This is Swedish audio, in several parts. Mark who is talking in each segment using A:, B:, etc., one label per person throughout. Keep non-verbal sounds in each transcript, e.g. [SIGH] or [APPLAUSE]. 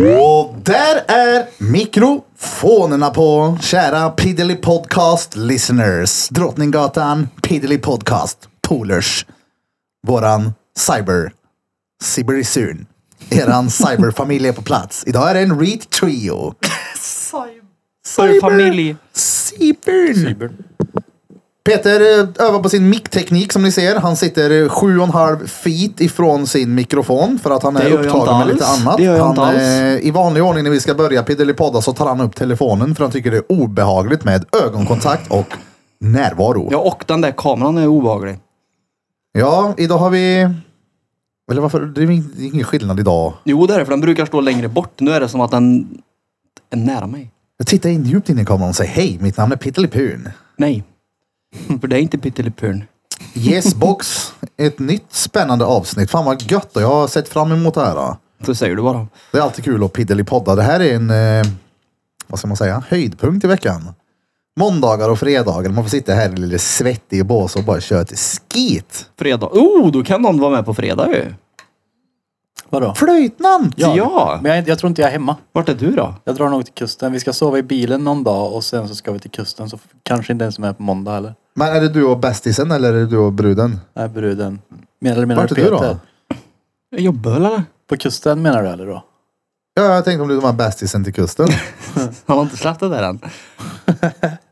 A: Och där är mikrofonerna på, kära Piddly Podcast listeners. Drottninggatan, Piddly Podcast, Polers. Våran cyber, cyberisun. Eran cyberfamilj är på plats. Idag är det en Reet Trio.
B: Cyberfamilj.
A: Cybern.
C: Cybern.
A: Peter eh, övar på sin mickteknik som ni ser. Han sitter eh, sju och en halv feet ifrån sin mikrofon för att han
B: Det
A: är
B: gör jag
A: upptagen
B: inte
A: med lite
B: alls.
A: annat.
B: Det gör jag
A: han,
B: inte alls.
A: eh, I vanlig ordning när vi ska börja Piddelipodda så tar han upp telefonen för han tycker det är obehagligt med ögonkontakt och närvaro.
B: Ja, och den där kameran är obehaglig.
A: Ja, idag har vi... Eller varför? Det är ing- det är ingen skillnad idag.
B: Jo, det är det, för den brukar stå längre bort. Nu är det som att den är nära mig.
A: Jag tittar in djupt in i kameran och säger hej, mitt namn är Pittelipun.
B: Nej. För det är inte pyttelipurn. [LAUGHS]
A: Yes box, ett nytt spännande avsnitt. Fan vad gött och jag har sett fram emot det här. Då.
B: Så säger du bara.
A: Det är alltid kul att piddelipodda. Det här är en, eh, vad ska man säga, höjdpunkt i veckan. Måndagar och fredagar, man får sitta här i lite svettig bås och bara köra ett skit.
B: Fredag. Oh, då kan någon vara med på fredag ju.
C: Vadå?
A: Flöjtnant!
B: Ja.
C: Men jag, jag tror inte jag är hemma.
B: Vart är du då?
C: Jag drar nog till kusten. Vi ska sova i bilen någon dag och sen så ska vi till kusten. Så f- kanske inte ens med på måndag eller?
A: Men är det du och bästisen eller är det du och bruden?
C: Nej, bruden. Menar eller menar
A: Vart är
C: du
A: du då?
C: Peter?
B: Jag jobbar eller?
C: På kusten menar du eller då?
A: Ja, jag tänkte om du var bästisen till
B: [LAUGHS]
A: kusten.
B: Han har inte släppt det där än. [LAUGHS]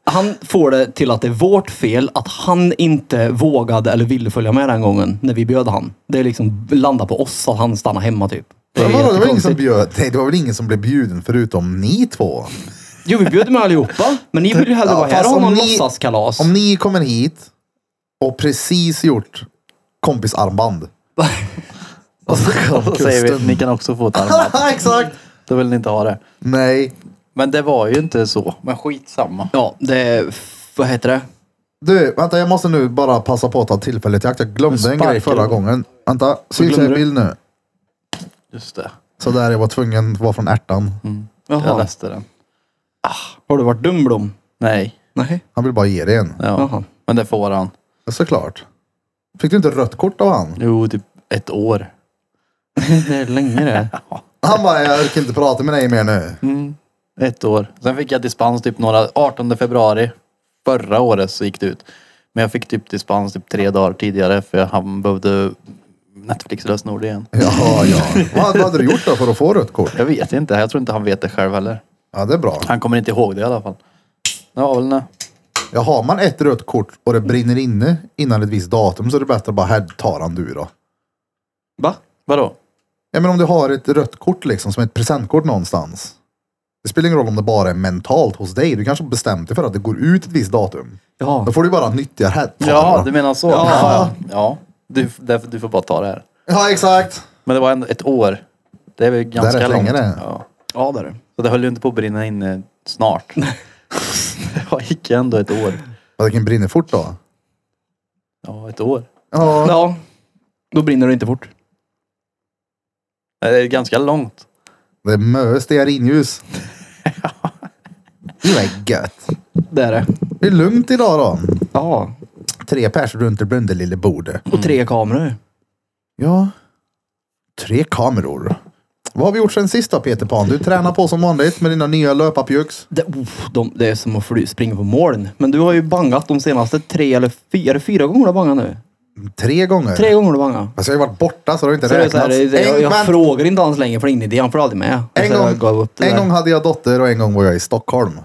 B: Han får det till att det är vårt fel att han inte vågade eller ville följa med den gången när vi bjöd han. Det är liksom landa på oss att han stannar hemma typ. Det
A: Det,
B: är
A: var, det, var ingen som
B: jättekonstigt.
A: bjöd. Nej, det var väl ingen som blev bjuden förutom ni två?
B: Jo, vi bjöd med allihopa. Men ni vill ju hellre
A: Ja,
B: vara här
A: fast
B: och
A: om
B: ha någon
A: ni-
B: låtsaskalas.
A: Om ni kommer hit och precis gjort kompisarmband. [LAUGHS] Och så kom
C: Då säger vi
A: kusten.
C: att ni kan också få
A: [LAUGHS]
C: ett armband.
A: Exakt!
C: Då vill ni inte ha det.
A: Nej.
C: Men det var ju inte så. Men skitsamma.
B: Ja, det är... f- Vad heter det?
A: Du, vänta jag måste nu bara passa på att ta tillfället i akt. Jag glömde en
C: Sparkar
A: grej förra
C: du?
A: gången. Vänta, syns jag
B: glömde
A: i
B: du?
A: bild nu?
C: Just det.
A: Så där jag var tvungen att vara från ärtan.
C: Mm. Jag
B: Jaha.
C: läste den.
B: Har du varit dum Blom?
C: Nej.
B: Nej.
A: Han vill bara ge dig en.
C: Ja.
B: Jaha.
C: Men det får han.
A: Såklart. Fick du inte rött kort av han?
C: Jo, typ ett år.
B: Det är länge det.
A: Han bara, jag orkar inte prata med dig mer nu.
C: Mm. Ett år. Sen fick jag dispens typ några, 18 februari förra året så gick det ut. Men jag fick typ dispens typ tre dagar tidigare för han behövde Netflix-lösenord igen.
A: Ja, ja. Vad, vad hade du gjort då för att få rött kort?
C: Jag vet inte, jag tror inte han vet det själv heller.
A: Ja, det är bra.
C: Han kommer inte ihåg det i alla fall. Ja, väl nej.
A: Ja, har man ett rött kort och det brinner inne innan ett visst datum så är det bättre att bara, här tar han du då.
B: Va?
C: Vadå?
A: Ja, men om du har ett rött kort liksom, som ett presentkort någonstans. Det spelar ingen roll om det bara är mentalt hos dig. Du kanske har bestämt dig för att det går ut ett visst datum.
B: Ja.
A: Då får du bara nyttja det här. Ta det
C: Ja,
A: bara.
C: du menar så?
B: Ja.
C: Ja. ja. Du, därför, du får bara ta det här.
A: ja exakt.
C: Men det var ändå ett år. Det är väl ganska
A: rätt
C: långt.
A: länge det.
C: Ja.
B: Ja, det är det.
C: Så det höll ju inte på att brinna inne [LAUGHS] snart. det gick ändå ett år.
A: Ja, det kan brinna fort då.
C: Ja, ett år.
A: Ja.
B: Ja. Då brinner det inte fort.
C: Nej, Det är ganska långt.
A: Det är mö stearinljus. Det är gött.
B: Det är det.
A: Det är lugnt idag då.
B: Ja.
A: Tre pers runt det blunda lilla bordet.
B: Och tre kameror.
A: Ja. Tre kameror. Vad har vi gjort sen sist då Peter Pan? Du tränar på som vanligt med dina nya löparpjucks.
B: Det, uff, de, det är som att fly, springa på moln. Men du har ju bangat de senaste tre eller fyra, är det fyra gånger du har bangat nu.
A: Tre gånger.
B: Tre gånger du har bangat.
A: Alltså jag har ju varit borta så det har inte
B: Så det är så
A: räknats.
B: här, det är- jag, jag
A: en, men-
B: frågar inte hans längre för det är ingen idé, han får aldrig med. Så
A: en,
B: jag gav
A: gång,
B: upp det
A: en
B: där.
A: gång hade jag dotter och en gång var jag i Stockholm.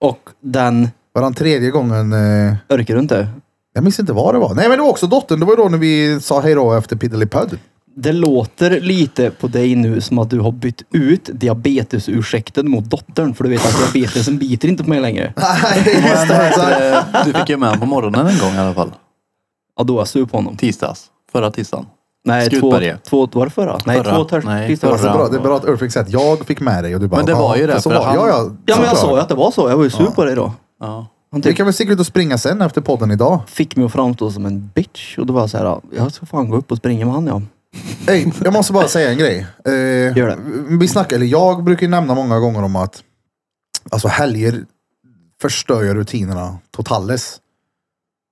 B: Och den
A: Varann tredje gången eh,
B: orkar du inte.
A: Jag minns inte vad det var. Nej men det var också dottern. Det var ju då när vi sa hej då efter
B: [LAUGHS]
A: Piddelipödd.
B: Det låter lite på dig nu som att du har bytt ut diabetesursäkten mot dottern. För du vet att diabetesen biter inte på mig längre.
A: Nej just det. exakt.
C: Eh, Du fick ju med honom på morgonen en gång i alla fall.
B: Ja, då är jag sur på honom.
C: Tisdags. Förra tisdagen.
B: Nej, två,
C: Skutberget.
B: två, var det förra? Nej,
C: Förra.
B: två törs-
C: Nej,
A: Det var
B: tisdagar.
A: så bra. Det är bra att Ulf fick säga att jag fick med dig och du bara
C: Men det
A: "Ja,
C: var ju det,
A: Så
C: för
A: var,
C: han-
A: ja, ja,
B: Ja, men jag
A: såklart.
B: sa ju att det var så. Jag var ju sur på dig då.
C: Ja.
B: Han
A: Vi
B: typ
A: kan väl sticka ut och springa sen efter podden idag.
B: fick mig att framstå som en bitch. Och då var jag så här, jag ska fan gå upp och springa med han ja.
A: Ey, jag måste bara säga en grej. Eh,
B: Gör det.
A: Vi snackar, eller jag brukar ju nämna många gånger om att alltså helger förstör ju rutinerna totales.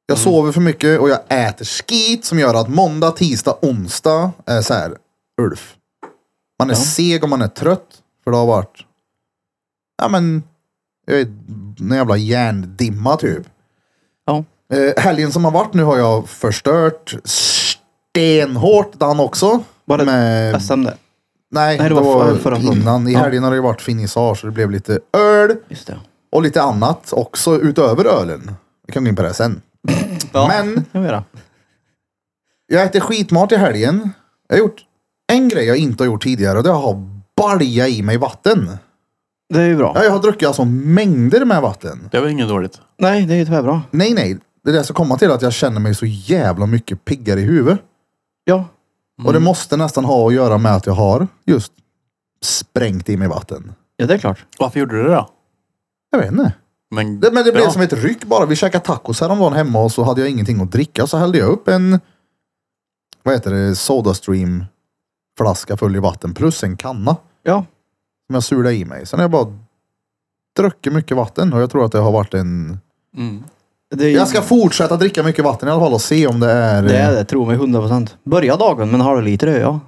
A: Jag
B: Mm.
A: sover för mycket och jag äter skit som gör att måndag, tisdag, onsdag är så här, Ulf. Man är seg och man är trött. För det har varit, ja men, jag vet, någon jävla järndimma typ.
B: Ja.
A: Eh, helgen som har varit nu har jag förstört stenhårt den också.
B: Var det
A: med,
B: SM där.
A: nej,
B: nej,
A: det var,
B: förra förra.
A: innan. I
B: Ja.
A: helgen har det ju varit finissage så det blev lite öl
B: Just det.
A: och lite annat också utöver ölen. Vi kan gå in på det sen.
B: Ja,
A: Men-
B: kan vi göra.
A: Jag äter skitmat i helgen. Jag har gjort en grej jag inte har gjort tidigare och det är att ha balja i mig vatten.
B: Det är ju bra.
A: Ja, jag har druckit alltså mängder med vatten.
C: Det var inget dåligt.
B: Nej, det är ju tyvärr bra.
A: Nej, nej. Det är det jag ska komma till, att jag känner mig så jävla mycket piggare i huvudet.
B: Ja.
A: Och det måste nästan ha att göra med att jag har just sprängt i mig vatten.
B: ja, det är klart.
C: Varför gjorde du det då?
A: Jag vet inte.
C: Men
A: Det, men det blev
C: bra.
A: som ett ryck bara. Vi käkade tacos häromdagen hemma och så hade jag ingenting att dricka. Så hällde jag upp en, vad heter det, Sodastream flaska full i vatten plus en kanna.
B: Ja.
A: Som jag surade i mig. Sen har jag bara druckit mycket vatten och jag tror att det har varit en...
C: Mm.
B: Det är, ju-
A: Jag ska fortsätta dricka mycket vatten i alla fall och se om det är...
B: det är det, tro mig. 100 procent. Börja dagen med en halv liter öl, ja.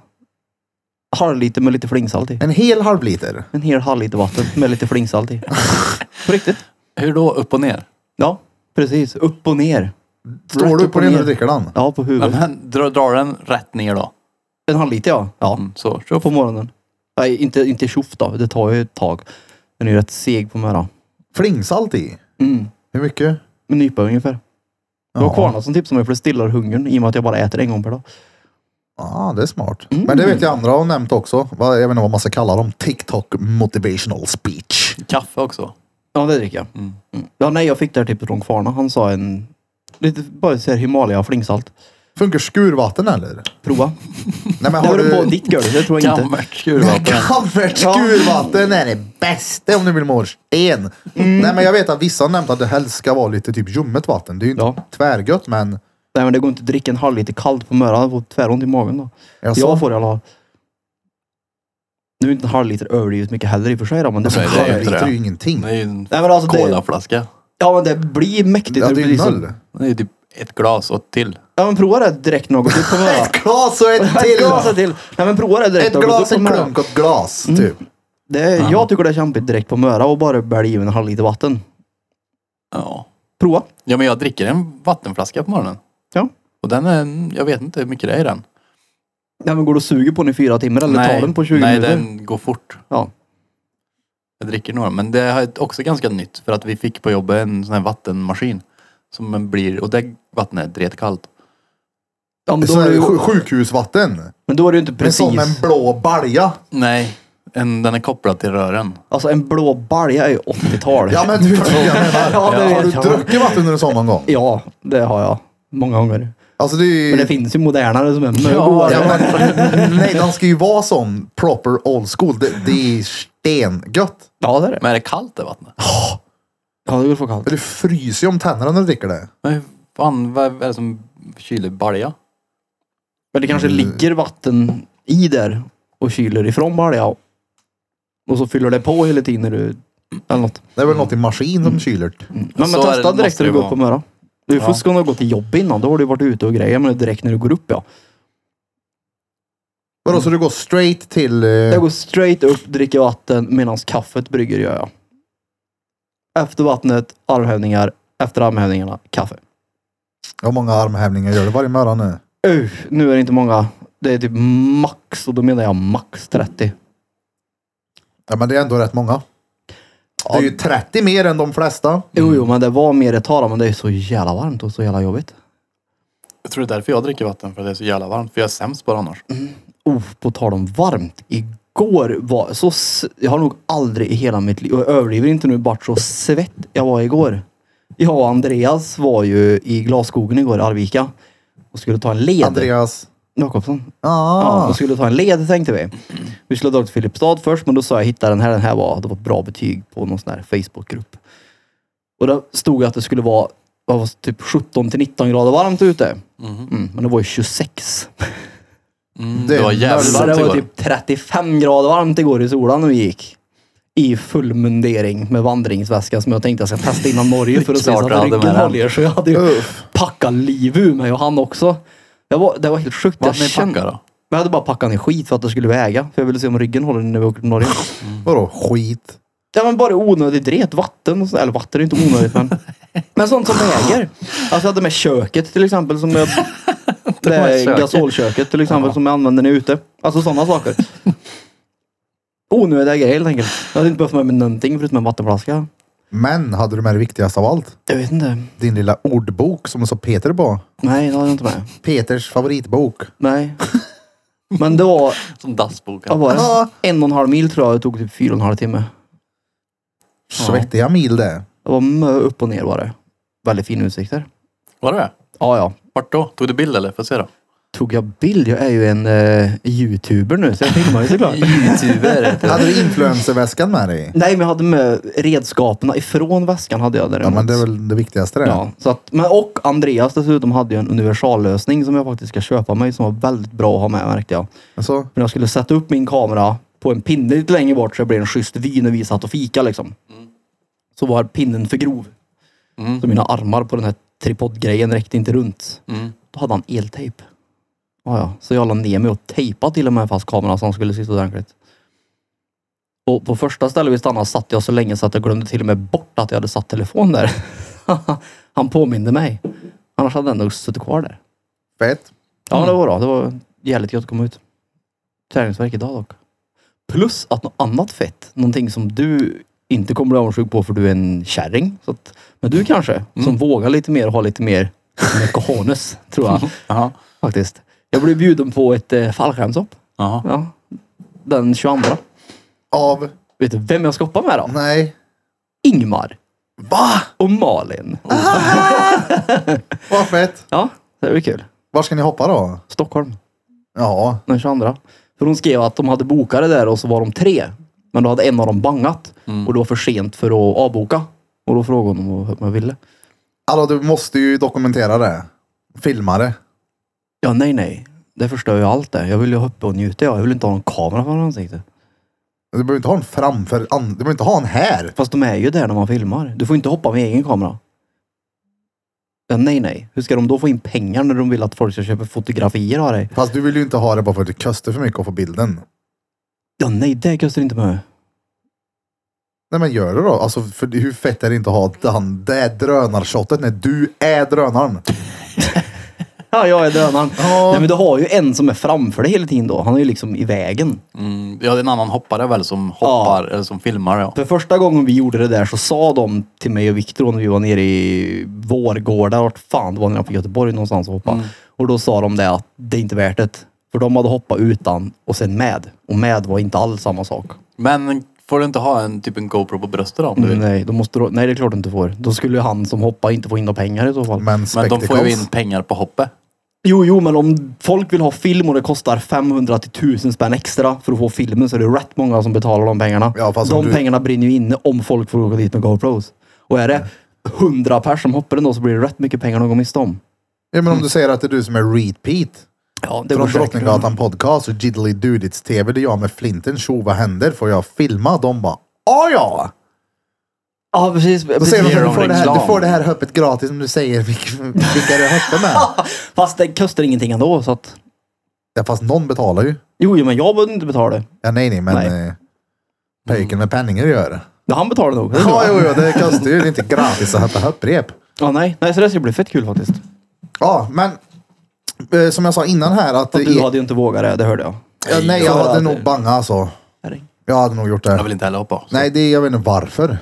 B: Halv liter med lite flingsalt i.
A: En hel halv liter.
B: En hel halv liter vatten med lite
A: [LAUGHS]
B: flingsalt i. På riktigt.
C: Hur då? Upp och ner?
B: Ja, precis. Upp och ner.
A: Står
B: Rätt
A: du
B: upp
A: upp på
B: och
A: den
B: ner.
A: och dricker den?
B: Ja, på
C: Men,
B: huvudet.
C: men, dra, drar den rätt ner då?
B: En halv liter, ja. Ja,
C: Mm, så. Tjoff.
B: på morgonen. Nej, inte, inte tjoff då. Det tar ju ett tag. Den är ju rätt seg på morgonen.
A: Flingsalt i?
B: Mm.
A: Hur mycket?
B: En nypa ungefär. Det var
A: Ja.
B: Kvarna som tipsade mig för det stillar hungern i och med att jag bara äter en gång per dag.
A: Ja, ah, det är smart.
B: Mm.
A: Men det vet jag andra har nämnt också. Vad- Jag vet inte vad man ska kalla dem. TikTok motivational speech.
C: Kaffe också.
B: Ja, det dricker jag.
C: Mm.
B: Mm. Ja, nej, jag fick det här tipset från Kvarna. Han sa en... Lite, bara så här Himalaya flingsalt.
A: Funkar skurvatten eller?
B: Prova.
A: Nej men
B: det
A: har
B: var det på
A: du...
B: ditt girl, det tror jag inte.
C: Gammalt skurvatten.
A: Gammalt skurvatten är det bästa om du vill må sten. Nej men jag vet att vissa har nämnt att det helst ska vara lite typ ljummet vatten. Det är ju inte
B: Ja.
A: tvärgött men...
B: Nej, men det går inte att dricka en halv liter kallt på morgonen. Jag får tväront i magen då.
A: Jag
B: Jag får i alla fall. Nu är inte en halv liter överdrivet mycket heller i och för sig då, men det
C: Nej, det är
A: det
C: ju
A: är
C: inte
A: ju
C: det.
A: ingenting.
C: Det är ju en
B: Nej men alltså det,
C: colaflaska.
B: ja, men det typ liksom- blir mäktigt.
A: Ja, det är ju
B: blir så-
A: noll.
C: Det är ju typ ett glas och till.
B: Ja men prova det direkt något. Du kommer
A: Ett glas och ett
B: Ett glas
A: till!
B: till. Nej men prova det direkt.
A: Ett
B: något. Du
A: glas, en
B: kommer höra.
A: klunk och ett glas typ.
B: Det är, Jag tycker det är kämpigt direkt på möra och bara bälja i mig en halv liter vatten.
C: Ja.
B: Prova.
C: ja, men jag dricker en vattenflaska på morgonen.
B: Ja.
C: Och den är, jag vet inte hur mycket det är i den.
B: Nej men går du och suger på den i fyra timmar eller tar den på 20
C: nej,
B: minuter?
C: den går fort.
B: Ja.
C: Jag dricker några, men det är också ganska nytt för att vi fick på jobbet en sån här vattenmaskin. Som blir, och det vattnet är dretkallt.
B: Ja, men,
A: Så
B: då är
A: här,
B: det ju,
A: sj- Sjukhusvatten.
B: men då är det ju inte
A: Precis. Som
B: precis.
A: en blå balja.
C: Nej, en, den är kopplad till rören.
B: Alltså en blå balja är ju 80-tal.
A: Ja
B: [LAUGHS]
A: men du vet vad jag menar.
B: Ja, det
A: Har du
B: vet jag.
A: druckit vatten under en sån någon gång?
B: Ja, det har jag. Många gånger.
A: Alltså det är ju...
B: Men det finns ju modernare som är mycket
C: Ja,
B: godare.
A: Ja, men, nej, den ska ju vara sån proper old school. Det, det är stengött.
B: Ja, det är det.
C: Men är det kallt det vattnet?
B: Ja, det är väl för kallt.
A: Du fryser ju om tänderna när du dricker det.
C: Men hur fan, vad är det som kyler balja?
B: Men det
C: Mm.
B: kanske ligger vatten i där och kyler ifrån balja. Och så fyller det på hela tiden när du... Eller något.
A: Det är väl något i maskin som kyler.
B: Men, men
C: Så är det,
B: testa
C: det
B: direkt
C: måste
B: när du
C: det
B: går
C: vara.
B: upp på morgonen. Du
C: Ja.
B: får ska nog gå till jobb innan. Då har du varit ute och grejer. Men direkt när du går upp ja.
A: Vadå, så du går straight till... eh,
B: Jag går straight upp, dricker vatten medan kaffet brygger gör jag. Efter vattnet, armhävningar. Efter armhävningarna, kaffe.
A: Hur många armhävningar gör du varje morgon nu?
B: Uh, nu är det inte många. Det är typ max, och då menar jag max 30.
A: Ja, men det är ändå rätt många. Det är ju 30 mer än de flesta.
B: Jo, jo, men det var mer ett tag då, men det är så jävla varmt och så jävla jobbigt.
C: Jag tror det är därför jag dricker vatten, för det är så jävla varmt. För jag är sämst på det annars.
B: Oh, på tal om varmt. Igår var så... s- Jag har nog aldrig i hela mitt liv, och jag överdriver inte nu, vart så svett jag var igår. Jag och Andreas var ju i Glasskogen igår i Arvika och skulle ta en led.
A: Andreas.
B: Jakobsson. Ja,
A: Ah.
B: och skulle ta en led tänkte vi. Vi skulle ha dragit till Filipstad först, men då sa jag hitta den här. Den här var, det var ett bra betyg på någon sån här Facebookgrupp. Och där stod det att det skulle vara vad var det, typ 17 till 19 grader varmt ute.
C: Mhm.
B: Mm, men det var ju 26.
A: Det
C: Mm, Det var
A: är
C: jävligt
B: Så det
C: varmt
B: var
C: igår.
B: typ 35 grader varmt igår i solen när vi gick. I full mundering med vandringsväska som jag tänkte jag ska testa innan Norge för att se
C: klart
B: så
C: du
B: att
C: hade med
B: ryggen
C: den.
B: håller. Så jag hade ju
A: Uff.
B: packat liv ur mig och han också. Jag var, det var helt sjukt.
C: Vad
B: jag
C: hade ni
B: kände-
C: packat då?
B: Men jag hade bara packat ner skit för att det skulle väga. För jag ville se om ryggen håller när vi åker till Norge.
A: Vadå skit?
B: Ja men bara onödigt ret. Vatten och sånt. Eller vatten är inte onödigt men. Men sånt som väger. Alltså jag hade med köket till exempel. Som jag, det
C: med
B: här
C: köket.
B: gasolköket till exempel som jag använder när jag är ute. Alltså sådana saker. Onödiga grejer helt enkelt. Jag hade inte behövt med mig någonting förutom en vattenflaska.
A: Men hade du med det viktigaste av allt?
B: Jag vet inte.
A: Din lilla ordbok som du sa Peter på.
B: Nej, det hade jag inte med.
A: Peters favoritbok.
B: Nej. Men det var,
C: Som
B: vad
C: dassboken.
B: var
A: Ja.
B: det? en och en halv mil tror jag. Det tog typ fyra och en halv timme.
A: Svettiga mil det.
B: Det var mö upp och ner var det. Väldigt fina utsikter.
C: Var det det?
B: Ja, ja.
C: Vart då? Tog du bild eller? Får jag se då?
B: Tog jag bild? Jag är ju en eh, youtuber nu så jag filmar
A: [LAUGHS]
B: ju såklart.
C: Youtuber.
A: Hade du influencerväskan med dig?
B: Nej, men jag hade med redskapen ifrån väskan hade jag
A: Ja
B: däremot.
A: men det är väl det viktigaste det.
B: Ja, så att, men och Andreas dessutom hade ju en universallösning som jag faktiskt ska köpa mig som var väldigt bra att ha med märkte jag.
A: Alltså,
B: Men jag skulle sätta upp min kamera på en pinne lite längre bort så det blev en schysst vy när vi satt och fika liksom.
A: Mm.
B: Så var pinnen för grov. Så mina armar på den här tripodgrejen räckte inte runt.
C: Mm.
B: Då hade han eltejp. Ah, ja. Så jag la ner mig och tejpade till och med fast kameran så han skulle sitta ordentligt. Och på första stället vi stannade satt jag så länge så att jag glömde till och med bort att jag hade satt telefon där. [LAUGHS] han påminde mig. Annars hade den nog suttit kvar där.
A: fett.
B: Ja, det var bra. Det var jävligt gött att komma ut. Träningsvärk idag dock. Plus att något annat fett, någonting som du inte kommer bli avundsjuk på för du är en kärring. Så att, men du kanske, som vågar lite mer och har lite mer med cojones, tror jag
C: Jaha.
B: faktiskt. Jag blev bjuden på ett eh, fallskärmshopp.
C: Jaha.
B: Ja. Den 22.
A: Av?
B: Vet du vem jag ska hoppa med då?
A: Nej.
B: Ingmar
A: Va?
B: och Malin.
A: Vad fett.
B: Ja, det blir kul.
A: Var ska ni hoppa då?
B: Stockholm
A: Ja.
B: den 22. För hon skrev att de hade bokat det där och så var de tre. Men då hade en av dem bangat och det var för sent för att avboka. Och då frågade hon om jag ville.
A: Alltså du måste ju dokumentera det. Filma det.
B: Ja, nej, nej. Det förstör ju allt det. Jag vill ju hoppa och njuta. Jag Jag vill inte ha någon kamera för ansiktet.
A: Du behöver inte ha en framför, an- du behöver inte ha en här.
B: Fast de är ju där när man filmar. Du får inte hoppa med egen kamera. Ja, nej, nej. Hur ska de då få in pengar när de vill att folk ska köpa fotografier av dig?
A: Fast du vill ju inte ha det bara för att det kostar för mycket att få bilden.
B: Ja, nej, det kostar inte med.
A: Nej men gör det då. Alltså för hur fett är det inte att ha den, det drönarshotet när du är drönaren?
B: [LAUGHS] Ja, jag är drönaren.
A: Ja.
B: Nej, men du har ju en som är framför dig hela tiden då. Han är ju liksom i vägen.
C: Mm. Ja, det är en annan hoppare väl som hoppar eller som filmar. Ja.
B: För första gången vi gjorde det där så sa de till mig och Viktor när vi var nere i Vårgårda, vart fan det var nere på Göteborg någonstans och hoppade. Och då sa de det att det är inte värt det. För de hade hoppat utan och sen med. Och med var inte alls samma sak.
C: Men får du inte ha en typ en GoPro på bröstet då, om du vill?
B: Nej, då måste du, nej, det är klart du inte får. Då skulle ju han som hoppar inte få in några pengar i så fall.
A: Men
C: Men de får ju in
A: spectacles.
C: pengar på hoppet.
B: Jo, jo, men om folk vill ha film och det kostar 500 till 1000 spänn extra för att få filmen så är det rätt många som betalar de pengarna.
A: Ja, fast om
B: de
A: du-
B: pengarna brinner ju inne om folk får åka dit med GoPros. Och är det 100 pers som hoppar ändå så blir det rätt mycket pengar de går miste om.
A: Ja men om du säger att det är du som är repeat.
B: Ja, det
A: Från
B: går säkert.
A: Drottninggatan podcast och Jiddly Dudits TV där jag med flinten tjo vad händer? Får jag filma? De bara "Ja, ja!
B: Ja, precis.
A: Då
B: precis.
A: säger de
C: ger
A: så, du
C: dem
A: får, det här, du
C: reklam."
A: får det här öppet gratis om du säger vilka, vilka du hoppar med.
B: [LAUGHS] Fast det kostar ingenting ändå så att...
A: Ja, fast någon betalar ju.
B: Jo, jo men jag behöver inte betala det.
A: Ja nej nej men
B: Nej.
A: eh, pöjken med penningen gör det.
B: Ja, Han betalar nog. Det är bra.
A: Ja jo jo det kostar ju det är inte gratis att hoppa hopprep.
B: ja, nej. nej, så det ska bli fett kul faktiskt.
A: Ja, men eh, som jag sa innan här att...
B: Och
A: det
B: du
A: är-
B: hade ju inte vågat det, det hörde jag.
A: ja, nej, jag hade nog bangat alltså.
B: Herregud.
A: Jag hade nog gjort
C: Jag
A: det.
C: vill inte heller hoppa.
A: Nej, det, jag vet inte varför.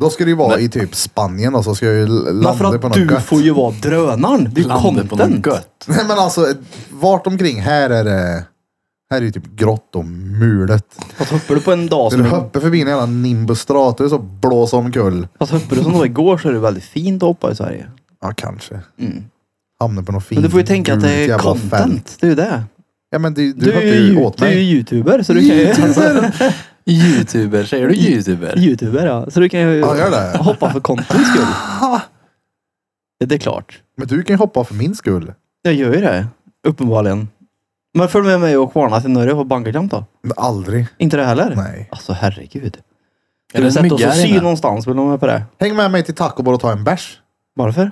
A: Då ska det ju vara i typ Spanien och så ska jag ju l-
B: Men för
A: landa på
B: att
A: något
B: du
A: gött.
B: får ju vara drönaren. Det är ju
C: Landa på
B: content.
C: något gött.
A: Nej men alltså, vart omkring här är det... Här är ju typ grått och mulet.
B: Fast hoppar du på en dag
A: Så
B: som...
A: du hoppar förbi en jävla nimbus stratus och blåser omkull.
B: Fast hoppar du som då igår så är det väldigt fint att hoppa i Sverige.
A: Ja, kanske. Hamnar på något fint
B: Mm. Men du får ju tänka att det är
A: gult jävla fält.
B: content. Det är ju det.
A: Ja men du, du,
B: Du,
A: hoppar
B: är
A: ju
B: ju,
A: åt
B: du är ju
A: mig.
B: youtuber så du kan ju...
C: Youtuber, säger du
B: [LAUGHS]
C: youtuber?
B: youtuber ja. Så du kan ju
A: Ja, gör det.
B: hoppa för contents skull. Ja, det är klart.
A: Men du kan ju hoppa för min skull.
B: Jag gör ju det. Uppenbarligen. Men följ med mig och Kvarna till Norge på bungyjump då?
A: Men Aldrig.
B: Inte det heller?
A: Nej.
B: Alltså herregud.
C: Är
B: Ska
C: det
B: vi
C: en
B: sätta oss
C: mygga
B: och
C: här
B: sy
C: inne?
B: någonstans? Vill du vara med på det?
A: Häng med mig till Taco Bar och ta en bärs.
B: Varför?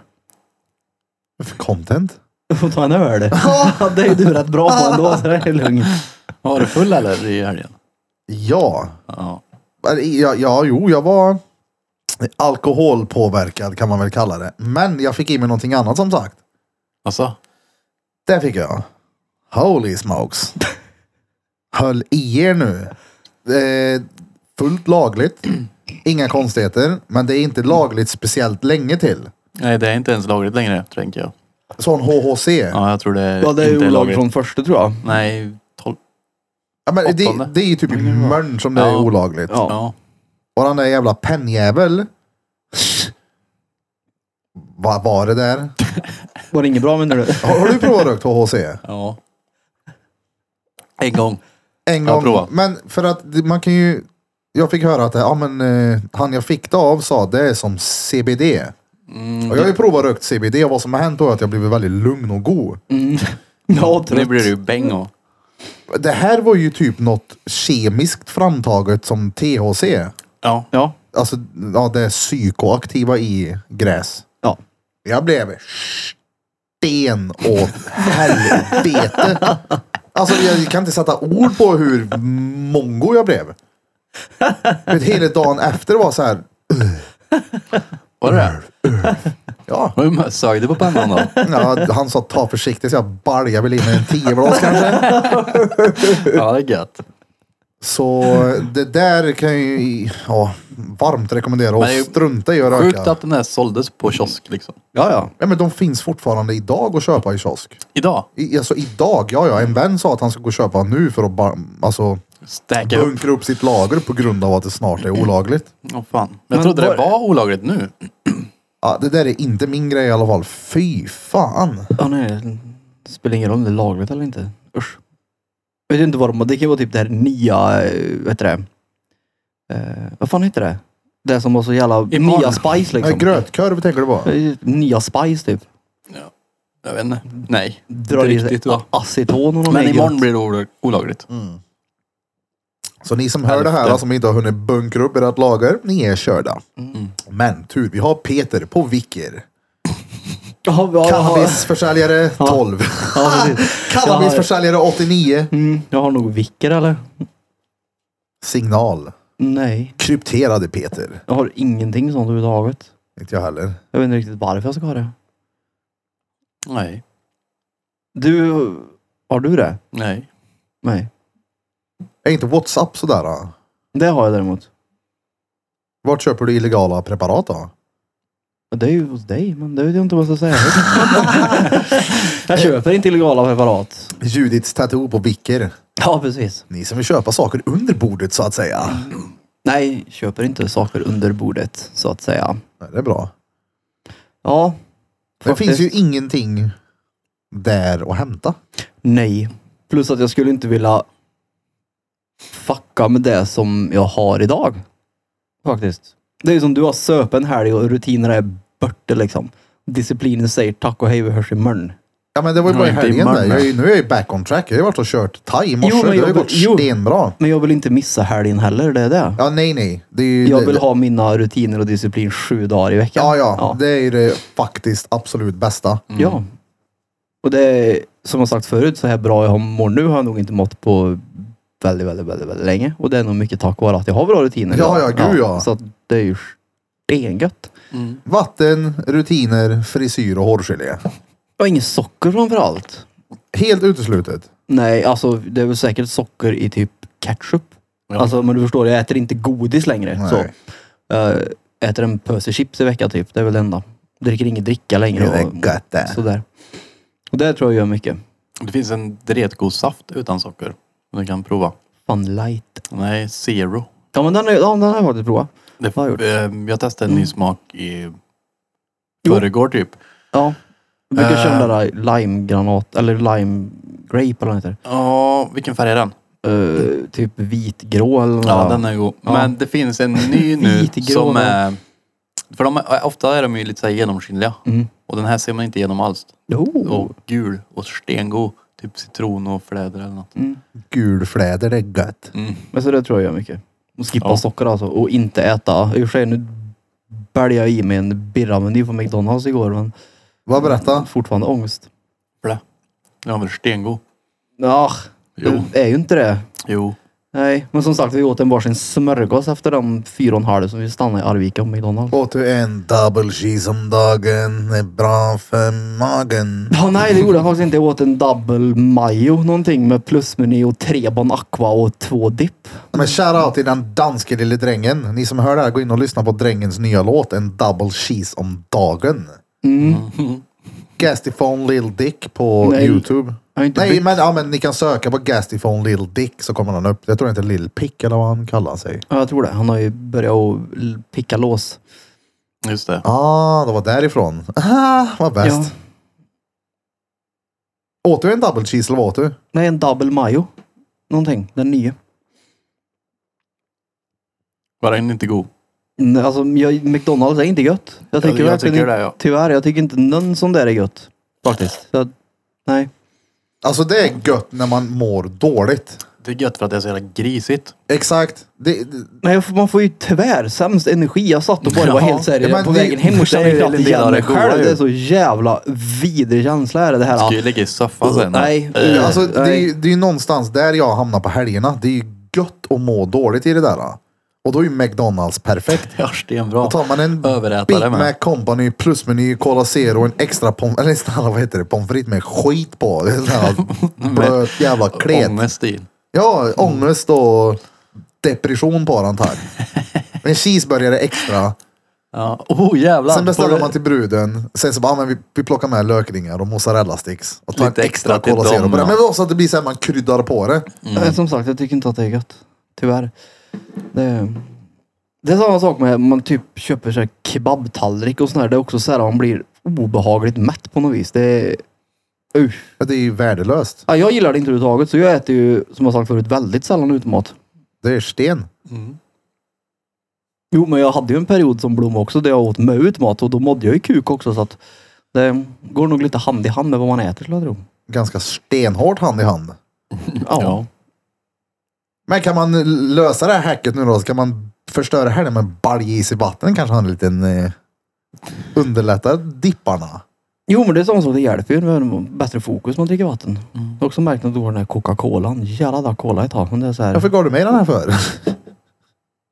A: För content.
B: Du [LAUGHS] får ta en öl. [LAUGHS] det är ju du rätt bra på ändå, så det är lugnt.
C: Var du full eller i helgen?
A: Ja.
C: Ja.
A: Äh, Ja, ja, jo, jag var alkoholpåverkad kan man väl kalla det. Men jag fick i mig någonting annat som sagt.
C: Alltså?
A: Det fick jag. Holy smokes. Höll i er nu. Eh, fullt lagligt. Inga konstigheter. Men det är inte lagligt speciellt länge till.
C: Nej, det är inte ens lagligt längre, tänker jag.
A: Sån HHC.
C: Ja, jag tror det är
B: Ja, det är
C: inte
B: ju
C: är
B: olagligt
C: lagligt.
B: från första tror jag.
C: Nej, tolv.
A: Ja, men det,
C: åttonde.
A: det är ju typ i Mörn som det är
C: Ja.
A: olagligt.
B: Ja.
C: Ja.
A: Och den där jävla pennjävel. Vad var det där?
B: Var det inget bra
C: [LAUGHS]
B: menar du?
A: Har, har du provat rökt HHC?
C: ja. En gång.
A: En
C: Ja,
A: gång.
C: prova.
A: men för att det- man kan ju. Jag fick höra att ja, men, eh, han jag fick det av sa att det är som CBD.
C: Mm,
A: och jag har ju provat rökt CBD och vad som har hänt då är att jag blivit väldigt lugn och god.
B: Ja,
C: Nu
B: trött.
C: blir det ju bäng och...
A: Det här var ju typ något kemiskt framtaget som THC.
C: Ja.
B: Ja.
A: Alltså ja, det är psykoaktiva i gräs.
B: Ja.
A: Jag blev sten åt helvete. Alltså jag kan inte sätta ord på hur mongo jag blev. För hela dagen efter var så här.
C: Var det det?
A: Ja,
C: Var det- Sög du på pennan då?
B: [LAUGHS]
A: ja han sa ta försiktigt så jag baljade väl in en tiovlas kanske.
C: Ja, det är gött.
A: Så det där kan ju ja, varmt rekommendera och
C: Men det är ju
A: strunta i att
C: Sjukt
A: röka.
C: att den här såldes på kiosk liksom.
B: Ja, ja.
A: Ja, men de finns fortfarande idag att köpa i kiosk.
C: Idag.
A: I, alltså idag, ja ja. En vän sa att han ska gå och köpa nu för att bara, alltså,
C: Stacka upp.
A: bunkra upp sitt lager på grund av att det snart är olagligt.
C: Åh fan. Jag
B: Men
C: trodde
B: var-
C: det var olagligt nu.
A: Ja, det där är inte min grej i alla fall. Fy fan.
B: Ja, nej. Det spelar ingen roll om det är lagligt eller inte. Usch. Jag vet inte vad de Det kan vara typ det här nya, eh, vad heter det? Eh, vad fan heter det? Det som var så jävla...
C: Imorgon.
B: Nya Spice
A: Äh,
B: liksom.
A: grötkorv tänker du på?
B: Eh, Nya Spice typ.
C: Jag vet inte.
B: Mm.
C: Nej.
B: Drar
C: Inte
B: i
C: riktigt,
B: sig
C: va?
B: aceton och något
C: Men
B: gött.
C: imorgon blir det olag- olagligt.
B: Mm.
A: Så ni som hör det här
C: Hälften.
A: som inte har hunnit bunkra upp ert lager, ni är körda. Men tur, vi har Peter på Vicker.
B: Ja, ja, jag, har,
A: Cannabisförsäljare 12.
B: ja, precis.
A: Cannabisförsäljare 89.
B: mm, jag har nog vicker eller?
A: Signal.
B: Nej.
A: Krypterade Peter.
B: Jag har ingenting sånt överhuvudtaget.
A: Inte jag heller.
B: Jag vet inte riktigt varför jag ska ha det.
C: Nej.
B: Du, har du det?
C: Nej.
B: Nej.
A: Är inte WhatsApp sådär? Då?
B: Det har jag däremot.
A: Vart köper du illegala preparat då?
B: Det är ju hos dig, men det vet jag inte vad jag ska säga. [LAUGHS] jag köper inte illegala preparat.
A: Judiths tattoo på Vicker.
B: Ja, precis.
A: Ni som vill köpa saker under bordet så att säga.
B: Nej, köper inte saker under bordet, så att säga.
A: Nej, det är bra.
B: Ja.
A: Det
B: faktiskt.
A: finns ju ingenting där att hämta.
B: Nej. Plus att jag skulle inte vilja fucka med det som jag har idag. Faktiskt. Det är ju som du har söpen helg och rutiner är borta liksom. Disciplinen säger tack och hej, vi hörs imorgon.
A: Ja men det var ju
C: Ja,
A: bara i
C: inte i
A: helgen där.
C: Malmö.
A: Jag är, ju- nu är jag ju back on track. Jag har ju varit och kört thai i morse.
B: Jo, men
A: det har ju
B: jag-
A: gått
B: jo.
A: stenbra.
B: Men jag vill inte missa helgen heller, det är det.
A: Ja nej nej. Det är ju,
B: Jag
A: det-
B: vill ha mina rutiner och disciplin sju dagar i veckan.
A: Ja, ja
B: Ja.
A: det är ju det faktiskt absolut bästa.
B: Ja. Och det är, som jag sagt förut, så här bra jag har- mår nu har jag nog inte mått på väldigt, väldigt, väldigt, väldigt länge. Och det är nog mycket tack vare att jag har bra rutiner.
A: Ja, ja, gud, ja.
B: Så att det är ju stengött.
A: Vatten, rutiner, frisyr och hårgelé.
B: Och inget socker framförallt.
A: Helt uteslutet.
B: Nej, alltså det är väl säkert socker i typ ketchup.
C: Ja.
B: Alltså, men du förstår, jag äter inte godis längre.
A: Nej.
B: Så. Eh, äter en pöse chips i veckan typ, det är väl det enda. Dricker ingen dricka längre.
A: Det är
B: och-
A: gött det.
B: Sådär. Och det tror jag gör mycket.
C: Det finns en dretgod saft utan socker. Du kan prova.
B: Fun light.
C: Nej, zero.
B: Ja men den har ja, den har jag faktiskt provat.
C: Det,
B: Vad har jag gjort? Mm.
C: eh, jag testade en ny smak i
B: Jo.
C: förrgår typ.
B: Ja. Jag brukar
C: Eh.
B: köra den där limegranat, eller lime grape eller vad den heter.
C: Ja, vilken färg är den?
B: Eh, typ vitgrå eller något.
C: Ja, den är god.
B: Ja.
C: Men det finns en
B: [LAUGHS]
C: ny nu
B: Vitgrå,
C: som
B: va?
C: är... För de är, ofta är de ju lite så här genomskinliga.
B: Mm.
C: Och den här ser man inte igenom alls.
B: Oh.
C: Och gul och stengod. Typ citron och fläder eller något.
B: Mm.
A: Gulfläder, det är gött.
B: Men så det tror jag gör mycket. Och skippa
C: Ja.
B: socker alltså. Och inte äta. I och för sig nu bälgade jag i mig en birrameny på McDonalds igår men
A: Vad berätta?
B: fortfarande ångest.
C: Den var väl stengod?
B: Ja,
C: Jo.
B: det är ju inte det.
C: Jo.
B: Nej, men som sagt vi åt en varsin smörgås efter de fyra och en halv som vi stannade i Arvika och McDonalds.
A: Åt du en double cheese om dagen är bra för magen.
B: Ja, nej, det gjorde jag faktiskt inte. Jag åt en double mayo någonting med plusmeny och tre Bon Aqua och två dipp.
A: Men shoutout till den danske lille drängen. Ni som hör det här, gå in och lyssna på drängens nya låt. En double cheese om dagen. Gastifone Lil Dick på
B: Mm. Nej.
A: Youtube.
B: Jag har inte
A: Nej,
B: bytt.
A: men, ja, men ni kan söka på Gastifone Lil Dick så kommer han upp. Jag tror inte Lil Pick eller vad han kallar sig.
B: Ja, jag tror det. Han har ju börjat att l- picka lås.
C: Just det.
A: Ah, det var därifrån. Ah, vad bäst.
B: Ja.
A: Åt du en double cheese eller vad åt du?
B: Nej, en double mayo. Någonting. Den nya.
C: Var den inte god?
B: Nej, Alltså, jag, McDonalds är inte gött. Jag tycker
C: jag
B: verkligen
C: tycker
B: inte-
C: det, ja.
B: Tyvärr, jag tycker inte någon sån där är gött. Faktiskt. Så, nej.
A: Alltså det är gött när man mår dåligt.
C: Det är gött för att det är så jävla grisigt.
A: Exakt. Det, det,
B: Nej, jag får- man får ju tyvärr sämst energi. Jag satt och bara var
C: Ja.
B: helt
A: Ja,
B: seriös
A: men
B: på
A: det-
B: vägen hem och
C: det är
B: kände
C: ju
B: knappt
C: en del av
B: igen mig
C: det goda
B: själv.
C: ju.
B: Det är så jävla vidrig känsla är det här.
C: Ska ju ligga i soffan sen.
B: Nej.
C: Eh,
B: Ja.
A: alltså, det, är,
B: nej.
A: ju- det är ju någonstans där jag hamnar på helgerna. Det är ju gött att må dåligt i det där. då. Och då är ju McDonalds perfekt.
C: Ja, stenbra.
A: Då tar man en
C: Överätare
A: Big
C: med.
A: Mac Company plusmeny, Cola Zero, en extra pommes eller snälla vad heter det, pommes frites med skit på. Det är sån
C: [LAUGHS]
A: här blöt jävla klet.
C: Ångest i.
A: Ja, ångest och depression på den tack. En cheeseburgare extra.
C: Ja. Oh jävlar.
A: Sen beställer
C: Får-
A: man till bruden. Sen så bara, ah, men vi, vi plockar med lökringar och mozzarella sticks. Och tar
C: Lite
A: en extra,
C: extra till
A: Cola Zero
C: dem,
A: på det.
C: ja.
A: Men också att det blir så här, man kryddar på det.
B: Nej, Eh, Som sagt, jag tycker inte att det är gött. Tyvärr. Det är, det är samma sak med man typ köper så här kebabtallrik och sånt där. Det är också så här man blir obehagligt mätt på något vis. Det är, usch.
A: Ja, Det är ju värdelöst.
B: Ja, jag gillar det inte överhuvudtaget så jag äter ju som jag sagt förut väldigt sällan utemat.
A: Det är sten.
C: Mm.
B: Jo, men jag hade ju en period som Blom också där jag åt med utemat och då mådde jag ju kuk också så att det går nog lite hand i hand med vad man äter skulle jag tro.
A: Ganska stenhårt hand i hand.
B: Ja.
C: Ja.
A: Men kan man lösa det här hacket nu då? Så kan man förstöra helgen med baljis i vatten? Kanske ha en liten eh, underlättar dipparna.
B: Jo, men det är sånt som det hjälper ju. med Bättre fokus när man dricker vatten. Jag har också märkt när du har den här Coca-Colan. Jävlar, drack cola ett tag. Men det är så här.
A: Varför gav du mig den här för? [LAUGHS]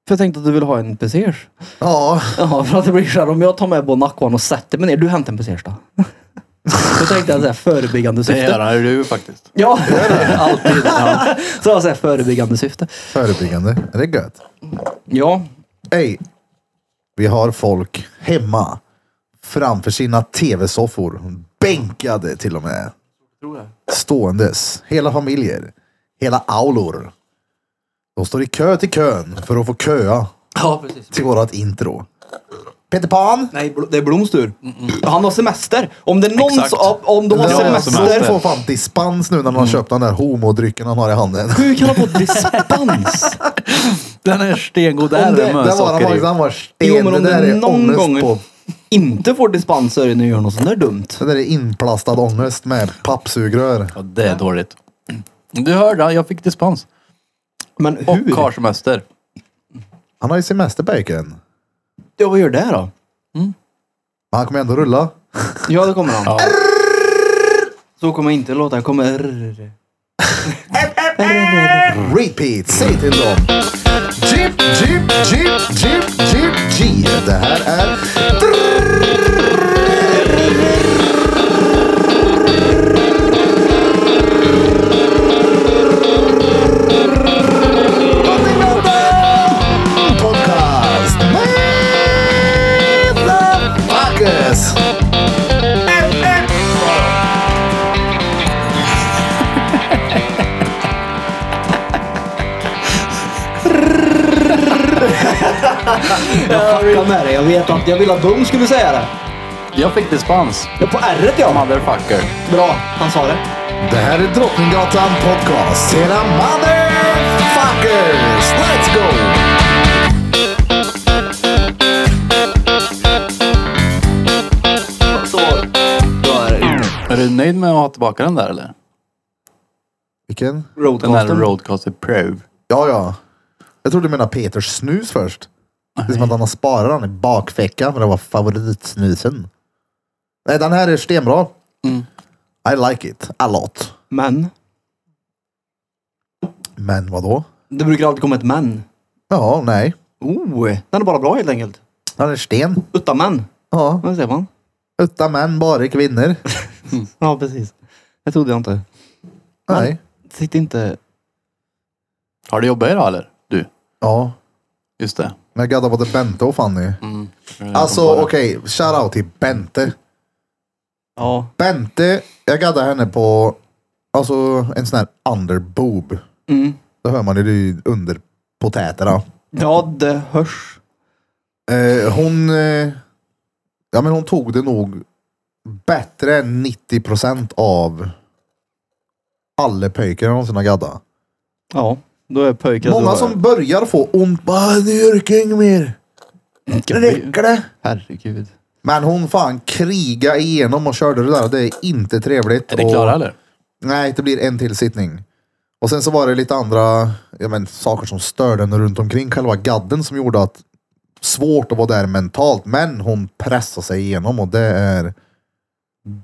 B: För jag tänkte att du ville ha en pesers.
A: ja,
B: Ja, för att det blir så här, om jag tar med Bon Aquan och sätter mig ner. Du hämtar en pesers då. Då tänkte jag så här, förebyggande
C: Det
B: syfte.
C: är du faktiskt.
B: Ja, alltid. [LAUGHS] Ja. Så jag säger förebyggande syfte.
A: förebyggande. Är det gött?
B: Ja,
A: Ey, vi har folk hemma framför sina tv-soffor. Bänkade till och med. Ståendes. Hela familjer. Hela aulor. De står i kö till kön för att få köa
B: ja precis.
A: till vårat intro. Peter Pan!
B: Nej, Bl- det är Bloms tur. Han har semester. Om det är någon
C: Exakt.
B: som, om- om de har
A: Ja,
B: semester.
A: Han får fan dispens nu när han
B: Mm.
A: har köpt den där homodrycken han har i
B: [LAUGHS]
A: handen.
B: Hur kan han få dispens?
C: Den är stengod. Där
B: Om det-
C: är det
A: Där var han faktiskt.
C: mörsocker i.
A: Han var liksom sten.
B: Jo, men om
A: det där
B: du
A: är
B: någon
A: ångest
B: gång
A: på.
B: inte får dispens så är det när du gör något sånt där dumt.
A: Det där är inplastad ångest med pappsugrör.
C: Ja, det är dåligt. Mm. Du hörde, jag fick dispens.
B: Men
C: Och
B: hur?
C: har semester.
A: Han har ju semester bacon.
B: Ja, vad gör det då?
A: Men han kommer ändå rulla.
B: Ja, det kommer han. Så kommer jag inte låta. Jag kommer...
A: Repeat, säg till dem. Jeep, jeep, jeep, jeep, jeep, jeep. Det här är... Drottninggatan Podcast med The Fuckers.
B: Jag fuckar med dig. Jag vet att jag ville att de skulle säga det.
C: Jag fick dispens.
B: Ja, på r ja.
C: Motherfucker.
B: Bra, han sa det.
A: Det här är Drottninggatan Podcast. Era motherfuckers! Let's go!
B: Så. Då är det.
C: Är du nöjd med att ha tillbaka den där eller?
A: Vilken?
C: Den där
B: Roadcasten.
C: Roadcaster Pro.
A: Ja, ja. Jag trodde du menade Peters snus först. Det är som att han har sparat den i bakfickan för det var favoritsnusen. Nej, den här är stenbra. I like it a lot.
B: Men.
A: Men vadå?
B: Det brukar alltid komma ett men.
A: Ja, nej.
B: Oh, den är bara bra helt enkelt.
A: Ja, det är sten.
B: Utan men.
A: Ja,
B: Vad säger man?
A: utan män, bara kvinnor.
B: Ja, precis. Det trodde jag inte.
A: Nej.
B: Sitt inte...
C: Har du jobbat idag eller? Du?
A: Ja,
C: Just det.
A: men jag gaddar både Bente och Fanny.
C: Mm.
A: Alltså okej, shoutout till Bente.
B: Ja.
A: Bente, jag gaddade henne på alltså en sån här underboob.
B: Mm.
A: Då hör man ju det är under potäterna.
B: Ja, det hörs.
A: Eh, hon, eh, ja, men hon tog det nog bättre än 90 procent av alla pojkar jag någonsin har gaddat.
B: Ja, då är pojkar...
A: Många som börjar få ont. Bara, nu orkar jag inget mer. Nu räcker det.
C: Herregud.
A: Men hon fan kriga igenom och körde det där. Det är inte trevligt.
C: Är det
A: och-
C: klara eller?
A: Nej, det blir en till sittning. Och sen så var det lite andra ja, men, saker som störde henne runt omkring själva gadden som gjorde att svårt att vara där mentalt. Men hon pressade sig igenom och det är,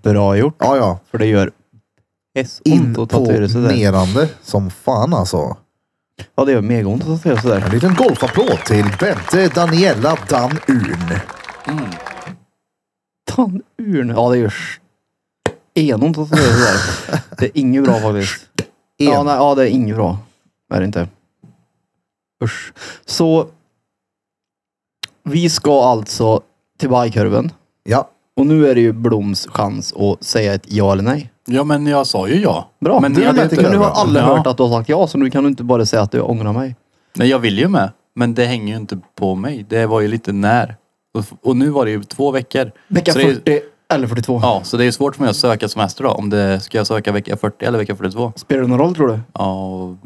B: Bra gjort.
A: ja ja,
B: För det gör S ont att tatuera sig där.
A: imponerande som fan alltså.
B: Ja, det gör mega ont att tatuera sig där.
A: En liten golfapplåd till Bente Daniela Dan Urn.
B: Tandurn. Ja, det gör stenont att tatuera sig där. Det är inget bra faktiskt. Ja,
A: En.
B: nej, ja, det är inget bra. Det är det inte. Usch. Så. Vi ska alltså till bajkurven.
A: Ja,
B: Och nu är det ju Bloms chans att säga ett ja eller nej.
C: Ja men jag sa ju ja.
B: Bra.
C: Men
B: Men,
C: ni hade ju inte-
B: nu har alla
C: Ja.
B: hört att du har sagt ja, så nu kan du inte bara säga att du ångrar mig.
C: Nej jag vill ju med. Men det hänger ju inte på mig. Det var ju lite när. Och, och nu var det ju två veckor.
B: Vecka
C: Så det är ju-
B: 40 eller 42.
C: Ja, så det är ju svårt för mig att söka semester då. Om det, ska jag söka vecka 40 eller vecka 42?
B: Spelar det någon roll tror du?
C: Ja, och...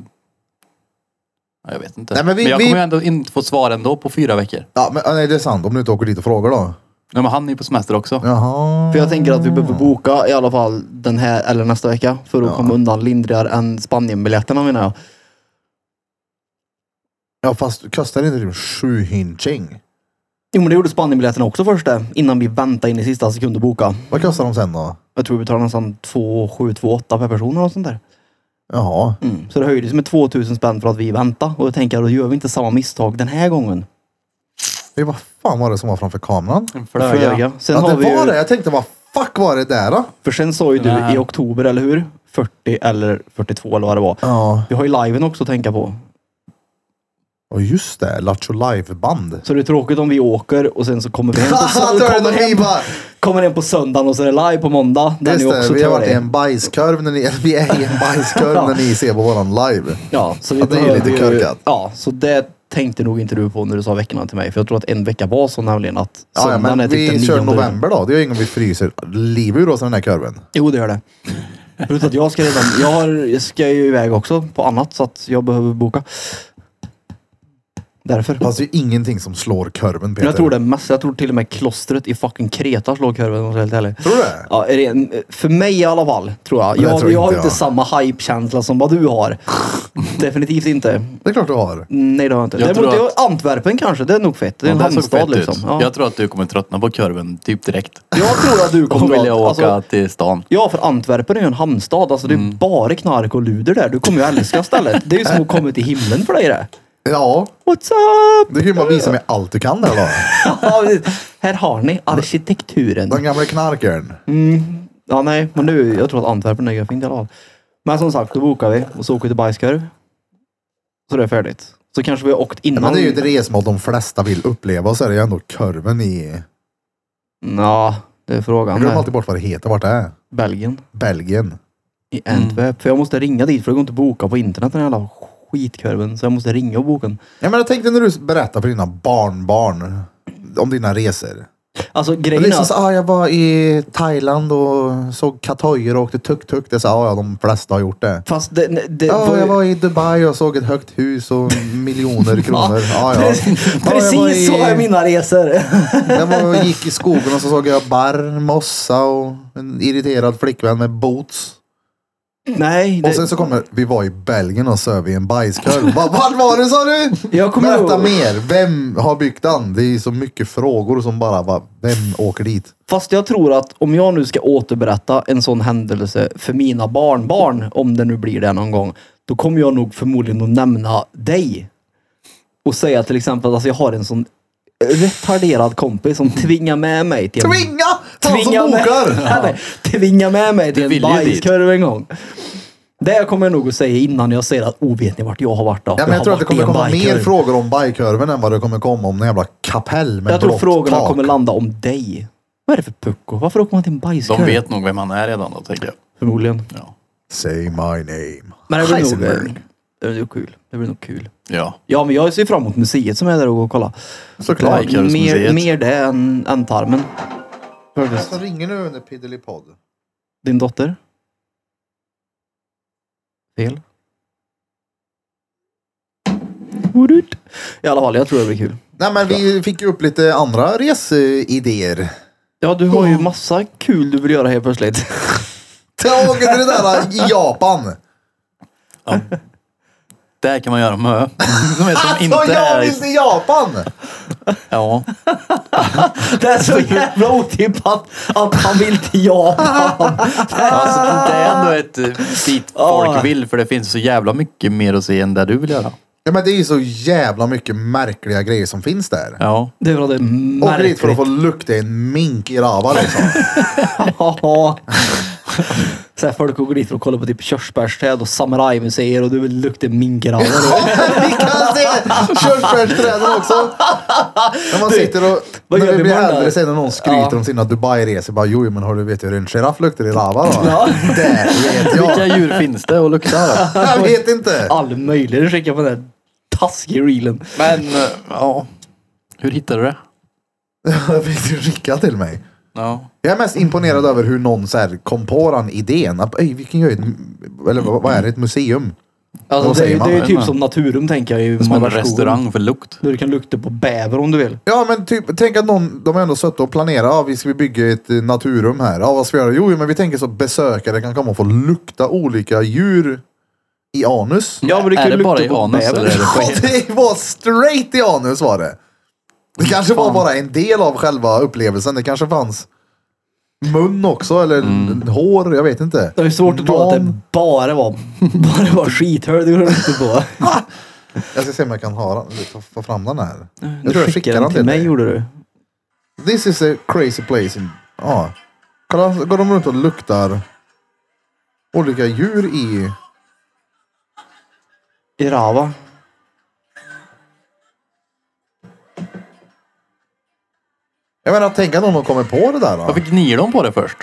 C: ja jag vet inte.
A: Nej, men
C: men,
A: vi-
C: jag
A: vi-
C: kommer ju ändå inte få svar ändå på fyra veckor.
A: ja men ja, nej, det är sant. Om du inte åker dit och frågar då.
C: Nej men han är ju på semester också.
A: Jaha.
B: För jag tänker att vi behöver boka i alla fall den här eller nästa vecka för att
A: Ah. Ja.
B: komma undan lindrigare än Spanienbiljetterna menar jag.
A: Ja, fast kostar det inte typ sju hinching?
B: Jo men det gjorde Spanienbiljetterna också först det, innan vi väntade in i sista sekund och boka.
A: Vad kostar de sen då?
B: Jag tror vi betalar nästan 2 7 2 8 per person eller något sånt där.
A: Jaha.
B: Mm. Så det höjdes med 2000 spänn för att vi väntade och jag tänker då gör vi inte samma misstag den här gången.
A: Det var fan var det som var framför kameran?
C: En
B: Flöga. Sen
A: Ja,
B: har
A: det
B: vi ju,
A: var det. Jag tänkte vad fuck var det där då?
B: För sen sa ju du
C: Nej.
B: i oktober, eller hur? 40 eller 42 eller vad det var.
A: Ja.
B: Vi har ju liven också att tänka på.
A: Och just det, Lattjo
B: [LAUGHS]
A: Live-band.
B: Så det är tråkigt om vi åker och sen så kommer vi
A: [LAUGHS]
B: hem på,
A: Haha,
B: sö- kommer
A: Turtle
B: hem,
A: Viva!
B: kommer hem på söndagen och så är det live på måndag. Den är
A: Just
B: ju
A: det,
B: också
A: vi har varit i
B: törig.
A: en bajskorv när ni, [LAUGHS] eller vi är i en bajskorv när ni ser på våran live.
B: Ja, så vi
A: Ja, det är ju
B: behöver
A: lite korkat.
B: Ja, så det tänkte nog inte du på när du sa veckorna till mig. För jag tror att en vecka var så nämligen att
A: Ja, ja,
B: söndagen är
A: men
B: typ den
A: vi kör
B: nionde.
A: november då. Det är ju ingen vi fryser livet ur oss den här korven.
B: Jo, det gör det. Förutom att jag ska redan, jag, har, jag ska ju iväg också på annat så att jag behöver boka. Därför.
A: Fast det är ju ingenting som slår korven Peter.
B: Jag tror det mest, jag tror till och med klostret i fucking Kreta slår kurvan om jag ska vara helt ärlig.
A: Tror du det?
B: Ja, är det en, för mig i alla fall, tror jag.
A: Det
B: Jag,
A: tror
B: jag har
A: inte
B: inte
A: jag.
B: samma hype-känsla som vad
A: [LAUGHS]
B: du har. Definitivt inte.
A: Det är klart du har.
B: Nej, det har jag inte.
C: Jag
B: Däremot
C: tror
B: jag Antwerpen kanske, det är nog fett. Det är en
C: Ja, det såg
B: hamnstad
C: fett
B: liksom.
C: ut.
B: Ja.
C: Jag tror att du kommer tröttna på kurven typ direkt.
B: [LAUGHS] Jag tror att du
C: [LAUGHS] Då
B: kommer
C: vill jag åka Mm.
B: att- alltså,
C: till stan.
B: Ja, för Antwerpen är ju en hamnstad. Alltså det är bara knark och luder där. Du kommer ju älska stället. Det är ju som att komma till himlen för dig det.
A: Ja,
B: What's up? [LAUGHS]
A: det kan ju bara visa mig allt du kan där då.
B: Ja, precis. här har ni arkitekturen.
A: Den gamla knarkaren.
B: Mm. Ja, nej, men nu, jag tror att Antwerpen är fint i alla fall. Men som sagt, då bokar vi och så åker vi till bajskorv. Så det är färdigt. Så kanske vi har åkt innan.
A: Men det är ju ett resmål de flesta vill uppleva och så är det ju ändå korven i...
B: Ja, det är frågan.
A: Jag glömmer
B: där.
A: alltid bort vad det heter, vart det är.
B: Belgien.
A: Belgien.
B: I
A: Mm.
B: Antwerp. För jag måste ringa dit för det går inte att boka på internet den här jävla skitkurven. Så jag måste ringa och boka den.
A: Ja, men jag tänkte när du berättade för dina barnbarn om dina resor.
B: Alltså
A: Det är
B: grejen är...
A: liksom så, ah, jag var i Thailand och såg katojer och åkte tuk-tuk. Det är så, ah, ja, de flesta har gjort det.
B: Fast det, det, det
A: Ja,
B: var ju- [LAUGHS]
A: jag var i Dubai och såg ett högt hus och miljoner kronor. "Ah, Ja, ja.
B: Precis,
A: Ja, jag var i-
B: precis så är
A: [LAUGHS]
B: mina resor.
A: Jag var och gick i skogen och så såg jag barr, mossa och en irriterad flickvän med boots.
B: Nej,
A: Och sen
B: det,
A: så kommer, vi var i Belgien och söv i en bajskorv. Vad vad var det sa du?
B: Jag kommer
A: Berätta
B: ihåg-
A: mer. Vem har byggt den? Det är så mycket frågor som bara, va, vem åker dit?
B: fast jag tror att om jag nu ska återberätta en sån händelse för mina barnbarn, om det nu blir det någon gång, då kommer jag nog förmodligen att nämna dig. Och säga till exempel att alltså jag har en sån retarderad kompis som tvingar med mig till en
A: Tvinga! Han som
B: med, [LAUGHS]
A: bokar!
B: Nej, tvinga med mig till en
C: vill ju dit.
B: bajskorv en gång. Det kommer jag nog att säga innan jag säger att oh, vet ni vart jag har varit då?
A: Ja, men jag
B: har
A: tror att det
B: varit i
A: kommer
B: en
A: komma mer
B: bajskorv."
A: frågor om bajkorven än vad det kommer komma om en jävla kapell med
B: Jag tror
A: blått
B: frågorna
A: tak.
B: kommer landa om dig. Vad är det för pucko? Varför åker man till en bajskorv?
C: De vet nog vem han är redan då, tänker jag.
B: Förmodligen.
C: Ja.
A: Say my name.
B: Men det blir nog...
A: Heisenberg.
B: eh, Det blir nog kul. Det blir nog kul.
C: ja.
B: Ja, men jag ser fram emot museet som är där och går och kollar.
A: Såklart.
C: Like. Bajkorvsmuseet.
B: Mer, mer det än, än tarmen. Faktiskt.
A: Som Alltså, ringer nu under Piddelipod.
B: Din dotter? Fel. Woodut. I alla fall, jag tror det blir kul.
A: Nej men vi fick ju upp lite andra residéer.
B: Ja, du har ju massa kul du vill göra helt plötsligt.
A: Ta åker till det där i Japan.
C: ja. Där kan man göra mö. Som är som
A: Alltså
C: inte
A: jag
C: är...
A: vill till Japan!
C: Ja.
B: [LAUGHS] Det är [LAUGHS] så jävla otippat att han vill till Japan.
C: Alltså, det är ändå ett eh, dit
B: Ja.
C: folk vill för det finns så jävla mycket mer att se än där du vill göra.
A: Ja men det är ju så jävla mycket märkliga grejer som finns där.
C: Ja.
B: Det är väl det
A: Åker dit för att
B: märkligt.
A: få lukta en mink i rava liksom.
B: Så här, folk åker dit för att kolla på typ körsbärsträd och samurajmuseer och du vill lukta mingravar.
A: [LAUGHS] vi kan se körsbärsträden också. När man sitter och...
B: vad
A: när
B: gör
A: vi
B: vi
A: blir
B: imorgon då?
A: äldre sen och någon skryter
B: Ja.
A: om sina Dubai-resor. Bara jo men har du vet ju hur en giraff luktar i rava då?
B: Ja.
A: Det vet
B: [LAUGHS]
A: jag.
C: Vilka djur finns det
A: [LAUGHS]
C: att lukta då?
A: Jag vet inte.
B: All möjlig. Du skickar på den där taskiga reelen.
C: Men eh, ja, hur hittade du det?
A: [LAUGHS] Jag fick ju skicka till mig.
C: Ja.
A: Jag är mest imponerad över hur någon så här kom på den idén. Att, "Ey, vi kan göra ett, eller vad vad är det, ett museum?
B: Alltså,
A: Vad
B: det, är,
A: säger
B: ju-
A: man?
B: det är ju typ
C: Men-
B: som Naturum tänker jag i
C: Som en
B: Marmaskogen.
C: restaurang för lukt.
B: Där du kan lukta på bäver om du vill.
A: Ja men typ, tänk att någon, de har ändå suttit och planerat, ja vi ska vi bygga ett eh, naturrum här. Ja vad ska vi göra? Jo men vi tänker så att besökare kan komma och få lukta olika djur i anus.
B: Ja, men du kan
C: är det
B: lukta
C: bara i
B: på
C: anus
B: bäver.
C: eller är det på
A: [LAUGHS] Ja, det var straight i anus var det. Det kanske var bara en del av själva upplevelsen. Det kanske fanns mun också eller hår, jag vet inte.
B: Det är svårt att tro att det
A: Man-
B: bara var, bara var skithöl du går runt och på.
A: Jag ska se om jag kan ha, den- ta- få fram den här. Jag tror jag skickar
B: den
A: den till
B: mig
A: dig.
B: gjorde du.
A: This is a crazy place. In, ja. Kolla, så går de runt och luktar olika djur i...
B: I Rava.
A: Jag menar, tänk att någon har kommit på det där. Då.
C: Varför gnier de på det först?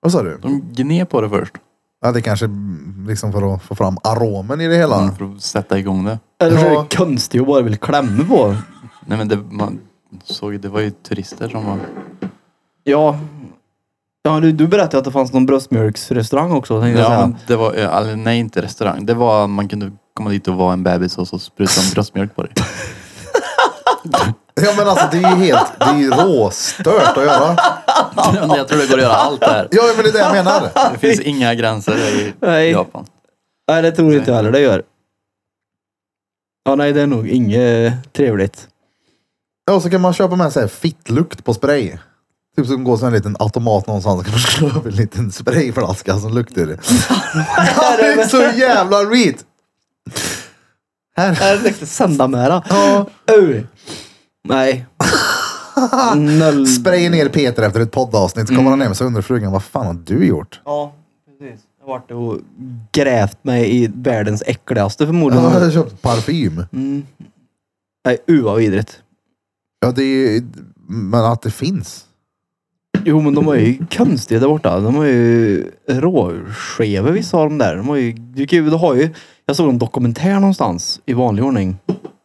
A: Vad sa du?
C: De gned på det först.
A: Ja, det kanske mm, liksom för att få fram aromen i det hela.
C: För att sätta igång det.
B: Eller så är
A: Ja.
B: det konstigt att bara vill klämma på.
C: Nej men det, man såg, det var ju turister som var...
B: Ja. Ja, du, du berättade att det fanns någon bröstmjölksrestaurang också. Tänkte jag
C: Ja,
B: säga.
C: men det var, eller, nej inte restaurang. Det var, man kunde komma dit och vara en bebis och så spruta en
B: [LAUGHS]
C: bröstmjölk på dig.
A: Ja, men alltså det är ju helt... Det är ju råstört att göra.
C: jag tror det går att göra allt där.
A: Ja, men det är det jag menar.
C: [LAUGHS] Det finns inga gränser i
B: Nej.
C: Japan.
B: Nej, det tror inte jag heller det gör. Ja, nej, det är nog inget trevligt.
A: Ja, och så kan man köpa med sig fittlukt på spray. Typ som går till en liten automat någonstans. Kan man [LAUGHS] slå upp en liten sprayflaska som
C: [LAUGHS]
A: luktar. Ja, det är så jävla reet. Här.
B: Är det riktigt sändamöra?
A: Ja.
B: Au. [LAUGHS] Nej. Noll.
A: Sprayer ner Peter efter ett poddavsnitt. Så kommer han hem så undrar frugan vad fan har du gjort?
B: Ja, precis. Jag har varit och grävt mig i världens äckligaste
A: Ja,
B: förmodligen.
A: jag har köpt parfym.
B: Mm. Nej, u vad vidrigt.
A: Ja, det är ju... Men att det finns.
B: Jo, men de har ju konstiga där borta. De har ju råskevor vissa av de där. De har ju, du, kan ju- du har ju, jag såg en dokumentär någonstans i vanlig ordning.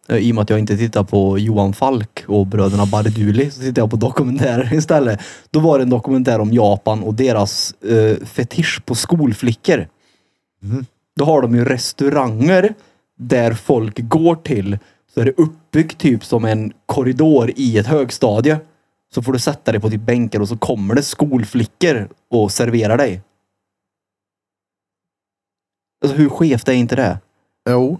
B: Eh, I och med att jag inte tittar på Johan Falk och bröderna Barduli så tittar jag på dokumentärer [LAUGHS] istället. Då var det en dokumentär om Japan och deras eh, fetisch på skolflickor. Då har de ju restauranger där folk går till. Så är det uppbyggt typ som en korridor i ett högstadie. Så får du sätta dig på typ bänkar och så kommer det skolflickor och serverar dig. Alltså hur skevt är inte det?
A: Jo.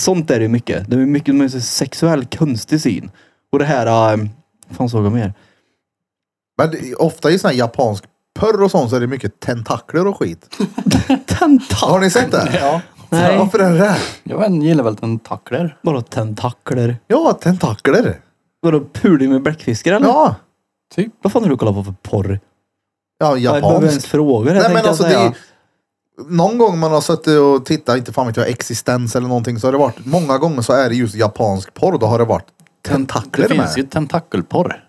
B: Sånt är det ju mycket. Det är mycket med så sexuell konstig syn. Och det här... ehm, Vad fan såg jag mer?
A: Men det, ofta i sån här japansk porr och sånt så är det mycket tentakler och skit.
B: Tentakler!
A: Har ni sett det?
C: Ja.
B: Nej.
A: Varför är det det?
C: Jag vet inte, gillar väl tentakler.
B: Vadå tentakler?
A: Ja, tentakler.
B: Vadå puling med bläckfiskar eller?
A: Ja.
C: Typ.
B: Vad fan har du kollat på för porr?
A: Ja,
B: Jag behöver
A: japansk.
B: ens fråga det
A: Nej, men
B: tänkte jag
A: alltså, det
B: säga.
A: är, någon gång man har suttit och tittat, inte fan vet jag, existens eller någonting, så har det varit, många gånger så är det just japansk porr, då har det varit tentakler
C: Det
A: med.
C: finns ju tentakelporr.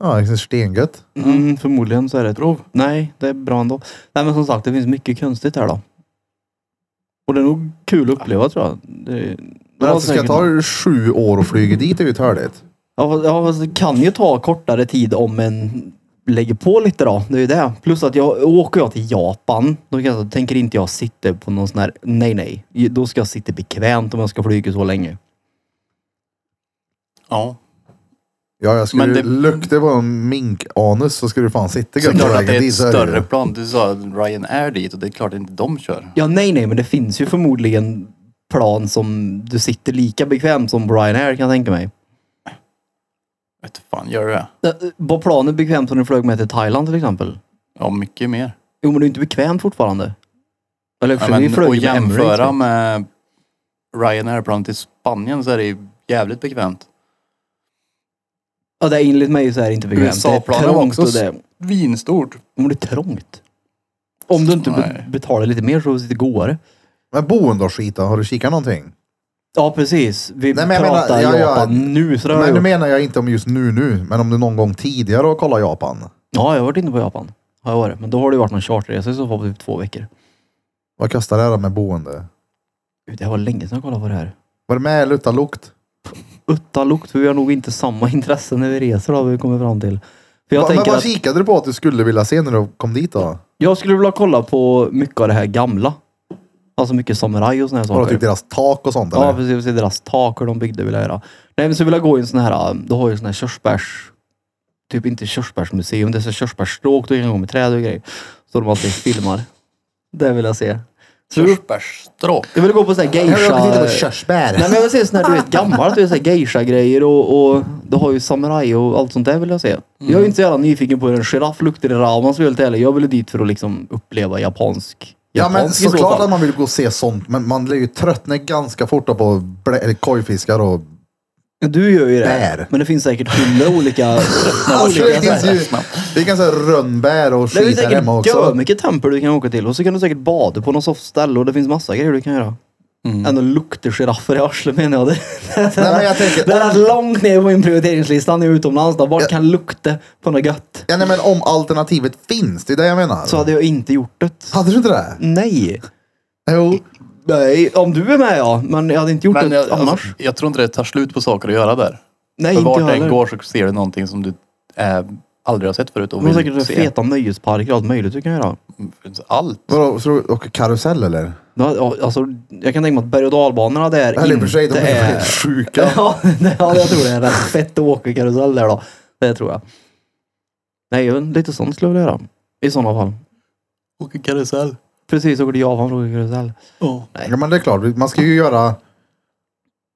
A: Ja, det är stengött.
B: Mm, förmodligen så är det.
C: Prov.
B: Nej, det är bra ändå. Nej men som sagt, det finns mycket konstigt här då. Och det är nog kul att uppleva tror jag. Det, det
A: Men
B: var
A: alltså, ska jag
B: säkert-
A: ta sju år och flyga dit är ju törligt.
B: Ja, fast- ja fast det kan ju ta kortare tid om en lägger på lite då. Det är ju det. Plus att jag, åker jag till Japan, då kan jag, tänker inte jag sitta på någon sån här, nej nej. Då ska jag sitta bekvämt om jag ska flyga så länge.
C: Ja.
A: Ja, jag skulle
C: Men
A: det...
C: det-
A: lukta på en minkanus så skulle du fan sitta gött på
C: Klart att Typ. det
A: vägen
C: är ett
A: dit. så är det ju.
C: större plan. Du sa Ryanair dit och det är klart inte de kör.
B: Ja, nej, nej, men det finns ju förmodligen plan som du sitter lika bekvämt som Ryanair kan jag tänka mig.
C: Vet fan, gör du det?
B: Äh, Var planet bekvämt som du flög med till Thailand till exempel?
C: Ja, mycket mer.
B: Jo, men det är inte bekvämt fortfarande. Eller
C: Ja,
B: för vi
C: men,
B: flög
C: och
B: ju med typ. Emirates.
C: jämföra
B: va?
C: med Ryanair-plan till Spanien så är det ju jävligt bekvämt.
B: Ja, det är enligt mig så är det inte bekvämt. det
C: USA-planen
B: är
C: var
B: trångt
C: också
B: och det,
C: Vinstort.
B: om det är trångt. Om du inte be-
C: Nej.
B: betalar lite mer så är det lite godare.
A: Men boende och skit då? Har du kikat någonting?
B: Ja, precis. Vi
A: Nej, men jag
B: pratar
A: menar- ja, ja.
B: Japan nu. Så det har jag
A: Men nu
B: gjort.
A: menar jag inte om just nu nu, men om du någon gång tidigare har kollat Japan.
B: Ja, jag har varit inne på Japan. Har jag varit. Men då har det ju varit någon charterresa i så fall på typ två veckor.
A: Vad kostar det här med boende?
B: Gud, Det var länge sedan jag kollade på det här.
A: Var det med eller utan lukt?
B: utta lukt. För vi har nog inte samma [LAUGHS] intressen när vi reser har vi kommit fram till. För jag
A: Va, men
B: tänker
A: vad
B: att
A: kikade du på att du skulle vilja se när du kom dit då?
B: jag skulle vilja kolla på mycket av det här gamla. Alltså mycket samurai och såna här
A: Var det
B: saker.
A: typ deras tak och sånt
B: ja,
A: eller?
B: precis. precis, Deras tak och de byggde vill jag göra. Nej, men så vill jag gå i en sån här, um, då har ju sån här körsbärs... Typ inte körsbärsmuseum, det är så här körsbärsstråk du kan gå med träd och grejer. Så de alltid filmar. Det vill jag se. Så jag vill-
C: Körsbärsstråk.
B: jag vill gå på sån här geisha...
A: körsbär.
B: Nej men jag vill se sådana här du vet gammalt, du vet såhär geisha-grejer och, och du har ju samurai och allt sånt där vill jag se. Jag
A: Mm.
B: är inte så jävla nyfiken på hur en giraff luktar i ramen så helt ärlig. Jag vill dit för att liksom uppleva japansk.
A: Ja men
B: japansk i så
A: såklart
B: fall.
A: att man vill gå och se sånt, men man blir ju tröttna ganska fort då på blä- eller kojfiskar och...
B: Du gör ju det.
A: Bär.
B: Men det finns säkert
A: [LAUGHS]
B: hundra olika...
A: Alltså, det,
B: olika
A: finns ju, det kan säga rönnbär och
B: det finns
A: skit här hemma
B: säkert
A: också.
B: mycket tempel du kan åka till och så kan du säkert bada på något soft ställe och det finns massa grejer du kan göra.
A: Mm.
B: Ändå luktar giraffer i arslet menar jag. [LAUGHS] Det,
A: Nej, men jag tänker-
B: det är långt ner på min prioriteringslistan när jag är utomlands. Då. Vart kan lukta på något gött?
A: Ja, nej, men om alternativet finns, det är det jag menar.
B: så hade jag inte gjort det.
A: Hade du inte det?
B: Nej.
A: Jo.
B: Nej, om du är med ja. Men jag hade inte gjort
C: Men
B: det [LAUGHS]
C: jag,
B: annars.
C: alltså, jag tror inte det tar slut på saker att göra där.
B: Nej, inte
C: För
B: jag
C: vart du än
B: heller.
C: går så ser du någonting som du eh, aldrig har sett förut och
B: De har säkert
C: vill se.
B: feta nöjesparker och allt möjligt du kan göra.
C: Det finns Allt.
A: Vadå, så du åker karusell eller?
B: Ja, Alltså, jag kan tänka mig att berg och dalbanorna där
A: Eller i och
B: inte
A: för sig, de är
B: är...
A: helt sjuka.
B: [LAUGHS] Ja, det- ja, jag tror det är rätt fett att åka karusell där då. Det tror jag. Nej, ju, lite sånt skulle jag vilja göra. I sådana fall.
C: Åker karusell.
B: Precis, åker till Japan för att åka karusell.
C: Ja.
A: Ja men det är klart, man ska ju göra,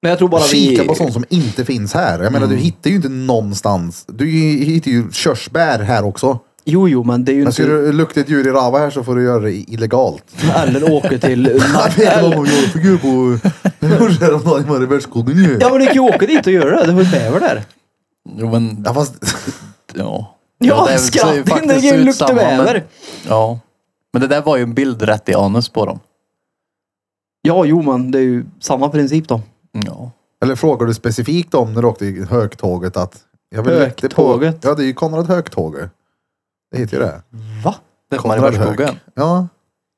B: Men jag tror bara vi...
A: kika på sånt som inte finns här. Jag menar du hittar ju inte någonstans. Du hittar ju körsbär här också.
B: Jo, jo, men det är ju
A: Men
B: inte...
A: ska du lukta ett djur i Rava här så får du göra det illegalt.
B: Eller
A: [LAUGHS]
B: åka till...
A: Jag vet inte vad de gör för gud på... [LAUGHS] Jag gjorde det häromdagen i Mariebergsskogen ju.
B: Ja, men du kan ju åka dit och göra det. Det var ju bäver där.
C: Jo men,
A: Ja, fast,
C: ja.
B: Ja,
C: det ser ju
B: skratten. Det
C: faktiskt
B: kan ju
C: ut
B: lukta
C: samma, men-
B: bäver.
C: Ja. Men det där var ju en bild rätt i anus på dem.
B: Ja, jo, men det är ju samma princip då.
C: Ja.
A: eller frågar du specifikt om när du åkte i Högtåget att... Jag vill lukta på-
B: Högtåget?
A: Ja, det är ju Konrad Högtåget. Det heter ju det.
B: Va?
C: Det kommer i
A: Konrad Hög.
C: världsskogen.
A: Ja.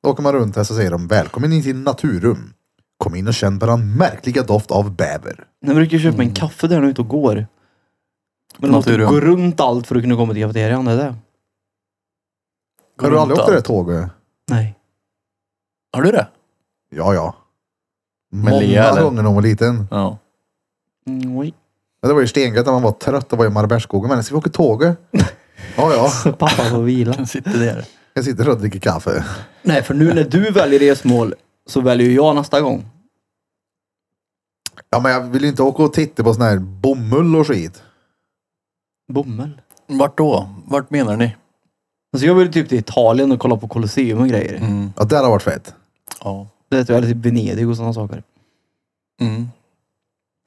A: Då åker man runt här så säger de välkommen in till Naturum. Kom in och känn på den märkliga doft av bäver.
B: Jag brukar ju köpa mig en kaffe där när jag är ute och går. Men du måste
C: Naturum.
B: gå runt allt för att kunna komma till kafeterian. Det är det.
A: Har du aldrig åkt det där
C: Runt allt.
A: tåget?
B: Nej.
C: Har du det?
A: Ja, ja.
C: Med Lea,
A: Många
C: eller?
A: gånger när hon var liten.
C: Ja.
B: Mm, oj. [LAUGHS]
A: Men det var ju stengött när man var trött och var i Mariebergsskogen. Men ska vi åka
C: [LAUGHS]
A: tåget? Ja, ja.
B: Så [LAUGHS] pappa får vila.
C: Den sitter där.
A: Jag sitter och dricker kaffe.
B: Nej, för nu när du väljer resmål så väljer ju jag nästa gång.
A: Ja, men jag vill ju inte åka och titta på sån här bomull och skit.
B: Bomull.
C: Vart då? Vart menar ni?
B: Alltså jag vill typ till Italien och kolla på Colosseum och grejer.
A: Ja, det har varit fett.
C: Ja.
B: Det vet jag, eller typ Venedig och sådana saker.
C: Mm.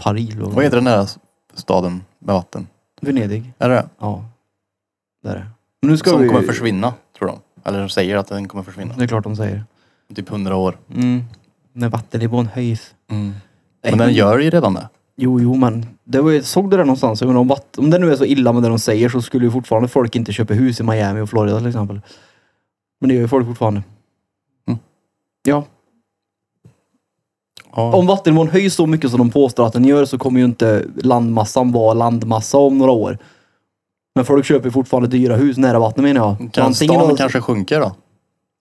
B: Paris och
C: Vad heter den där staden med vatten?
B: Venedig.
C: Är det det
B: Ja. Det är det. Men nu ska
C: Som
B: vi...
C: kommer försvinna, tror de. Eller de säger att den kommer försvinna.
B: Det är klart de säger.
C: Om Typ hundra år.
B: Mm. När vattennivån höjs.
C: Mm. Men den gör ju redan det.
B: Jo, jo, men det var, ju- såg du det någonstans? Jag menar, om, vatt, om det nu är så illa med det de säger så skulle ju fortfarande folk inte köpa hus i Miami och Florida till exempel. Men det gör ju folk fortfarande.
C: Mm.
B: Ja,
C: Ja.
B: om vattennivån höjs så mycket som de påstår att den gör så kommer ju inte landmassan vara landmassa om några år. Men folk köper ju fortfarande dyra hus nära vattnet menar jag. Så
C: Kan
B: antingen
C: stan
B: har-
C: kanske sjunker då?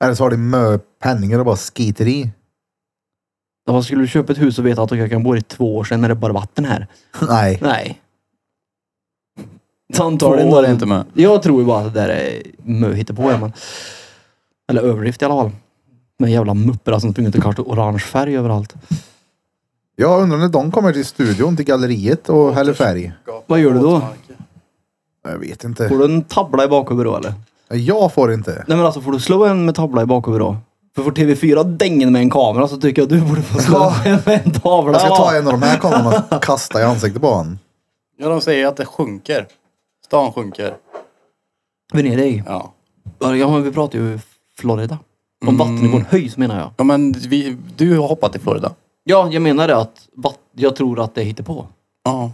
A: Eller så har de mö penningar och bara skiter i. [LAUGHS]
B: Ja, Vad skulle du köpa ett hus och veta att jag kan bo i två år sedan när det bara är vatten här?
A: Nej.
B: Nej.
C: Två
B: Antagligen
C: år är inte med.
B: Jag tror ju bara att det där är mö på men... Eller överdrift i alla fall. Med jävla muppar som springer och kastar orange färg överallt.
A: Jag undrar när de kommer till studion, till galleriet och häller färg.
B: Vad gör du då?
A: Jag vet
B: Får
A: inte.
B: du en tabla i bakhuvudet då eller?
A: Jag får inte.
B: Nej men alltså får du slå en med tabla i bakhuvudet då? För får TV4 dängen med en kamera så tycker jag du borde få slå en [LAUGHS] med en tavla.
A: Jag ska ta en av de här kamerorna och kasta i ansiktet på honom.
C: Ja, de säger att det sjunker. Stan sjunker.
B: Venedig.
C: Ja.
B: Ja men vi pratar ju Florida. Om vattennivån höjs menar jag.
C: Ja men vi, du har hoppat till Florida.
B: Ja, jag menar det att vatt- jag tror att det hittar på.
C: Ja.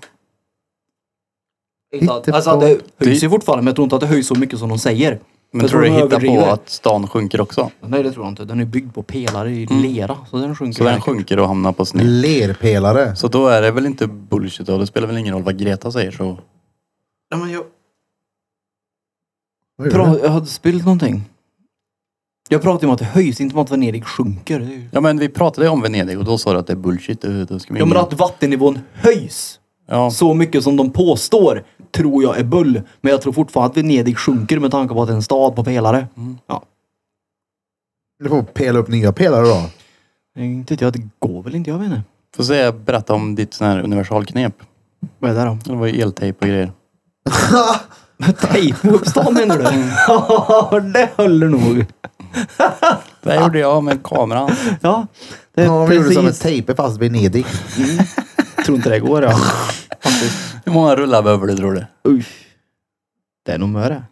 A: Hittepå.
B: Alltså att det höjs ju fortfarande men jag tror inte att det höjs så mycket som de säger.
C: Men
B: Jag
C: tror
B: tror
C: du
B: de
C: hittar på
B: överdriver.
C: att stan sjunker också?
B: Nej det tror jag inte. Den är byggd på pelare i lera så den sjunker.
C: Mm. Så den
B: säkert.
C: sjunker och hamnar på sned.
A: Lerpelare.
C: Så då är det väl inte bullshit och det spelar väl ingen roll vad Greta säger så.
B: Ja, men jag...
A: Vad gör
B: Pra-
A: du?
B: jag hade spilt någonting. Jag pratar ju om att det höjs, inte om att Venedig sjunker. Det är ju...
C: Ja men vi pratade om Venedig och då sa du att det är bullshit. Då- Då ska vi
B: Ja
C: in-
B: men att vattennivån höjs
C: ja.
B: så mycket som de påstår tror jag är bull. Men jag tror fortfarande att Venedig sjunker med tanke på att det är en stad på pelare.
C: Mm.
B: Ja.
A: Du får pela upp nya pelare då.
B: Inte vet jag, det går väl inte, jag vet inte.
C: Får se, berätta om ditt sån här universalknep.
B: Vad är det då?
C: Det var ju eltejp och grejer.
B: Tejp upp stan menar du?
C: Mm.
B: Ja, det håller nog.
C: Det här gjorde jag med kameran.
B: Ja, det är
A: Ja, vi gjorde
B: precis.
A: som en tejpe fast Venedig.
B: Mm. Tror inte det går [LAUGHS] ja.
C: [LAUGHS] Hur många rullar behöver du tror du?
B: Usch. Det är nog [LAUGHS] möre.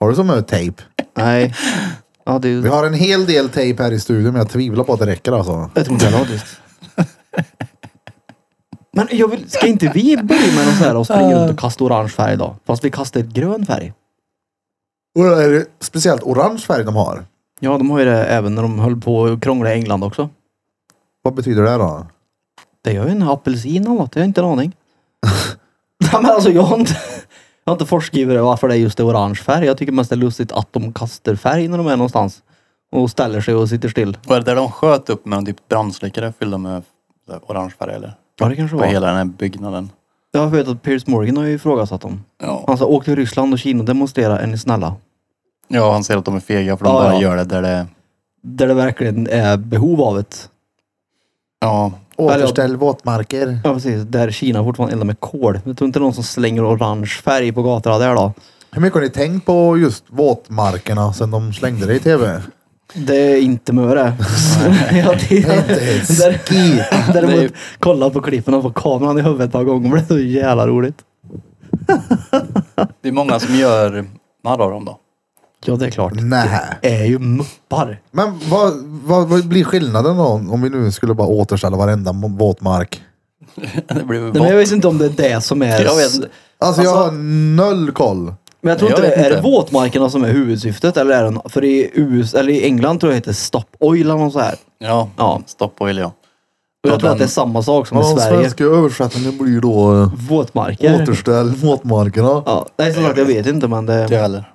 A: Har du som mö tejp?
B: Nej. Ja, det är
A: Vi har en hel del tejp här i studion men jag tvivlar på att det räcker alltså.
B: Jag tror inte jag [LAUGHS] Men jag vill, ska inte vi börja med något så här och springa [LAUGHS] runt och kasta orange färg då? Fast vi kastar grön färg.
A: Och då är det speciellt orange färg de har.
B: Ja, de har ju det även när de höll på att krångla i England också.
A: Vad betyder det då?
B: Det gör ju en apelsin eller något, jag har inte en [LAUGHS] aning. Nej men alltså jag har inte, jag har inte forskat i det, varför det är just det orange färg. Jag tycker mest det är lustigt att de kastar färg när de är någonstans. Och ställer sig och sitter still.
C: Var det där de sköt upp med en typ brandsläckare fyllda med så här orange färg eller?
B: Ja det kanske
C: På
B: var.
C: hela den här byggnaden.
B: Jag vet att Piers Morgan har ju ifrågasatt dem.
C: Ja.
B: Han sa Alltså, åk till Ryssland och Kina och demonstrera, är ni snälla?
C: ja, han säger att de är fega för de
B: Ja,
C: bara
B: ja.
C: gör det där det...
B: Där det verkligen är behov av det.
C: Ja,
A: Återställ våtmarker.
B: Ja precis, där Kina fortfarande eldar med kol. Jag tror inte någon som slänger orange färg på gatorna där då.
A: Hur mycket har ni tänkt på just våtmarkerna sen de slängde det i tv?
B: Det är inte möre. [LAUGHS] Jag tittar-
A: Inte ett
B: där-
A: skit.
B: Däremot
C: Det är-
B: kolla på klippen och få kameran i huvudet ett par gånger. Det är så jävla roligt.
C: det är många som gör narr av dem då.
B: Ja det är klart.
A: Nej.
B: Är ju muppar.
A: Men vad, vad, vad blir skillnaden då om vi nu skulle bara återställa varenda må- våtmark?
C: [LAUGHS] Det blir väl
B: Nej, men jag
C: våt.
B: vet inte om det är det som är...
C: Jag vet inte.
A: Alltså jag
B: Alltså-
A: har noll koll.
B: Men jag tror
C: Jag
B: inte,
C: vet
B: det är det
C: inte.
B: våtmarkerna som är huvudsyftet eller är det... För i US, eller i England tror jag det heter stop oil eller något så här.
C: Ja,
B: Ja.
C: stopp och ja.
B: Och jag
C: Ja,
B: tror att
C: den-
B: det är samma sak som i
A: Ja, den
B: Sverige.
A: svenska översättningen blir då eh,
B: Våtmarker.
A: återställ våtmarkerna.
B: Ja, nej som sagt jag vet inte men
C: Inte jag
B: det,
C: heller.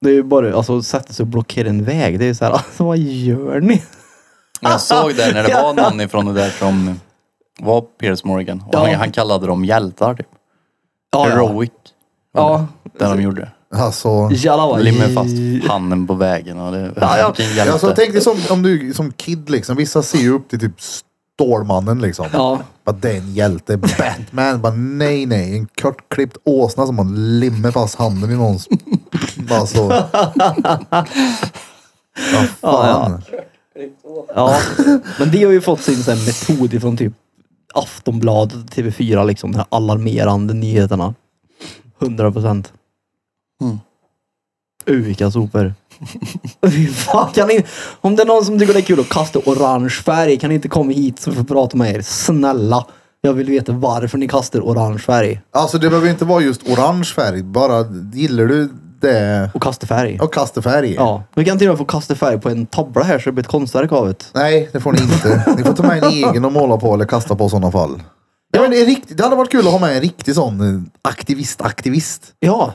B: det är ju bara alltså sätta sig och blockera en väg. Det är ju så här, [LAUGHS] alltså vad gör ni?
C: Men jag såg där [LAUGHS] när det var någon ifrån det där som var Piers Morgan. Och
B: Ja.
C: han, han kallade dem hjältar typ.
B: Ja, ja.
C: Heroic.
B: Ja.
C: Där de gjorde.
A: Alltså,
B: Jalla
C: Limmar fast handen på vägen och det...
B: Ja, ja.
C: Vilken hjälte.
A: alltså tänk dig som, om du, som kid liksom. Vissa ser ju upp till typ Stålmannen liksom.
B: Ja.
A: Bara, det är en hjälte. Batman. Bara, nej, nej. En kortklippt åsna som man limmar fast handen i någons... Bara så. Vad fan.
B: Ja, men det har ju fått sin sån här metod från typ Aftonbladet och TV4, liksom de här alarmerande nyheterna. 100 procent.
C: Mm.
B: Uh, vilka sopor. [LAUGHS] Fy fan, kan ni, om det är någon som tycker det är kul att kasta orange färg, kan ni inte komma hit så vi får prata med er? Snälla! Jag vill veta varför ni kastar orange färg
A: Alltså det behöver inte vara just orange färg. Bara gillar du det
B: och kasta färg.
A: och kasta färg.
B: Ja, vi kan till och med få kasta färg på en tavla här så det blir ett konstverk av det.
A: Nej, det får ni inte. Ni får ta med en egen och måla på eller kasta på i sådana fall. Ja, men det, är riktigt, det hade varit kul att ha med en riktig sån eh, aktivist-aktivist.
B: Ja.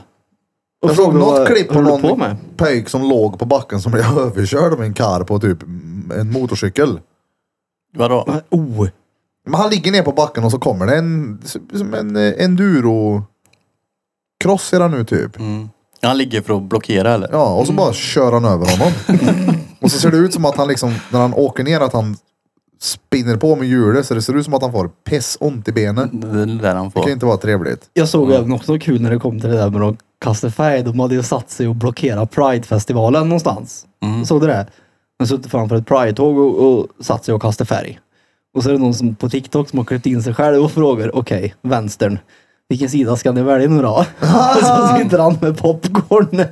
B: Och
A: Jag såg
B: fråga
A: något
B: vad-
A: klipp på
B: vad håller du på
A: någon
B: med?
A: pöjk som låg på backen som blev [LAUGHS] överkörd av en kar på typ mm, en motorcykel.
C: Vadå?
B: Oh.
A: Men han ligger ner på backen och så kommer det en, som en eh, enduro cross är han nu typ.
B: Mm.
C: Han ligger för att blockera eller?
A: Ja, och så bara kör han över honom. [LAUGHS] och så ser det ut som att han liksom, när han åker ner, att han spinner på med hjulet. Så det ser ut som att han får pissont i benen.
C: Det är det där han
A: Det kan
C: får.
A: inte vara trevligt.
B: Jag såg även också kul när det kom till det där med att kasta färg. De hade ju satt sig och blockerat Pride-festivalen någonstans. Såg du det? De suttit framför ett Pride-tåg och, och satt sig och kastade färg. Och så är det någon som på TikTok som har klippt in sig själv och frågar, okej, vänstern, vilken sida ska ni välja nu då? [LAUGHS] och så sitter han med popcorn.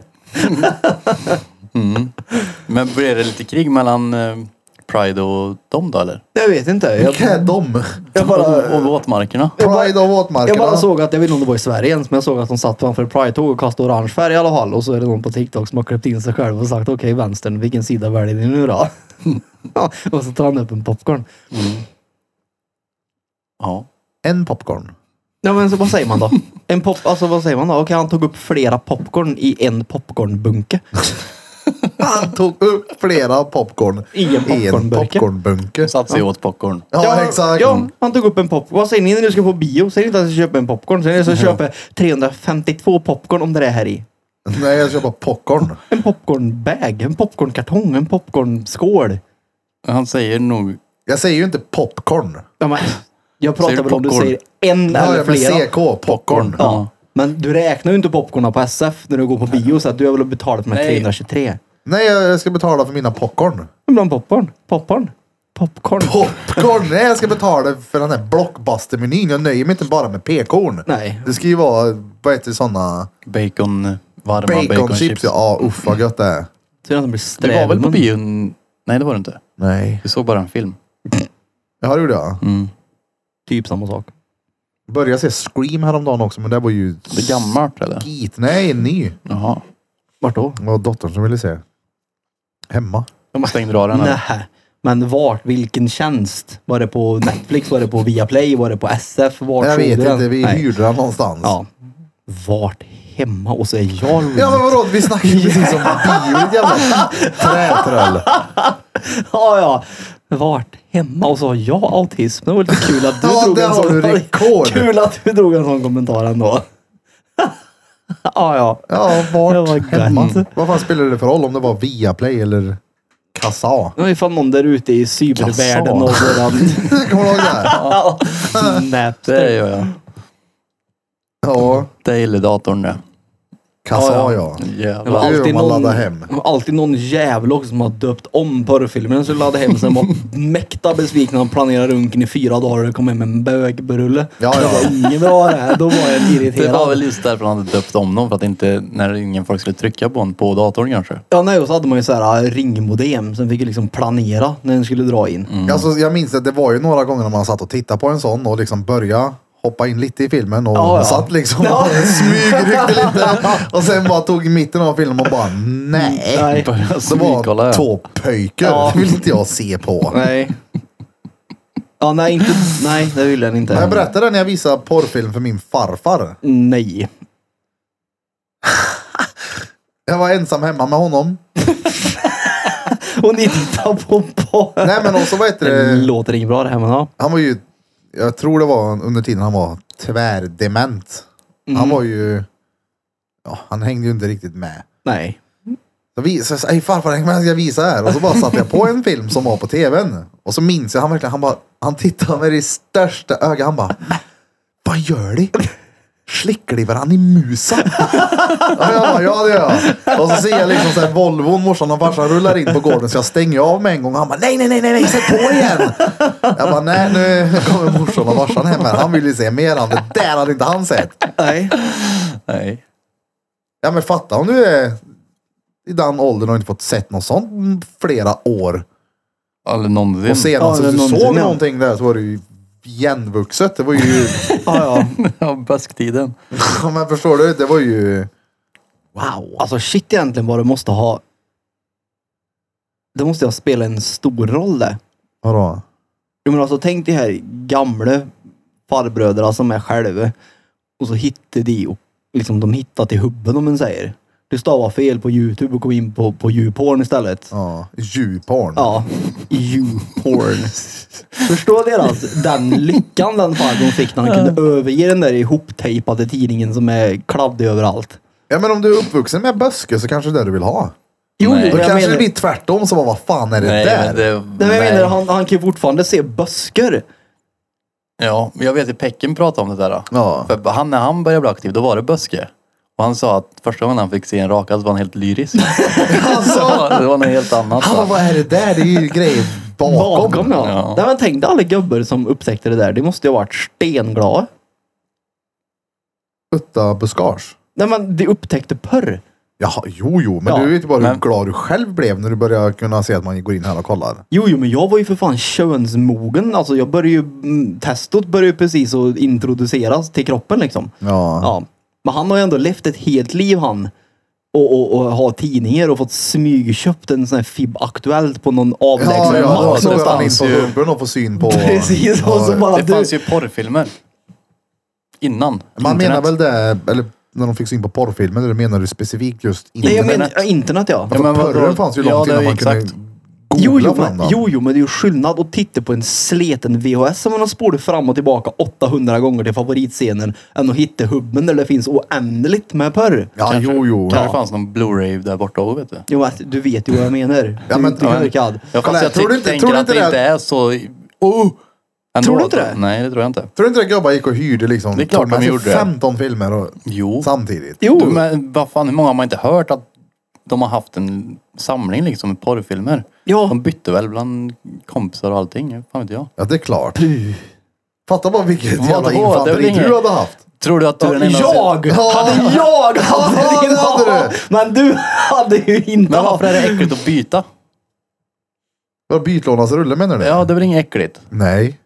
C: Men blir det lite krig mellan eh, Pride och dem då eller?
B: Jag vet inte.
A: Vilka
B: Jag,
A: är de?
B: jag bara...
C: Och, och våtmarkerna?
A: Pride av
B: Jag
A: våtmarkerna.
B: bara såg att, jag vet inte om det var i Sverige ens, men jag såg att de satt framför ett Pride-tåg och kastade orange färg i alla fall. Och så är det någon på TikTok som har klippt in sig själv och sagt okej vänstern, vilken sida väljer ni nu då? [LAUGHS] Ja, och så tar han upp en popcorn.
C: Ja.
A: En popcorn.
B: Ja men så vad säger man då? En pop, alltså vad säger man då? Okej han tog upp flera popcorn i en popcornbunke.
A: Han tog upp flera popcorn
B: I en popcornbunke.
A: popcornbunke.
C: Satt sig åt popcorn.
A: Ja, exakt.
B: Ja, han tog upp en popcorn. Vad säger ni när ni ska på bio? Säger ni inte att jag ska köpa en popcorn? Säger ni att jag ska köpa 352 popcorn om det är här i?
A: Nej, jag kör bara popcorn.
B: En popcornbag, en popcornkartong, en popcornskål.
C: Han säger nog...
A: Jag säger ju inte popcorn.
B: Ja, men, jag pratar
C: Säger du
B: väl om du
C: popcorn?
B: säger en
A: Ja,
B: eller
A: jag med
B: flera.
A: CK, popcorn.
B: Ja. Men du räknar ju inte popcornen på SF när du går på bio så att du har väl betalat för de här
C: Nej.
B: 323.
A: Nej, jag jag ska betala för mina popcorn.
B: Ibland popcorn. Popcorn. Popcorn.
A: Popcorn! Nej, jag ska betala för den här blockbustermenyn. Jag nöjer mig inte bara med pekorn.
B: Nej.
A: Det ska ju vara, vad heter sådana?
C: Bacon... eh, Varma
A: Baconchips. Ja, uff vad gött det är.
B: Så den blir
C: Det var väl på
B: strävmun.
C: bion? Nej det var det inte.
A: Nej.
C: Vi såg bara en film.
A: Ja, det gjorde jag.
B: Typ samma sak.
A: Började se Scream häromdagen också, men det var ju
C: Det är gammalt eller?
A: skit. Nej, ny.
C: Jaha.
B: Vart då?
A: Det var dottern som ville se. Hemma.
C: De stängde av den här.
B: Nej. Men vart? Vilken tjänst? Var det på Netflix? Var det på Viaplay? Var det på SF? Vart
A: Jag
B: såg
A: vet
B: du den?
A: inte, vi
B: Nej.
A: hyrde den någonstans.
B: Ja. Vart? Hemma? Och så är jag
A: Ja men vadå, vi snackar ju
B: [LAUGHS]
A: precis om bio ditt jävla trätröll.
B: Ja, ja. Vart hemma och så har jag autism. Det var lite kul att
A: [LAUGHS]
B: du
A: Ja,
B: drog
A: där
B: en
A: har
B: sån
A: du rekord.
B: Kul att du drog en sån kommentar ändå. ja, ja.
A: [LAUGHS] Ja, vart?
B: Det var
A: hemma.
B: gött.
A: Vad fan spelar det för roll om det var Viaplay eller Kassa?
B: Nu är fan någon där ute i cybervärlden
A: [LAUGHS]
B: och våran
A: Kommer du ihåg det? här?
C: Det
B: Napster.
C: gör jag.
A: Ja,
C: Det gillar datorn det.
A: Kassa ja.
B: Det
C: Jävlar.
B: var
A: Det är om man
B: alltid någon,
A: laddar hem.
B: det var alltid någon jävel också som har döpt om porrfilmen så laddade hem sen var [LAUGHS] mäkta besviken och planerade runken i fyra dagar och kom hem med en bögberulle.
A: Ja,
B: Det
A: ja.
B: var inget bra det här. Då var jag irriterad.
C: Det var väl just därför han hade döpt om dem. För att inte, när ingen folk skulle trycka på en på datorn kanske.
B: Ja, nej, och så hade man ju så här äh, ringmodem. Sen fick ju liksom planera när den skulle dra in.
A: Alltså, jag minns att det var ju några gånger när man satt och tittade på en sån och liksom började hoppa in lite i filmen och
B: Ja, ja.
A: satt liksom och smygryckte lite. Och sen bara tog i mitten av filmen och bara nej.
B: Nej.
C: Började
A: Det
C: smygkolla.
A: var
C: ja.
A: två pöjker.
B: Ja.
A: Det vill inte jag se på.
B: Nej. Ja, nej, inte, nej, det ville den inte.
A: Jag berättade när jag visade porrfilm för min farfar.
B: Nej.
A: Jag var ensam hemma med honom.
B: Och ni tittar på på.
A: Nej men och så vad heter
B: Det
A: det?
B: låter inget bra det här men ja.
A: Han var ju, jag tror det var under tiden han var tvärdement. Han var ju ja, han hängde ju inte riktigt med.
B: Nej.
A: Så visade sig, "Ej, farfar häng med, jag visar här. Och så bara satte jag på en film som var på tvn. Och så minns jag han verkligen, han bara, han tittade med det största ögat. Han bara, vad gör de? Slickar de varandra i musen? Ja, jag bara, ja det gör jag. Och så ser jag liksom såhär Volvon, morsan och farsan rullar in på gården så jag stänger av med en gång. Han bara, nej, nej, nej, nej, nej, sätt på igen. Jag bara, nej nu kommer morsan och farsan hem här. Han vill ju se mer än det där hade inte han sett.
B: Nej.
C: Nej.
A: Ja men fatta om du är i den åldern och inte fått sett något sånt mm, flera år.
C: Eller någonsin.
A: Och senast
B: Ja,
A: du
B: det är någonting,
A: såg
B: ja.
A: någonting där så var det ju igenvuxet. Det var ju, [LAUGHS]
B: Ja, ja.
C: [LAUGHS] ja, basktiden.
A: ja, men förstår du? Det var ju, wow.
B: Alltså shit egentligen vad det måste ha... Det måste ha spelat en stor roll det.
A: Vadå?
B: Jo men alltså tänk de här gamla farbröderna som är själva. Och så hittade de och liksom de hittade till hubben om man säger. Du stavar fel på youtube och kom in på, på YouPorn istället.
A: Ja, djuporn.
B: Ja, YouPorn. Förstå deras, den lyckan den farbrorn fick när han kunde överge den där ihoptejpade tidningen som är kladdig överallt.
A: Ja men om du är uppvuxen med böske så kanske det är det du vill ha.
B: Jo,
C: Nej.
B: men
A: Då
B: jag
A: kanske
B: menar-
A: det blir tvärtom så bara, vad fan är det
C: Nej,
A: där?
C: men det,
B: Nej, men jag menar, han, han kan ju fortfarande se buskar.
C: Ja, men jag vet att Pecken pratade om det där. Då.
A: Ja.
C: För han, när han började bli aktiv, då var det böske. Och han sa att första gången han fick se en rakad så var han
A: [LAUGHS]
C: helt lyrisk.
A: [LAUGHS] Alltså,
C: det var något helt annat.
A: han bara, vad är det där? Det är ju grejer bakom.
B: Bakom ja.
C: Ja.
B: Nej, men tänk dig alla gubbar som upptäckte det där. Det måste ju ha varit stenglada.
A: Utta buskage.
B: Nej men de upptäckte porr.
A: Jaha, jo jo, men
B: Ja,
A: du vet ju bara hur
C: men-
A: glad du själv blev när du började kunna se att man går in här och kollar.
B: Jo, jo, men jag var ju för fan könsmogen. Alltså jag började ju, mm, testot började ju precis att introduceras till kroppen liksom.
A: Ja.
B: Ja. Men han har ju ändå levt ett helt liv han. Och, och, och ha tidningar och fått smygköpt en sån här FIB Aktuellt på någon avlägsen
A: Ja, ja,
B: mack
A: och så går han in
B: liksom, någonstans.
A: på
C: ju-
A: hubben och får syn på...
B: [LAUGHS] Precis, och så
A: Ja.
B: bara
C: Det
B: du.
C: fanns ju porrfilmer. Innan.
A: Man menar
C: internet.
A: väl det, eller när de fick syn på porrfilmer, eller menar du specifikt just
B: Nej, jag
A: internet?
B: menar ja, internet ja.
A: Ja, men
C: Ja, men
A: porren
C: vadå?
A: fanns ju
C: Ja,
A: långt
C: det
A: innan
C: är
A: man
C: exakt.
A: kunde
B: Jo
A: googla
B: jo,
A: fram
B: men,
A: den.
B: jo, jo, men det är ju skillnad att titta på en sleten VHS som man har spolat fram och tillbaka 800 gånger till favoritscenen än att hitta hubben där det finns oändligt med porr.
A: Ja, jo, jo.
C: Kanske fanns någon Blu-ray där borta också, vet du.
B: Jo, men alltså, du vet ju vad jag menar.
A: Ja,
B: Du-
A: men-
B: du är korkad.
A: Kolla
C: Ja, fast
A: här,
C: jag
A: tror
C: tror
A: du inte-
C: tänker
A: tror du
C: att
A: inte
C: det
A: det-
C: inte är så... Oh! Ändå.
B: Tror du inte det?
C: Nej, det tror jag inte.
A: Tror du inte det gubbar gick och hyrde liksom?
C: Det är klart
A: tog med
C: de
A: sig
C: gjorde det.
A: 15 filmer och,
C: Jo.
A: samtidigt.
B: Jo,
C: Du, men vad fan, hur många har man inte hört att de har haft en samling liksom med porrfilmer?
B: Ja.
C: De bytte väl bland kompisar och allting, fan vet jag.
A: Ja, det är klart. Fatta bara vilket jävla
C: Vadå? Det är väl
A: infanteri
C: inget-
A: du hade haft. Alltså,
C: Tror du att du är den enda som-
B: jag!
A: Ja.
B: Hade jag
A: Ja,
B: haft
A: det hade du.
B: Men du hade ju inte
C: Men
B: haft
C: varför är det äckligt att byta?
A: Vadå, bytlånarsrulle menar du?
C: Ja, det är väl inget äckligt.
A: Nej.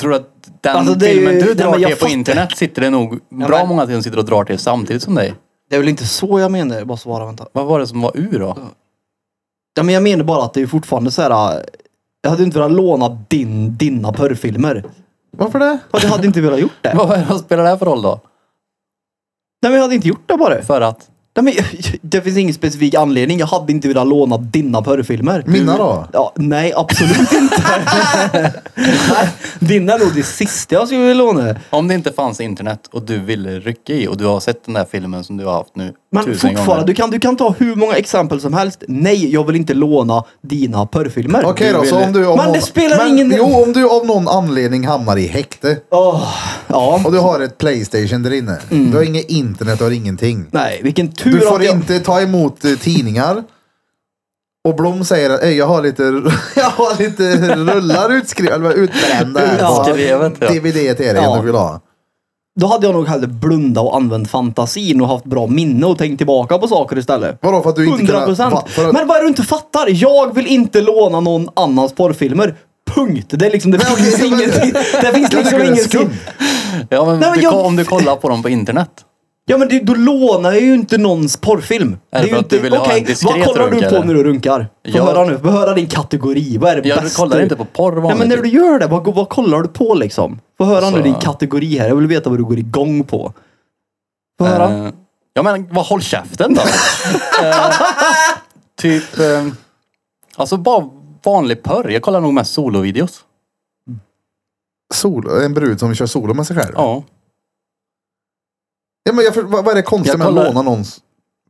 C: Tror du att den
B: Alltså, det är
C: filmen
B: ju-
C: du
B: Nej,
C: drar
B: men jag
C: till på
B: fattar.
C: internet sitter det nog bra
B: men-
C: många till som sitter och drar till samtidigt som dig.
B: Det är väl inte så jag menar? Bara svara, vänta.
C: Vad var det som var ur då?
B: Ja, men jag menar bara att det är fortfarande så här. äh, Jag hade inte velat låna din, dina porrfilmer.
A: Varför det?
B: Jag hade inte velat gjort det.
C: Vad är det som spelar det här för roll då?
B: Nej, men jag hade inte gjort det bara. Nej,
C: För att?
B: men, det finns ingen specifik anledning. Jag hade inte velat låna dina porrfilmer.
A: Mina då?
B: Ja, nej,
A: [LAUGHS]
B: absolut inte. nej, dina är nog det sista jag skulle vilja låna.
C: Om det inte fanns internet och du ville rycka i och du har sett den där filmen som du har haft nu
B: Men
C: tusen
B: fortfarande,
C: gånger.
B: du kan, du kan ta hur många exempel som helst. Nej, jag vill inte låna dina porrfilmer.
A: Okej
B: Du
A: då,
B: vill-
A: så om du... Om
B: Men
A: någon-
B: det spelar
A: men,
B: ingen-
A: Jo, om du av någon anledning hamnar i häkte
B: Åh, ja.
A: och du har ett Playstation där inne.
B: Mm.
A: Du har inget internet, du har ingenting.
B: Nej, vilken tur
A: Du får
B: att jag...
A: inte ta emot eh, tidningar. Och Blom säger att "Ey, jag har lite, [LAUGHS] jag har lite rullar utskrivna, eller utbrända här på
C: Utskrivet, ja.
A: DVD till er
B: Ja.
A: om du vill ha.
B: Då hade jag nog hellre blundat och använt fantasin och haft bra minne och tänkt tillbaka på saker istället.
A: Vadå för att du inte
B: 100 procent.
A: va, för att,
B: Men vad är det du inte fattar? Jag vill inte låna någon annans porrfilmer. Punkt. Det är liksom, det
A: Men
B: finns
A: okej, men-
B: ingenting. [LAUGHS] Det finns
A: jag tycker
B: liksom
A: det är
B: ingenting.
A: skumt.
C: Ja, men
B: Nej, men
C: du,
B: jag-
C: om du kollar på dem på internet.
B: Ja men du, du lånar ju inte någons porrfilm.
C: Är det
B: ju
C: för att
B: inte-
C: du vill ha en
B: okej,
C: diskret
B: Vad kollar
C: runk,
B: du på
C: eller?
B: när du runkar? Få
C: Jag-
B: höra nu. Få höra din kategori. Vad är det
C: Jag
B: bästa?
C: kollar inte på porr
B: Nej men när du
C: vanligtvis.
B: gör det, vad, vad kollar du på liksom? Få höra nu
C: Alltså-
B: din kategori här. Jag vill veta vad du går igång på. Få höra.
C: Eh, Ja men vad håll
B: [LAUGHS]
C: käften då. Eh, typ, eh, alltså bara vanlig porr. Jag kollar nog mest solovideos.
A: Sol, en brud som kör solo med sig själv.
C: Ja.
A: Ja, men jag, för- vad, vad är det konstiga
C: Jag
A: med att
C: kollar-
A: låna någons?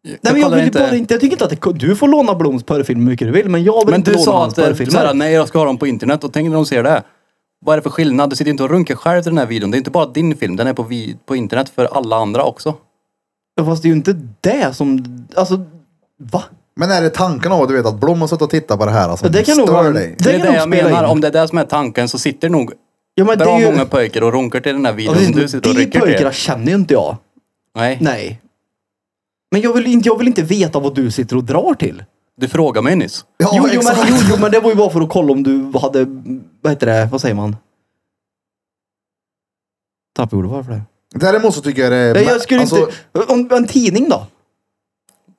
B: Nej, men jag
C: kollar
B: vill bara inte. Jag tycker inte att det, du får låna Bloms porrfilm hur mycket du vill, men jag vill
C: Men
B: inte
C: du
B: låna
C: sa
B: hans
C: att eh,
B: porrfilmer.
C: såhär, nej jag ska ha dem på internet och tänk när de ser det. Vad är det för skillnad? Du sitter ju inte och runkar själv till den här videon. Det är inte bara din film, den är på, vi- på internet för alla andra också.
B: Fast det är ju inte det som... Alltså, va?
A: Men är det tanken av att du vet att Blom har suttit och tittat på det här som
B: Ja, det kan nog
A: stör
B: vara-
A: dig?
B: Det
C: Det,
B: kan
C: är det
B: de
C: jag
B: spela
C: menar,
B: in.
C: om det är det som är tanken så sitter nog
B: Ja, men
C: bra
B: det är ju...
C: många pojkar och runkar till den här
B: Ja,
C: videon som
B: precis,
C: du sitter och
B: de
C: rycker
B: pojkarna
C: till.
B: känner ju inte jag.
C: Nej.
B: Nej. Men jag vill, inte, jag vill inte veta vad du sitter och drar till.
C: Du frågade mig nyss.
A: Ja,
B: jo, jo, men,
A: exakt.
B: jo, jo, men det var ju bara för att kolla om du hade, vad heter det, vad säger man? Tappade ordet, varför det?
A: Däremot så tycker jag det...
B: Nej, jag skulle
A: alltså,
B: inte, om en tidning då?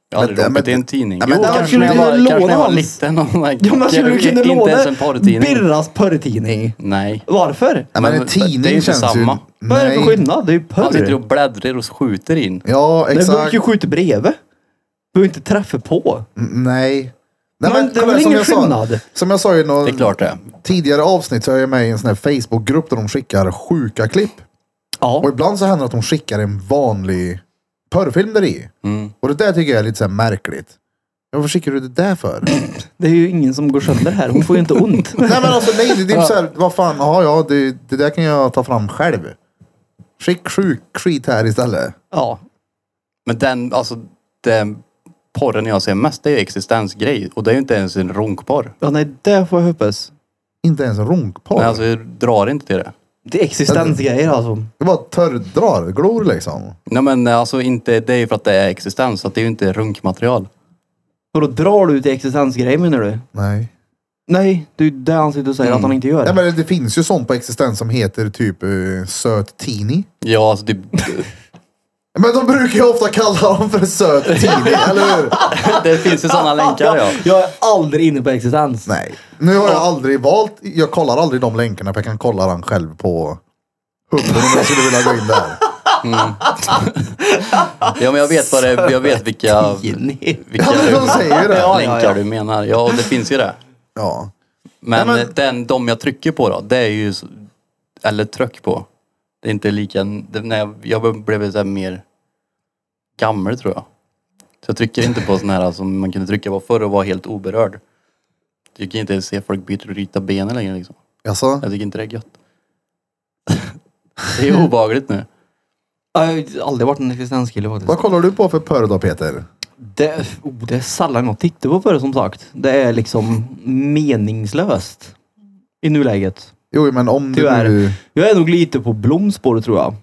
C: Jag har aldrig
A: Men-
C: runkat
A: men-
C: i en tidning.
A: Nej, men
C: Jo,
A: där
C: kanske
B: skulle
C: när jag
B: du
C: var,
B: låna
C: kanske när jag var
B: hans-
C: liten. och man-
B: Ja, men skulle du
C: kanske
B: kunna
C: Inte ens
B: låna
C: en porrtidning.
B: Birras porrtidning?
C: Nej.
B: Varför?
A: Nej, men
C: Men
A: en
C: det är ju
A: tidning
C: inte
A: känns
C: samma.
A: ju...
B: Vad är det för skillnad? Det är ju
C: Han sitter och
B: porr.
C: bläddrar och skjuter in.
A: Ja,
B: Det
A: exakt.
B: behöver ju skjuta bredvid. Du behöver inte träffa på.
A: Mm, Nej. Nej
B: Men det är
A: kolla,
B: väl
A: som
B: ingen
A: jag sa-
B: skillnad?
A: Som jag sa i
C: Det är
A: någon
C: klart det.
A: tidigare avsnitt så är jag med i en sån här Facebookgrupp där de skickar sjuka klipp. Och
B: Ja.
A: ibland så händer det att de skickar en vanlig porrfilm där i.
B: Mm.
A: Och det där tycker jag är lite så här märkligt. Ja, Varför skickar du det där för?
B: Det är ju ingen som går sönder här. Hon får ju
A: [LAUGHS]
B: inte ont.
A: nej men alltså nej, det, det är så här, vad fan, ja ja, det, det där kan jag ta fram själv. Skick sjuk skit här istället.
B: Ja.
C: Men den, alltså den porren jag ser mest, det är ju existensgrej. Och det är ju inte ens en runkporr.
B: Ja, nej, det får jag hoppas.
A: Inte ens en runkporr.
C: Nej, alltså jag drar inte till det.
B: Det är existensgrejer alltså.
A: Det bara törrdrar, glor liksom.
C: Nej men alltså inte, det är ju för att det är existens. Så att det är ju inte runkmaterial.
B: Och då drar du till existensgrejer menar du?
A: Nej.
B: Nej, det är ju det han sitter och säger att han inte gör.
A: Mm. Nej men det finns ju sånt på existens som heter typ uh, söt tini.
C: Ja, alltså typ, [LAUGHS]
A: Men de brukar ju ofta kalla dem för söt tini, eller hur?
C: det finns ju sådana länkar ja.
B: Jag är aldrig inne på existens.
A: Nej. Nu har jag aldrig valt, jag kollar aldrig de länkarna för jag kan kolla den själv på hubben om jag skulle vilja gå in där.
C: Ja men jag vet vad det är, jag vet vilka,
B: Jenny.
C: vilka
A: men de säger ju det.
C: länkar
B: Ja, ja, ja.
C: du menar. Ja, och det finns ju det.
A: Ja.
C: Men,
A: Nej, men-
C: Den, de jag trycker på då, det är ju, s- eller tryck på. Det är inte lika, det, när jag, jag blev så här mer gammal tror jag. Så jag trycker inte på sådana här som man kunde trycka på förr och vara helt oberörd. Jag tycker inte ens se folk byta och rita benen längre liksom.
A: Jaså?
C: Jag tycker inte det är gött. [LAUGHS] det är obehagligt nu.
B: Jag har aldrig varit en existenskille faktiskt.
A: Vad kollar du på för porr då Peter?
B: Det, oh, det är sällan jag tittar på för det som sagt. Det är liksom meningslöst. I nuläget.
A: Jo men om
B: Tyvärr.
A: du
B: Jag är nog lite på blomspår tror jag.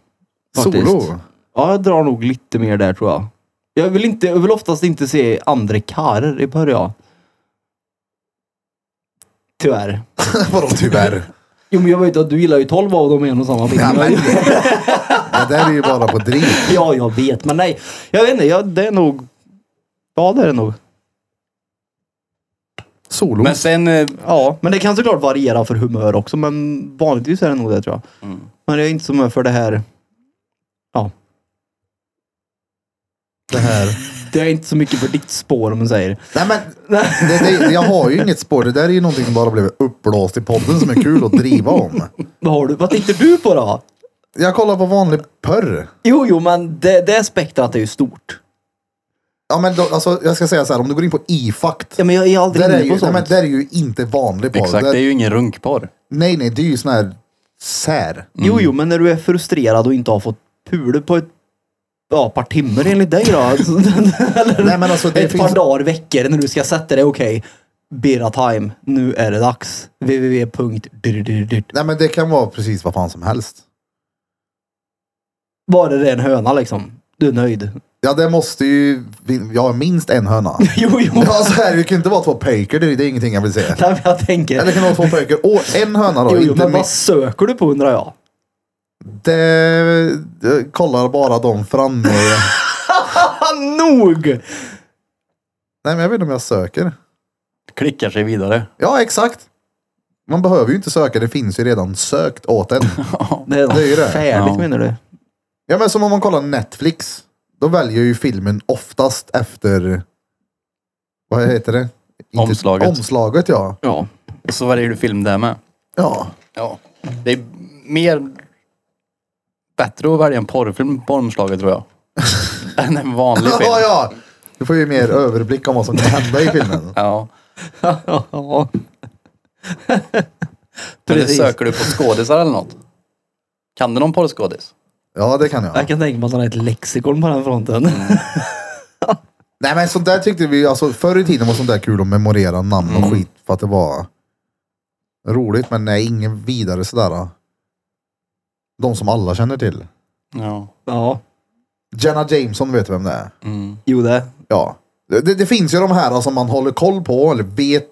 B: Faktiskt.
A: solo.
B: Ja, jag drar nog lite mer där tror jag. Jag vill, inte, jag vill oftast inte se andra karer i början. Tyvärr.
A: Vadå tyvärr?
B: Jo men jag vet att du gillar ju 12 av dem i en och samma film.
A: Ja,
B: [LAUGHS]
A: men- Det där är ju bara på driv.
B: ja jag vet men nej. Jag vet inte, jag, det är nog. Ja det är det nog.
A: Solo.
C: Men sen, eh,
B: Ja men det kan såklart variera för humör också men vanligtvis är det nog det tror jag.
C: Mm.
B: Men jag är inte så mycket för det här. Ja.
A: Det här. [LAUGHS]
B: Det är inte så mycket för ditt spår om man säger.
A: Nej men, det, det, jag har ju inget spår. Det där är ju någonting som bara blev uppblåst i podden som är kul att driva om.
B: Vad har du? Vad tittar du på då?
A: Jag kollar på vanlig porr.
B: Jo jo men det, det spektrat är ju stort.
A: Ja men då, alltså, jag ska säga så här, om du går in på e-fakt.
B: Ja, men jag är aldrig
A: Där är,
B: inne
A: ju,
B: på
A: nej,
B: sånt.
A: men där är ju inte vanlig porr.
C: exakt,
A: Där-
C: det är ju ingen runkporr.
A: Nej, nej, det är ju sån här sär.
B: Jo, jo, men när du är frustrerad och inte har fått pula på ett ja, par timmar enligt dig då. [LAUGHS] Alltså, Eller
A: Nej, men alltså, det
B: ett
A: finns-
B: par dagar, veckor när du ska sätta dig. Okej, Birra time. Nu är det dags. www.
A: Nej, men det kan vara precis vad fan som helst.
B: Bara det är en höna liksom. Du är nöjd. [LAUGHS]
A: Ja, det måste ju... vi- Jag har minst en höna.
B: Jo, jo.
A: Ja, så här, det kan ju inte vara två pojkar, det, det är ingenting jag vill säga.
B: Nej, men jag tänker.
A: Eller kan det vara två pojkar och en höna då?
B: jo, jo,
A: inte
B: men
A: min-
B: vad söker du på undrar jag? [LAUGHS]
A: det, det kollar bara de framme.
B: Ah, nog!
A: Nej, men jag vet inte om jag söker.
C: Klickar sig vidare.
A: Ja, exakt. Man behöver ju inte söka, det finns ju redan sökt åt en.
B: Det är,
A: Det är ju det.
B: färdigt
A: [LAUGHS]
C: Ja.
B: menar du?
A: Ja, men som om man kollar Netflix. Då väljer ju filmen oftast efter... Vad heter det? Inte-
C: Omslaget.
A: Omslaget, ja.
B: Ja.
C: Och så väljer du film där med.
A: Ja.
C: Ja.
A: [LAUGHS]
C: Det är mer bättre att välja en porrfilm på omslaget tror jag. än en vanlig film.
A: Ja, ja. Du får ju mer överblick om vad som kan hända i filmen.
C: Ja.
B: ja.
C: Men det
B: Precis.
C: söker du på skådisar eller något? Kan du någon porrskådis?
A: Ja, det kan jag.
B: Jag kan tänka mig att han har ett lexikon på den fronten. [LAUGHS]
A: Nej, men sånt där tyckte vi, alltså förr i tiden var sånt där kul att memorera namn och skit för att det var roligt, men nej, ingen vidare sådär. De som alla känner till.
C: Ja.
B: Ja,
A: Jenna Jameson vet du vem det är.
C: Mm.
B: jo det.
A: Ja. Det, det, det finns ju de här som man håller koll på eller vet.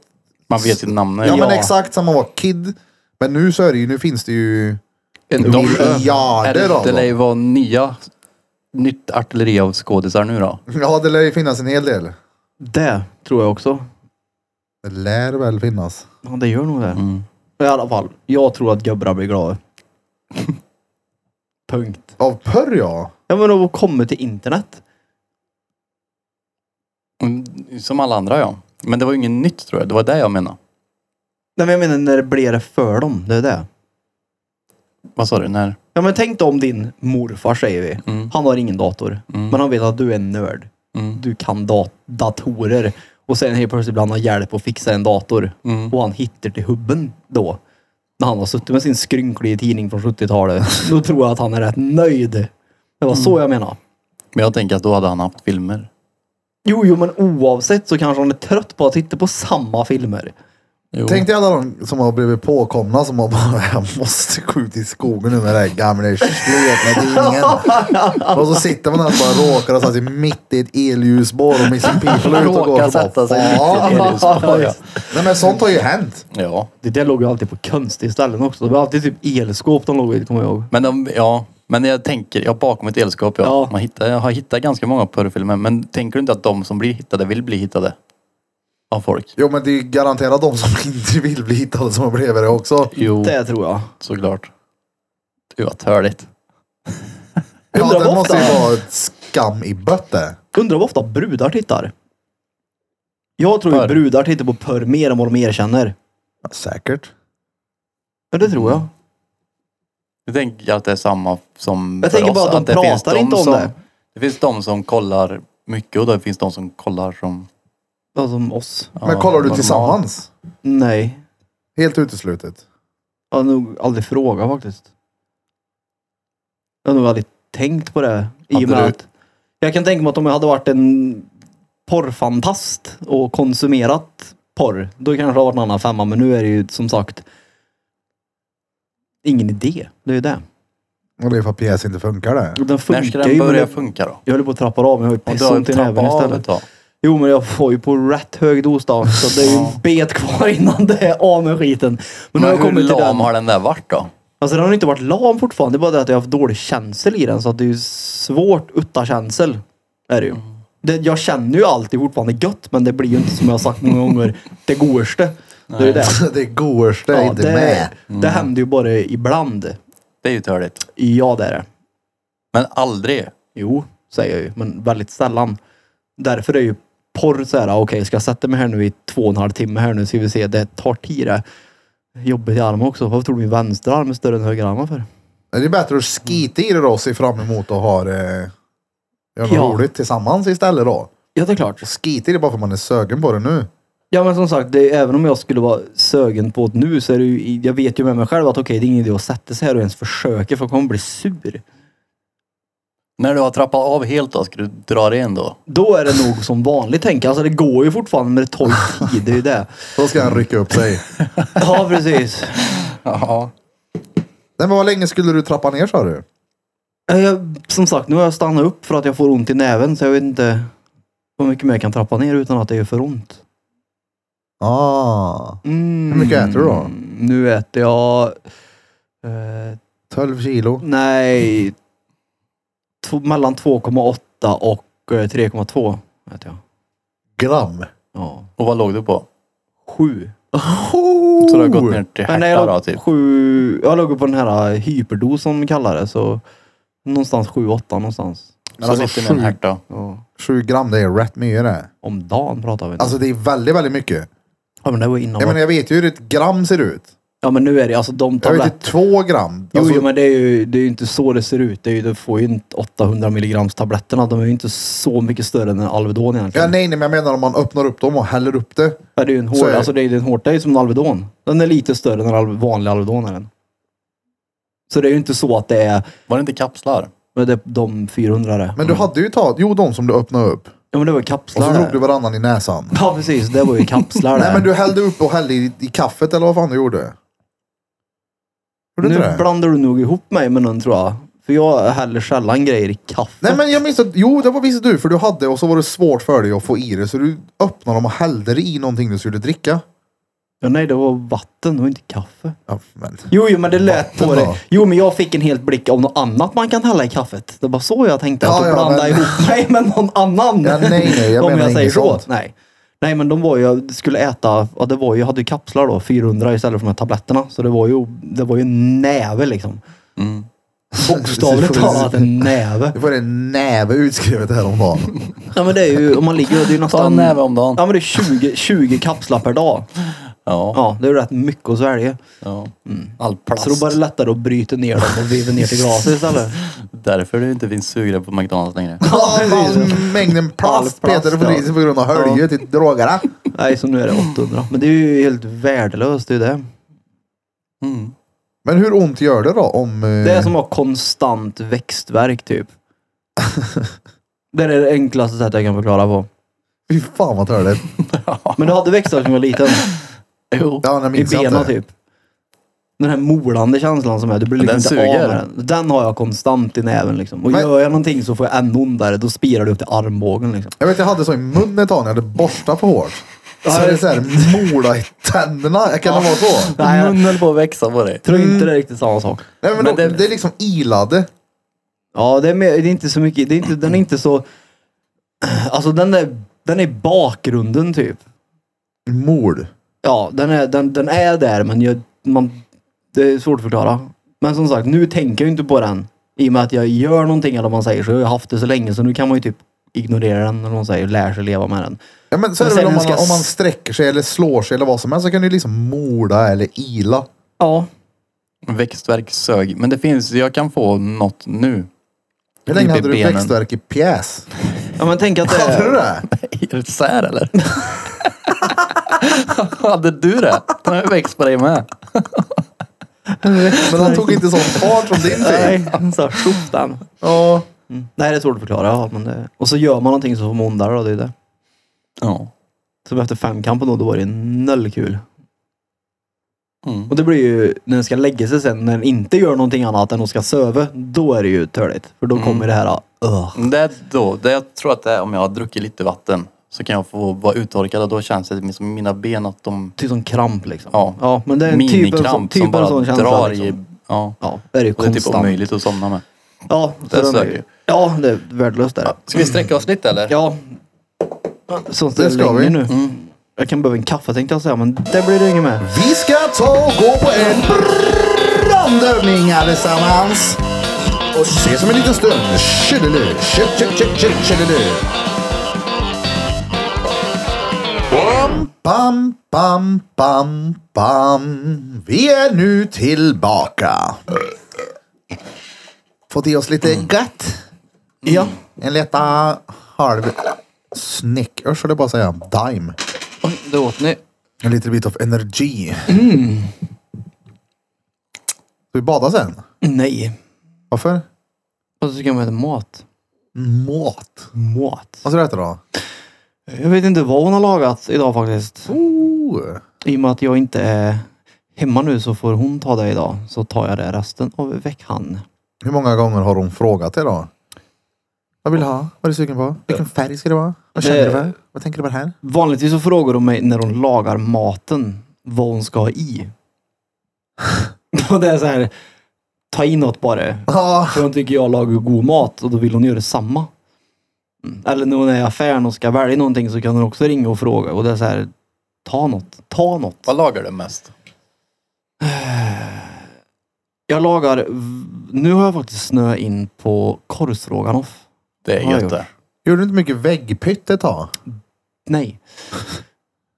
C: Man vet ju namnet.
A: Ja, men exakt som man var kid. Men nu så är det ju, nu finns det ju [LAUGHS]
C: En
A: miljarder av
C: Det lär ju
A: dem.
C: vara nya, nytt artilleri av skådisar nu då.
A: Ja, det lär ju finnas en hel del.
B: Det tror jag också.
A: Det lär väl finnas.
B: Ja, det gör nog det.
C: Mm.
B: I alla fall, jag tror att gubbar blir glada. [LAUGHS] Punkt.
A: Av porr ja.
B: Ja men då kommer till internet.
C: Mm, Som alla andra ja. Men det var ju inget nytt tror jag. Det var det jag menade.
B: Nej men jag menar när det blir det för dem, det är det.
C: Vad sa du? När?
B: Ja men tänk dig om din morfar säger vi.
C: Mm.
B: Han har ingen dator.
C: Mm.
B: Men han vet att du är en nörd.
C: Mm.
B: Du kan dat- datorer. Och sen helt plötsligt blir han har hjälp att fixa en dator.
C: Mm.
B: Och han hittar till hubben då. När han har suttit med sin skrynkliga tidning från 70-talet. [LAUGHS] Då tror jag att han är rätt nöjd. Det var
C: Mm.
B: så jag menar.
C: Men jag tänker att då hade han haft filmer.
B: Jo, jo, men oavsett så kanske han är trött på att titta på samma filmer.
C: Jo.
A: Tänk dig alla de som har blivit påkomna som har bara, [LAUGHS] jag måste gå ut i skogen nu med det här gamla sletnedingen.
C: [LAUGHS]
A: och så sitter man där och bara råkar ha satt sig mitt i ett elljusspår och Missing People ut och går.
C: Råkar
A: och bara,
C: sätta sig mitt
A: "Fan."
C: i ett elljusspår. [LAUGHS] ja.
A: Nej men sånt har ju hänt.
C: Ja.
B: Det där låg ju alltid på konstiga ställen också. Det var alltid typ elskåp de låg i, kommer jag ihåg.
C: Men, de, ja. men jag tänker, ja, bakom ett elskåp ja.
B: Ja.
C: Man hittar, jag har hittat ganska många porrfilmer. Men tänker du inte att de som blir hittade vill bli hittade? Av folk?
A: Jo men det är ju garanterat de som [LAUGHS] inte vill bli hittade som har blivit det också.
C: Jo,
B: Det tror jag.
C: såklart. Det var törligt.
A: Ja,
B: Undrar
A: det
B: vad
A: måste ju
B: ofta-
A: vara ett skam i bötte.
B: Undrar vad ofta brudar tittar. Jag tror ju
C: Porr.
B: brudar tittar på porr mer än vad de erkänner. Mm.
A: Ja, Säkert.
B: Ja, det tror jag.
C: Jag tänker att det är samma som
B: Jag
C: för
B: tänker
C: oss,
B: bara att de
C: det finns
B: pratar inte om
C: som,
B: det.
C: Det finns de som kollar mycket och det finns de som kollar som...
B: Ja, som oss.
C: ja,
A: Men kollar du
C: normalt.
A: tillsammans?
B: Nej.
A: Helt uteslutet.
B: Jag har nog aldrig frågat faktiskt. Jag har nog aldrig tänkt på det. I
C: Hade
B: och med
C: du-
B: att jag kan tänka mig att om jag hade varit en porrfantast och konsumerat porr, då kanske det hade varit en annan femma. Men nu är det ju som sagt ingen idé. Det är ju det.
A: Och det är för att pjäsen inte funkar det.
B: Den
C: När ska
B: funkar
C: den
B: ju. men
C: börja
B: Jag,
C: funka då?
B: jag håller på att trappa av, men jag har ju
C: Om du har
B: pissont i
C: trappat
B: näven
C: av ett
B: istället.
C: tag.
B: Jo, men jag får ju på rätt hög dos då, så det är ju en bet kvar innan det är av med skiten. Men, nu har
C: Men
B: jag
C: hur
B: kommit till den.
C: lam har den där varit då?
B: Alltså den har inte varit lam fortfarande. Det är bara det att jag har haft dålig känsel i den. Så att det är ju svårt utan känsel. Är det ju. Det, jag känner ju alltid fortfarande gött. Men det blir ju inte som jag har sagt många gånger. Det godaste. Det är ju det.
A: [LAUGHS] Det godaste är
B: Ja,
A: inte med.
B: det, det händer ju bara ibland.
C: Det är ju törligt.
B: Ja det är det.
C: Men aldrig.
B: Jo, säger jag ju. Men väldigt sällan. Därför är ju porr så här. Okej, ska jag sätta mig här nu i två och en halv timme här nu. Ska vi se. Det tar tid det. Jobbigt i armen också. Varför tror du min vänsterarm är större än högerarmen för?
A: Det är bättre att skita i det då och se fram emot att ha det göra något
B: Ja.
A: roligt tillsammans istället då.
B: Ja, det är klart.
A: Och skita i det bara för att man är sögen på det nu.
B: Ja men som sagt, det, även om jag skulle vara sögen på det nu så är det ju, jag vet ju med mig själv att okej det är ingen idé att sätta sig här och ens försöka för jag kommer bli sur.
C: När du har trappat av helt då, ska du dra det igen då?
B: Då är det nog som vanligt tänker jag. Alltså det går ju fortfarande men det tar ju tid, det är ju [LAUGHS] det.
A: Då ska han rycka upp sig.
B: Ja precis.
C: Ja.
A: Nej, men hur länge skulle du trappa ner sa du?
B: Eh, Jag, som sagt, nu har jag stannat upp för att jag får ont i näven så jag vet inte hur mycket mer jag kan trappa ner utan att det gör för ont.
A: Ah,
B: Mm.
A: Hur mycket äter du då?
B: Nu äter jag... Eh,
A: 12 kilo.
B: nej. Två- mellan 2,8 och eh, 3,2 äter jag.
A: Gram.
B: Ja.
C: Och vad låg du på?
B: Sju.
C: Så du har gått ner till
B: Men när
C: herta
B: jag,
C: då
B: låg,
C: typ?
B: sju, jag låg på den här eh, hyperdos som de kallar det. Så någonstans sju, åtta någonstans.
A: Men alltså
C: så lite mer
A: sju.
C: än herta.
B: Ja.
A: 7 gram, det är rätt mycket det.
B: Om dagen pratar vi. nu.
A: Alltså det är väldigt, väldigt mycket.
B: ja, men det var innan.
A: Jag, menar, jag vet ju hur ett gram ser ut.
B: Ja men nu är det alltså de
A: Jag vet
B: tabletterna.
A: inte, två gram.
B: Jo,
A: Alltså,
B: jo men det är ju det är ju inte så det ser ut. Det, är ju, det får ju inte 800 milligrams tabletterna. De är ju inte så mycket större än en Alvedon
A: ja,
B: egentligen.
A: nej, nej, men jag menar om man öppnar upp dem och häller upp det.
B: Ja, det är ju en
A: så är
B: hård,
A: det.
B: alltså det är ju en hård, det är ju som en Alvedon. Den är lite större än den Alve- vanliga Alvedonaren. Så det är ju inte så att det är,
C: Var det inte kapslar?
B: men det är de 400 det.
A: Men du hade ju tagit, jo de som du öppnade upp.
B: Ja men det var ju
A: Och så
B: kapslar
A: drog du
B: det.
A: varannan i näsan.
B: Ja precis, det var ju
A: [LAUGHS]
B: kapslar
A: Nej
B: det.
A: men du hällde upp och hällde i, i kaffet eller vad fan du gjorde. Gjorde du
B: nu
A: inte det?
B: blandar du nog ihop mig med någon tror jag. För jag häller sällan grejer i kaffe.
A: Nej men jag minns att, jo det var visst du för du hade och så var det svårt för dig att få i det så du öppnade dem och hällde det i någonting du skulle dricka.
B: Ja, nej, det var vatten, det var inte kaffe.
A: Ja, men.
B: Jo, jo men det lät
A: Vatten
B: på
A: då?
B: det. Jo, men jag fick en helt blick av något annat man kan hälla i kaffet. Det var så jag tänkte,
A: Ja,
B: att
A: ja,
B: ja, blanda
A: men-
B: ihop mig med någon annan.
A: Ja, nej, nej, jag
B: [LAUGHS] Om
A: menar
B: jag säger
A: inget
B: så.
A: sånt.
B: Nej. nej, men de var ju, jag skulle äta, ja, det var ju, jag hade ju kapslar då, 400 istället för de här tabletterna. Så det var ju, det var ju en näve liksom.
A: [LAUGHS]
B: Bokstavligt talat en näve.
A: Det var en näve utskrivet häromdagen.
B: [LAUGHS] Ja men det är ju, om man ligger, det är ju nästan...
C: Ta en näve om dagen.
B: Ja men det är 20, 20 kapslar per dag.
C: Ja.
B: Ja, det är ju rätt mycket att svälja.
C: ja. Mm. All plast.
B: Så då var det lättare att bryta ner dem och viva ner till glaset istället.
C: [LAUGHS] Därför det inte finns sugrör på McDonalds längre.
A: Ja,
B: precis.
A: fan, mängden plast
B: All plast,
A: Peter får i sig på grund av höljet i drogerna.
B: Nej, så nu är det 800. Men det är ju helt värdelöst, det är ju det.
C: Mm.
A: Men hur ont gör det då om... eh,
B: Det är som att ha konstant växtverk typ. Det är det enklaste sättet jag kan förklara på.
A: Fy fan vad törligt.
B: Men du hade växtverk när jag
A: [LAUGHS]
B: var liten.
C: Jo.
A: Ja, jag
B: I
A: minns
B: benen
A: inte.
B: typ. Den här molande känslan som är, du blir
C: Den
B: liksom inte
C: suger.
B: av med den. Den har jag konstant i näven liksom. Och
A: Men-
B: gör jag någonting så får jag ännu ondare. Då spirar det upp till armbågen liksom.
A: Jag vet jag hade så i munnen ett tag när jag hade borstat för hårt. Så
B: Ja,
A: det är så här mola i tänderna. Kan det vara så?
B: Nej, jag
C: Munnen höll på att växa på dig.
B: tror
A: Mm.
B: inte det är riktigt samma sak.
A: Nej, men
C: Men
A: de, det...
C: det-
A: är liksom ilade.
B: Ja, det är, mer, det är inte så mycket. Det är inte, den är inte så... [CLEARS THROAT] Alltså den är, den är bakgrunden typ.
A: Mord.
B: Ja, den är, den, den är där men jag, man, det är svårt att förklara. Men som sagt, nu tänker jag ju inte på den. I och med att jag gör någonting eller vad man säger så jag har haft det så länge så nu kan man ju typ ignorera den eller vad man säger och lära sig leva med den.
A: Ja, men så är
B: Men
A: det väl
B: sen
A: om man,
B: ska-
A: om man sträcker sig eller slår sig eller vad som helst så kan du liksom morda eller ila.
B: Ja.
C: Växtverk sög. Men det finns, jag kan få något nu. [LAUGHS]
A: Hur länge
C: Typ i
A: hade du
C: benen.
A: växtverk i pjäs?
B: Ja men tänk att det
A: Hade du
B: är...
A: det?
C: Är det sär eller? [LAUGHS] Hade du det? Den har ju växt på dig med.
A: Men han tog inte sån fart som din fick.
B: Nej, så här, tjoff den.
A: Ja.
B: Nej, det är svårt att förklara. Ja, men det... Och så gör man någonting så får man ondare då, det är ju det.
C: Ja.
B: Som efter femkampen då, då var det noll kul.
C: Mm.
B: Och det blir ju, när den ska lägga sig sen, när den inte gör någonting annat än att ska söva, då är det ju törligt. För då kommer det här, uh.
C: Det är då, det jag tror att det är om jag har druckit lite vatten så kan jag få vara uttorkad och då känns det som mina ben att de
B: typ som kramp liksom.
C: Ja.
B: ja men det är en typ en sån,
C: minikramp
B: typ
C: som
B: en
C: bara
B: sån känsla.
C: drar
B: liksom.
C: i. Ja.
B: Ja, det är ju
C: Och det är
B: konstant.
C: typ omöjligt att somna med.
B: Ja, så
C: Det
B: den är
C: söker
B: ju-
C: ju.
B: Ja, det är värdelöst där.
C: Ska vi sträcka oss lite eller?
B: Ja. Sånt
A: Det
B: är
A: ska
B: länge
A: vi.
B: nu.
C: Mm.
B: Jag kan behöva en kaffe tänkte jag säga, men det blir det inget med.
A: Vi ska ta och gå på en brandövning allesammans. Och ses om en liten stund. Tjodelu, tjo- tjo- tjo- tjo- tjodelu. Bam, bam, bam, bam. Vi är nu tillbaka. Fått i oss lite gött.
B: Ja.
A: En lätta halv snickers, höll jag bara säga. Dime.
B: Oj, det åt ni.
A: En liten bit av energi. Mm. Ska vi bada sen?
B: Nej.
A: Varför?
B: Och så ska man äta mat.
A: Mat.
B: Mat?
A: Vad ska du äta då?
B: Jag vet inte vad hon har lagat idag faktiskt.
A: Oh.
B: I och med att jag inte är hemma nu så får hon ta det idag. Så tar jag det resten av veckan.
A: Hur många gånger har hon frågat dig då? Vad vill du ha? Vad är du sugen på? Eh. Vilken färg ska det vara? Vad känner du för? Vad tänker du på det här?
B: Vanligtvis så frågar de mig när hon lagar maten vad hon ska ha i. [LAUGHS] och det är så här, ta i något bara.
A: Ja.
B: För hon tycker jag lagar god mat och då vill hon göra samma. Mm. Eller när hon är i affären och ska välja någonting så kan hon också ringa och fråga. Och det är så här, ta något, ta något.
C: Vad lagar du mest?
B: Jag lagar, v- nu har jag faktiskt snö in på korvstroganoff.
C: Det är
B: Har jag
C: gött det.
A: Gjorde du inte mycket väggpytt ett tag?
B: Nej,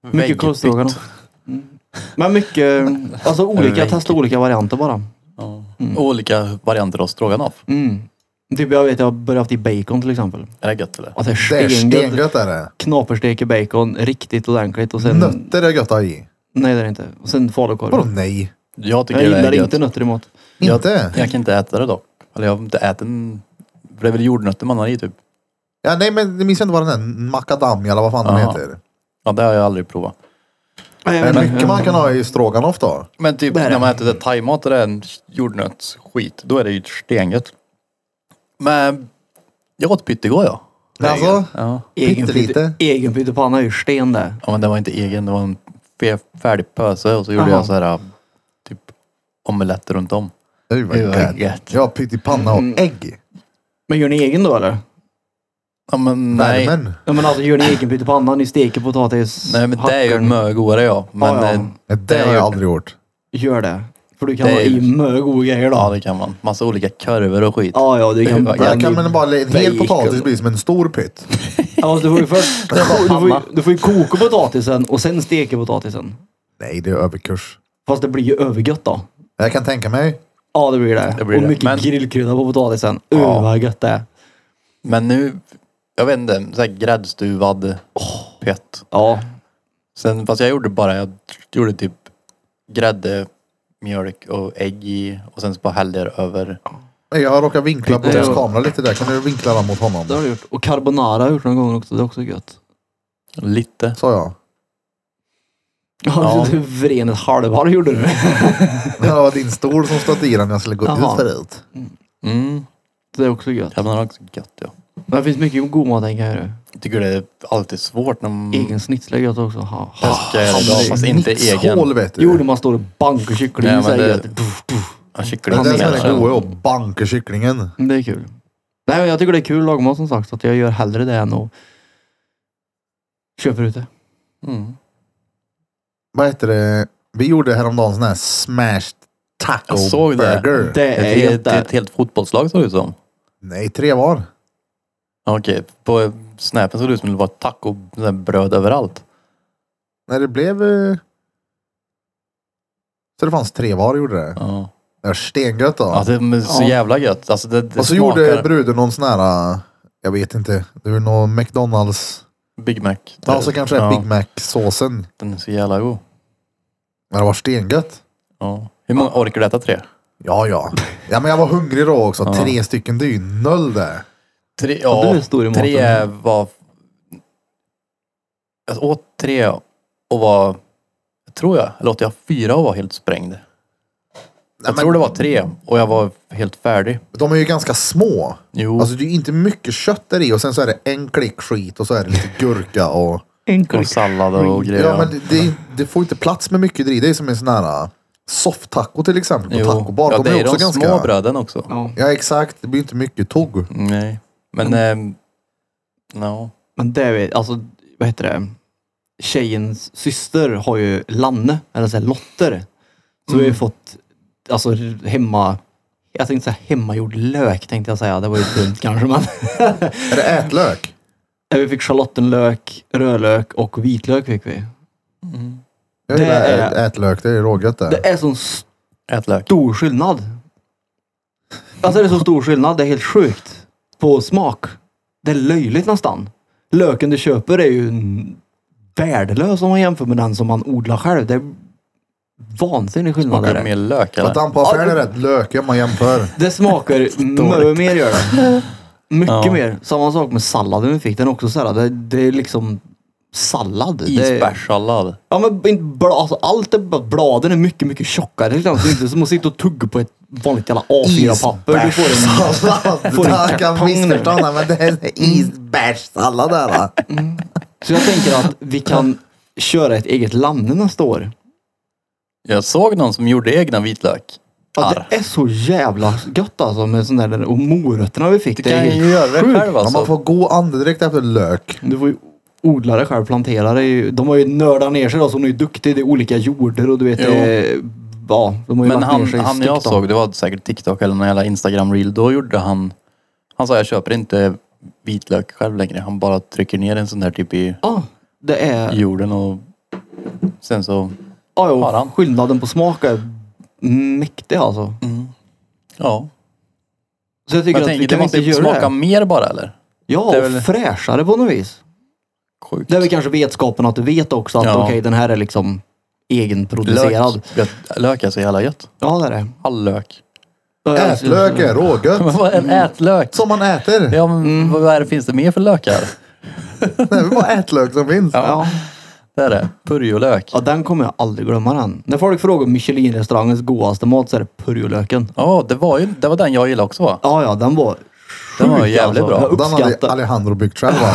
B: mycket
C: Väggpytt.
B: korvstroganoff. Mm. Men mycket, alltså olika, testa olika varianter bara.
C: Ja. Olika varianter av stroganoff.
B: Mm. Typ jag vet, jag har börjat haft i bacon till exempel.
C: Är det gött eller?
B: Alltså
A: Det är
B: stengött.
A: stengött är det.
B: Knaperstek i bacon, riktigt ordentligt. Och sen,
A: Nötter är gött att ha i.
B: Nej det är det inte. Och sen
A: Vadå
B: falukorv.
A: nej?
C: Jag tycker
B: Jag
C: det är
B: gillar
C: gött.
B: inte nötter i mat.
A: Inte?
C: Jag kan inte äta det dock. Eller jag har inte ätit en... Det är väl jordnötter man har i typ.
A: Ja, nej men det minns jag inte vad den är. Macadamia eller vad fan den
C: Aha.
A: heter.
C: Ja, det har jag aldrig provat.
A: Det är mycket man kan ha i stroganoff då.
C: Men typ
B: Det är det.
C: när man äter det thaimat och det är en jordnötsskit, då är det ju stengött. Men jag åt pytt igår ja. Det är
A: Alltså?
C: gött. Ja.
B: Egen
A: Pyttelite.
B: pytte- Egen pyttipanna är ju sten det.
C: ja, men det var inte egen. Det var en fe- färdig pöse och så gjorde
B: Jaha.
C: jag så här äh, typ omeletter runt om.
A: Det var gött.
C: gött. Mm.
A: Ja, pyttipanna och ägg.
B: Men gör ni egen då eller?
C: Ja, men nej.
A: Värmen.
B: Ja men alltså gör ni egen pyttipanna? Ni steker potatis?
C: Nej men det är ju
B: hackar-
C: mögodare ja. Men
B: Ja, ja.
C: eh,
A: Det,
C: är
A: har
C: ju-
A: jag aldrig gjort.
B: Gör det. För du kan
C: Det
B: ha
C: är ju-
B: i mycket goda grejer då.
C: ja det kan man. Massa olika kurvor och skit.
B: Ja, ja, det kan
C: Det är ju-
A: Där
B: Ja,
A: kan
B: det-
A: man bara, en hel
C: bacon.
A: potatis blir som en stor pytt.
B: Ja, alltså, du får ju först... Du får, du får, ju- du får ju koka potatisen och sen steka potatisen.
A: Nej, det är överkurs.
B: Fast det blir ju övergött då.
A: Jag kan tänka mig.
B: Ja, det blir det.
C: Det blir
B: och
C: det.
B: mycket
C: Men-
B: grillkrydda på potatisen. Ja.
C: Ja.
B: vad gött det är.
C: Men nu, jag vet inte, så här gräddstuvad pett.
B: Ja.
C: Sen, fast jag gjorde bara, jag gjorde typ grädde, mjölk och ägg i och sen så bara hällde jag över.
A: Nej, Jag har råkat vinkla på
B: Det är-
A: deras kamera lite där. Kan du vinkla den mot
B: Det har
A: honom?
B: du gjort. Och carbonara har jag gjort någon gång också. Det är också gött.
C: Lite.
A: Sa jag.
B: Ja.
C: Ja.
B: [LAUGHS] Du vren ett halvår gjorde du.
A: Det var din stol som stötte i den när jag skulle gå
B: Jaha.
A: ut förut.
C: Mm.
B: Det är också gött.
C: Carbonara är också gött ja.
B: Men det finns mycket god mat tänker jag. ju.
C: Jag tycker det är alltid svårt när man...
B: Egen snitsel är gött också. Ha,
C: Jag
A: Ah,
B: ha.
C: ska göra det idag, fast inte egen.
A: Mixhål vet du.
B: Jo, när man står och bankar kyckling.
C: Nej, men
B: så är det...
C: det-
B: gött.
C: Ja,
A: det
C: kyckling.
A: är Mm. det som är
C: Ja,
A: det goda, att banka kycklingen.
B: Men Mm, Det är kul. Nej, men jag tycker det är kul att laga mat som sagt. Så att jag gör hellre det än att köpa ut det.
C: Mm.
A: Vad heter det? Vi gjorde häromdagen sån här smashed taco
C: Jag såg det.
A: burger.
B: Det
C: Ett,
B: är
C: helt,
B: gött
C: ett
B: det.
C: helt fotbollslag såg det ut som.
A: Nej, tre var.
C: Okej, på snäpen såg det ut som det var taco, sån här bröd överallt.
A: Nej, det blev... eh, Så det fanns tre var gjorde det.
C: Ja.
A: Det var stengött då.
C: Ja, det är så
B: Ja.
C: jävla gött. Alltså det, det
A: och så
C: smakar
A: gjorde bruden någon sån här, eh, jag vet inte, det var någon McDonalds.
C: Big Mac.
A: Ja, så kanske det är
C: Ja,
A: Big Mac-såsen.
C: Den är så jävla god.
A: Men det var stengött.
C: Ja. Hur många orkar du äta tre?
A: Ja, ja. Ja, men jag var hungrig då också.
C: Ja.
A: Tre stycken, det är ju noll det.
C: Tre,
B: Ja, du
C: ja,
B: är stor i maten.
C: tre var... Jag åt tre och var... Tror jag. Eller åt jag fyra och var helt sprängd. Jag tror det var tre och jag var helt färdig.
A: De är ju ganska små.
C: Jo.
A: Alltså det är ju inte mycket kött där i och sen så är det en klick skit och så är det lite gurka och...
B: Enkel.
C: och sallad och grejer.
A: Ja, men det- det, det får inte plats med mycket där i. Det är som en sån här soft taco till exempel på
C: Jo.
A: taco bar.
C: Ja, det
A: de är
C: är
A: också
C: de
A: ganska...
C: små bröden också.
B: Ja.
A: Ja, exakt. Det blir inte mycket tugg.
C: Nej. Men... ehm, no.
B: Men det är alltså, vad heter det? Tjejens syster har ju Lanne, eller så här Lotter. Så vi har ju fått, alltså hemma, jag tänkte säga hemmagjord lök tänkte jag säga. Det var ju dumt kanske men. [LAUGHS]
A: Är det ätlök?
B: vi fick schalottenlök, rödlök och vitlök fick vi.
A: Jag
B: Det
A: gillar
B: är-
A: ä- ätlök. Det är rågött det.
B: Det är sån stor
C: Ät lök.
B: skillnad. Alltså det är så stor skillnad, det är helt sjukt. På smak. Det är löjligt nästan. Löken du köper är ju n- värdelös om man jämför med den som man odlar själv. Det är vansinnig skillnad.
C: Smakar
B: Är
C: det
B: det.
C: mer lök
A: För att
C: eller?
A: han på affären är rätt lökig om man jämför.
B: det
C: [LAUGHS]
B: smakar mycket mer gör det. Mycket
C: Ja.
B: mer. Samma sak med salladen vi fick. Den är också så här, det, det är liksom sallad. Det är-
C: Isbärssallad.
B: Ja men inte bla, alltså, allt är, bara- bladen är mycket, mycket tjockare. Liksom. Det är inte som att sitta och tugga på ett vanligt jävla A4-papper. Du får en,
A: [LAUGHS] Isbärssallad.
B: får en
A: Jag kan
B: kartong nu.
A: missförstå det, men det är isbärssallad där va?
B: så jag tänker att vi kan köra ett eget Lanne nästa år.
C: Jag såg någon som gjorde egna vitlök.
B: Ja, det är så jävla gött alltså med sån där och morötterna vi fick.
C: Du
B: det är
C: kan
B: helt
C: ju göra det
B: sjukt.
C: själv
A: Ja, man
C: alltså.
A: får gå andedräkt efter lök.
B: Du får ju odla det själv, plantera det. är ju- De har ju nördat ner sig då, så de är ju duktiga. Det är olika jorder och du vet.
C: Jo.
B: Det, ja, de har ju
C: Men
B: lagt
C: han,
B: ner sig
C: han jag
B: styckt då.
C: såg, det var säkert TikTok eller någon jävla Instagram reel. Då gjorde han... Han sa jag köper inte vitlök själv längre. Han bara trycker ner en sån där typ i
B: Ja, det är...
C: jorden och sen så...
B: Ja, jo,
C: Har han?
B: skillnaden på smak är mäktig alltså.
C: Ja.
B: Så jag tycker
C: Men jag
B: att vi
C: tänker, det
B: kan
C: måste
B: inte
C: ju
B: göra
C: smaka
B: det.
C: mer bara eller?
B: Ja,
C: det är väl-
B: fräschare på något vis.
C: Sjukt.
B: Det är väl kanske vetskapen att du vet också att
C: Ja.
B: okej, den här är liksom egenproducerad.
C: Lök. Gött. Lök är så jävla gött.
B: Ja, det är det. [LAUGHS]
C: All lök.
A: Ätlök är
C: [LAUGHS]
A: rågött.
C: Men vad är en ätlök?
A: Som man äter.
C: Ja, men
B: Mm.
C: vad är det, finns det mer för lökar?
A: Det är väl bara ätlök som finns.
B: Ja.
C: Det är det. Purjolök.
B: ja, den kommer jag aldrig glömma den. När folk frågar om Michelin-restaurangens godaste mat så är det purjolöken.
C: Ja, det var ju det var den jag gillade också va?
B: Ja, ja, den var
C: Den var
B: sjuk,
C: jävligt
B: alltså.
C: bra.
B: Jag
A: Den hade
B: uppskattar,
A: Alejandro byggt själv. va?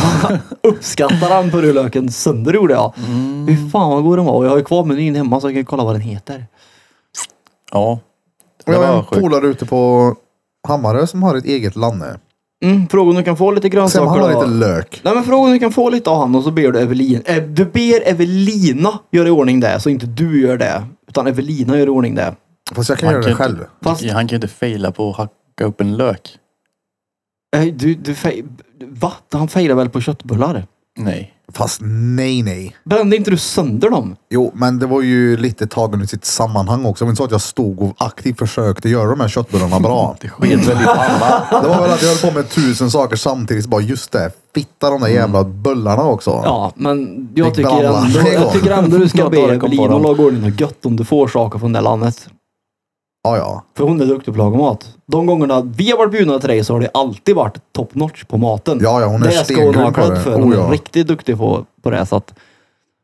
B: uppskattar han purjolöken sönder gjorde jag.
C: Mm.
B: Fy fan vad god den var. Och jag har ju kvar menyn hemma så jag kan kolla vad den heter.
C: Ja.
A: Och
C: Det
A: jag har
C: var
A: en
C: sjukt.
A: polare ute på Hammarö som har ett eget lande.
B: Mm, fråga om du kan få lite
A: Sen
B: grönsaker
A: han har
B: då.
A: lite lök.
B: Nej men fråga om du kan få lite av han och så ber du Evelina. Eh, du ber Evelina göra i ordning det. Så inte du gör det. Utan Evelina gör i ordning det.
A: Fast jag kan
C: Man
A: göra
C: kan
A: det
C: inte-
A: själv.
B: Fast
C: Ja, Han kan ju inte fejla på att hacka upp en lök.
B: eh, du, du fej- Va? Han fejlar väl på köttbullar?
C: Nej.
A: Fast nej, nej.
B: Brände inte du sönder dem?
A: Jo, men det var ju lite tagen i sitt sammanhang också. Det var inte så att jag stod och aktivt försökte göra de här köttbullarna bra.
C: [LAUGHS] Det sket väl i panna.
A: Det var väl att jag höll på med tusen saker samtidigt. Bara just det, fitta de där
C: Mm.
A: jävla bullarna också.
B: Ja, men jag
A: Fick
B: tycker,
A: bralla.
B: ändå, jag tycker ändå du ska
C: Något
B: be
C: år kom på
B: Evelina
C: dem.
B: laga ordning något gött om du får saker från det landet.
A: ja. ja.
B: För hon är duktig på att laga mat. De gångerna vi har varit bjudna till dig så har det alltid varit top notch på maten.
A: Ja, ja, hon är
B: det ska hon ha
A: stengrym på
B: cred
A: det.
B: för. Hon
A: Oh, ja.
B: är riktigt duktig på, på det. Så att,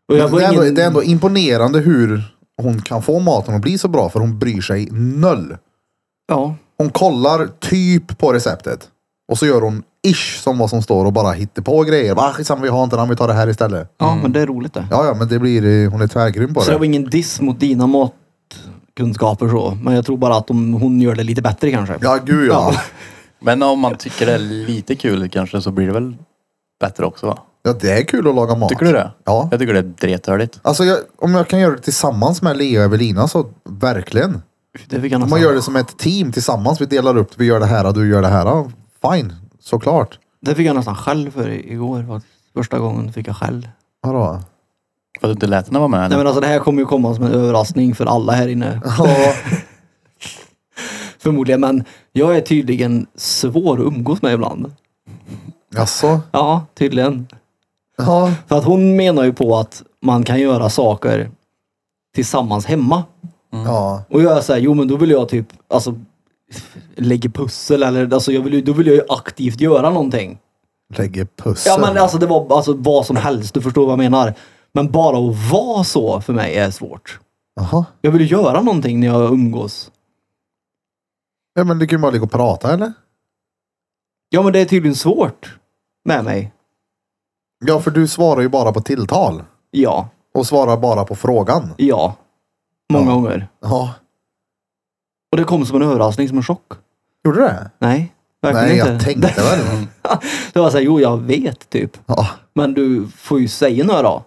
B: och jag
A: Men
B: var
A: Det är, ändå,
B: ingen-
A: det är ändå imponerande hur hon kan få maten att bli så bra för hon bryr sig noll.
B: Ja.
A: Hon kollar typ på receptet och så gör hon ish som vad som står och bara hittar på grejer. Va, skitsamma, vi har inte den, vi tar det här istället.
B: Ja, men det är roligt det.
A: Mm. Ja, ja, men det blir, eh, hon är tvärgrym på
B: så det var
A: det.
B: ingen diss mot dina matkunskaper så. Men jag tror bara att de, hon gör det lite bättre kanske.
A: Ja, gud ja.
C: Men om man tycker det är lite kul kanske så blir det väl bättre också va?
A: Ja, det är kul att laga mat.
C: Tycker du det?
A: Ja.
C: Jag tycker det är drethörligt.
A: Alltså, jag, om jag kan göra det tillsammans med Lea och Evelina så verkligen.
B: Det fick jag
A: Om
B: nästan.
A: man gör det som ett team tillsammans. Vi delar upp, vi gör det här och du gör det här. ja, Fine, såklart.
B: det fick jag nästan skäll för i- igår. faktiskt. Första gången fick jag skäll.
A: Vadå?
C: För att du inte lät henne vara med
B: Nej
C: eller?
B: men alltså det här kommer ju komma som en överraskning för alla här inne.
A: Ja,
B: Förmodligen. Men jag är tydligen svår att umgås med ibland.
A: [LAUGHS] jaså?
B: Ja, tydligen.
A: Ja.
B: För att hon menar ju på att man kan göra saker tillsammans hemma.
A: Ja.
B: Och jag är såhär, jo men då vill jag typ, alltså lägga pussel eller alltså jag vill, ju- då vill jag ju aktivt göra någonting.
A: Lägger pussel.
B: Ja men alltså det var alltså vad som helst, du förstår vad jag menar. Men bara att vara så för mig är svårt.
A: Jaha.
B: Jag vill ju göra någonting när jag umgås.
A: Ja, men du kan ju bara ligga och prata eller?
B: Ja men det är tydligen svårt med mig.
A: Ja, för du svarar ju bara på tilltal.
B: Ja,
A: Och svarar bara på frågan.
B: ja. Många
A: Ja.
B: gånger.
A: Ja.
B: Och det kom som en överraskning, som en chock.
A: Gjorde du det?
B: Nej, verkligen
A: Nej,
B: inte. Mm.
A: jag tänkte väl.
B: Det var såhär, jo jag vet typ.
A: Ja.
B: Men du får ju säga några då.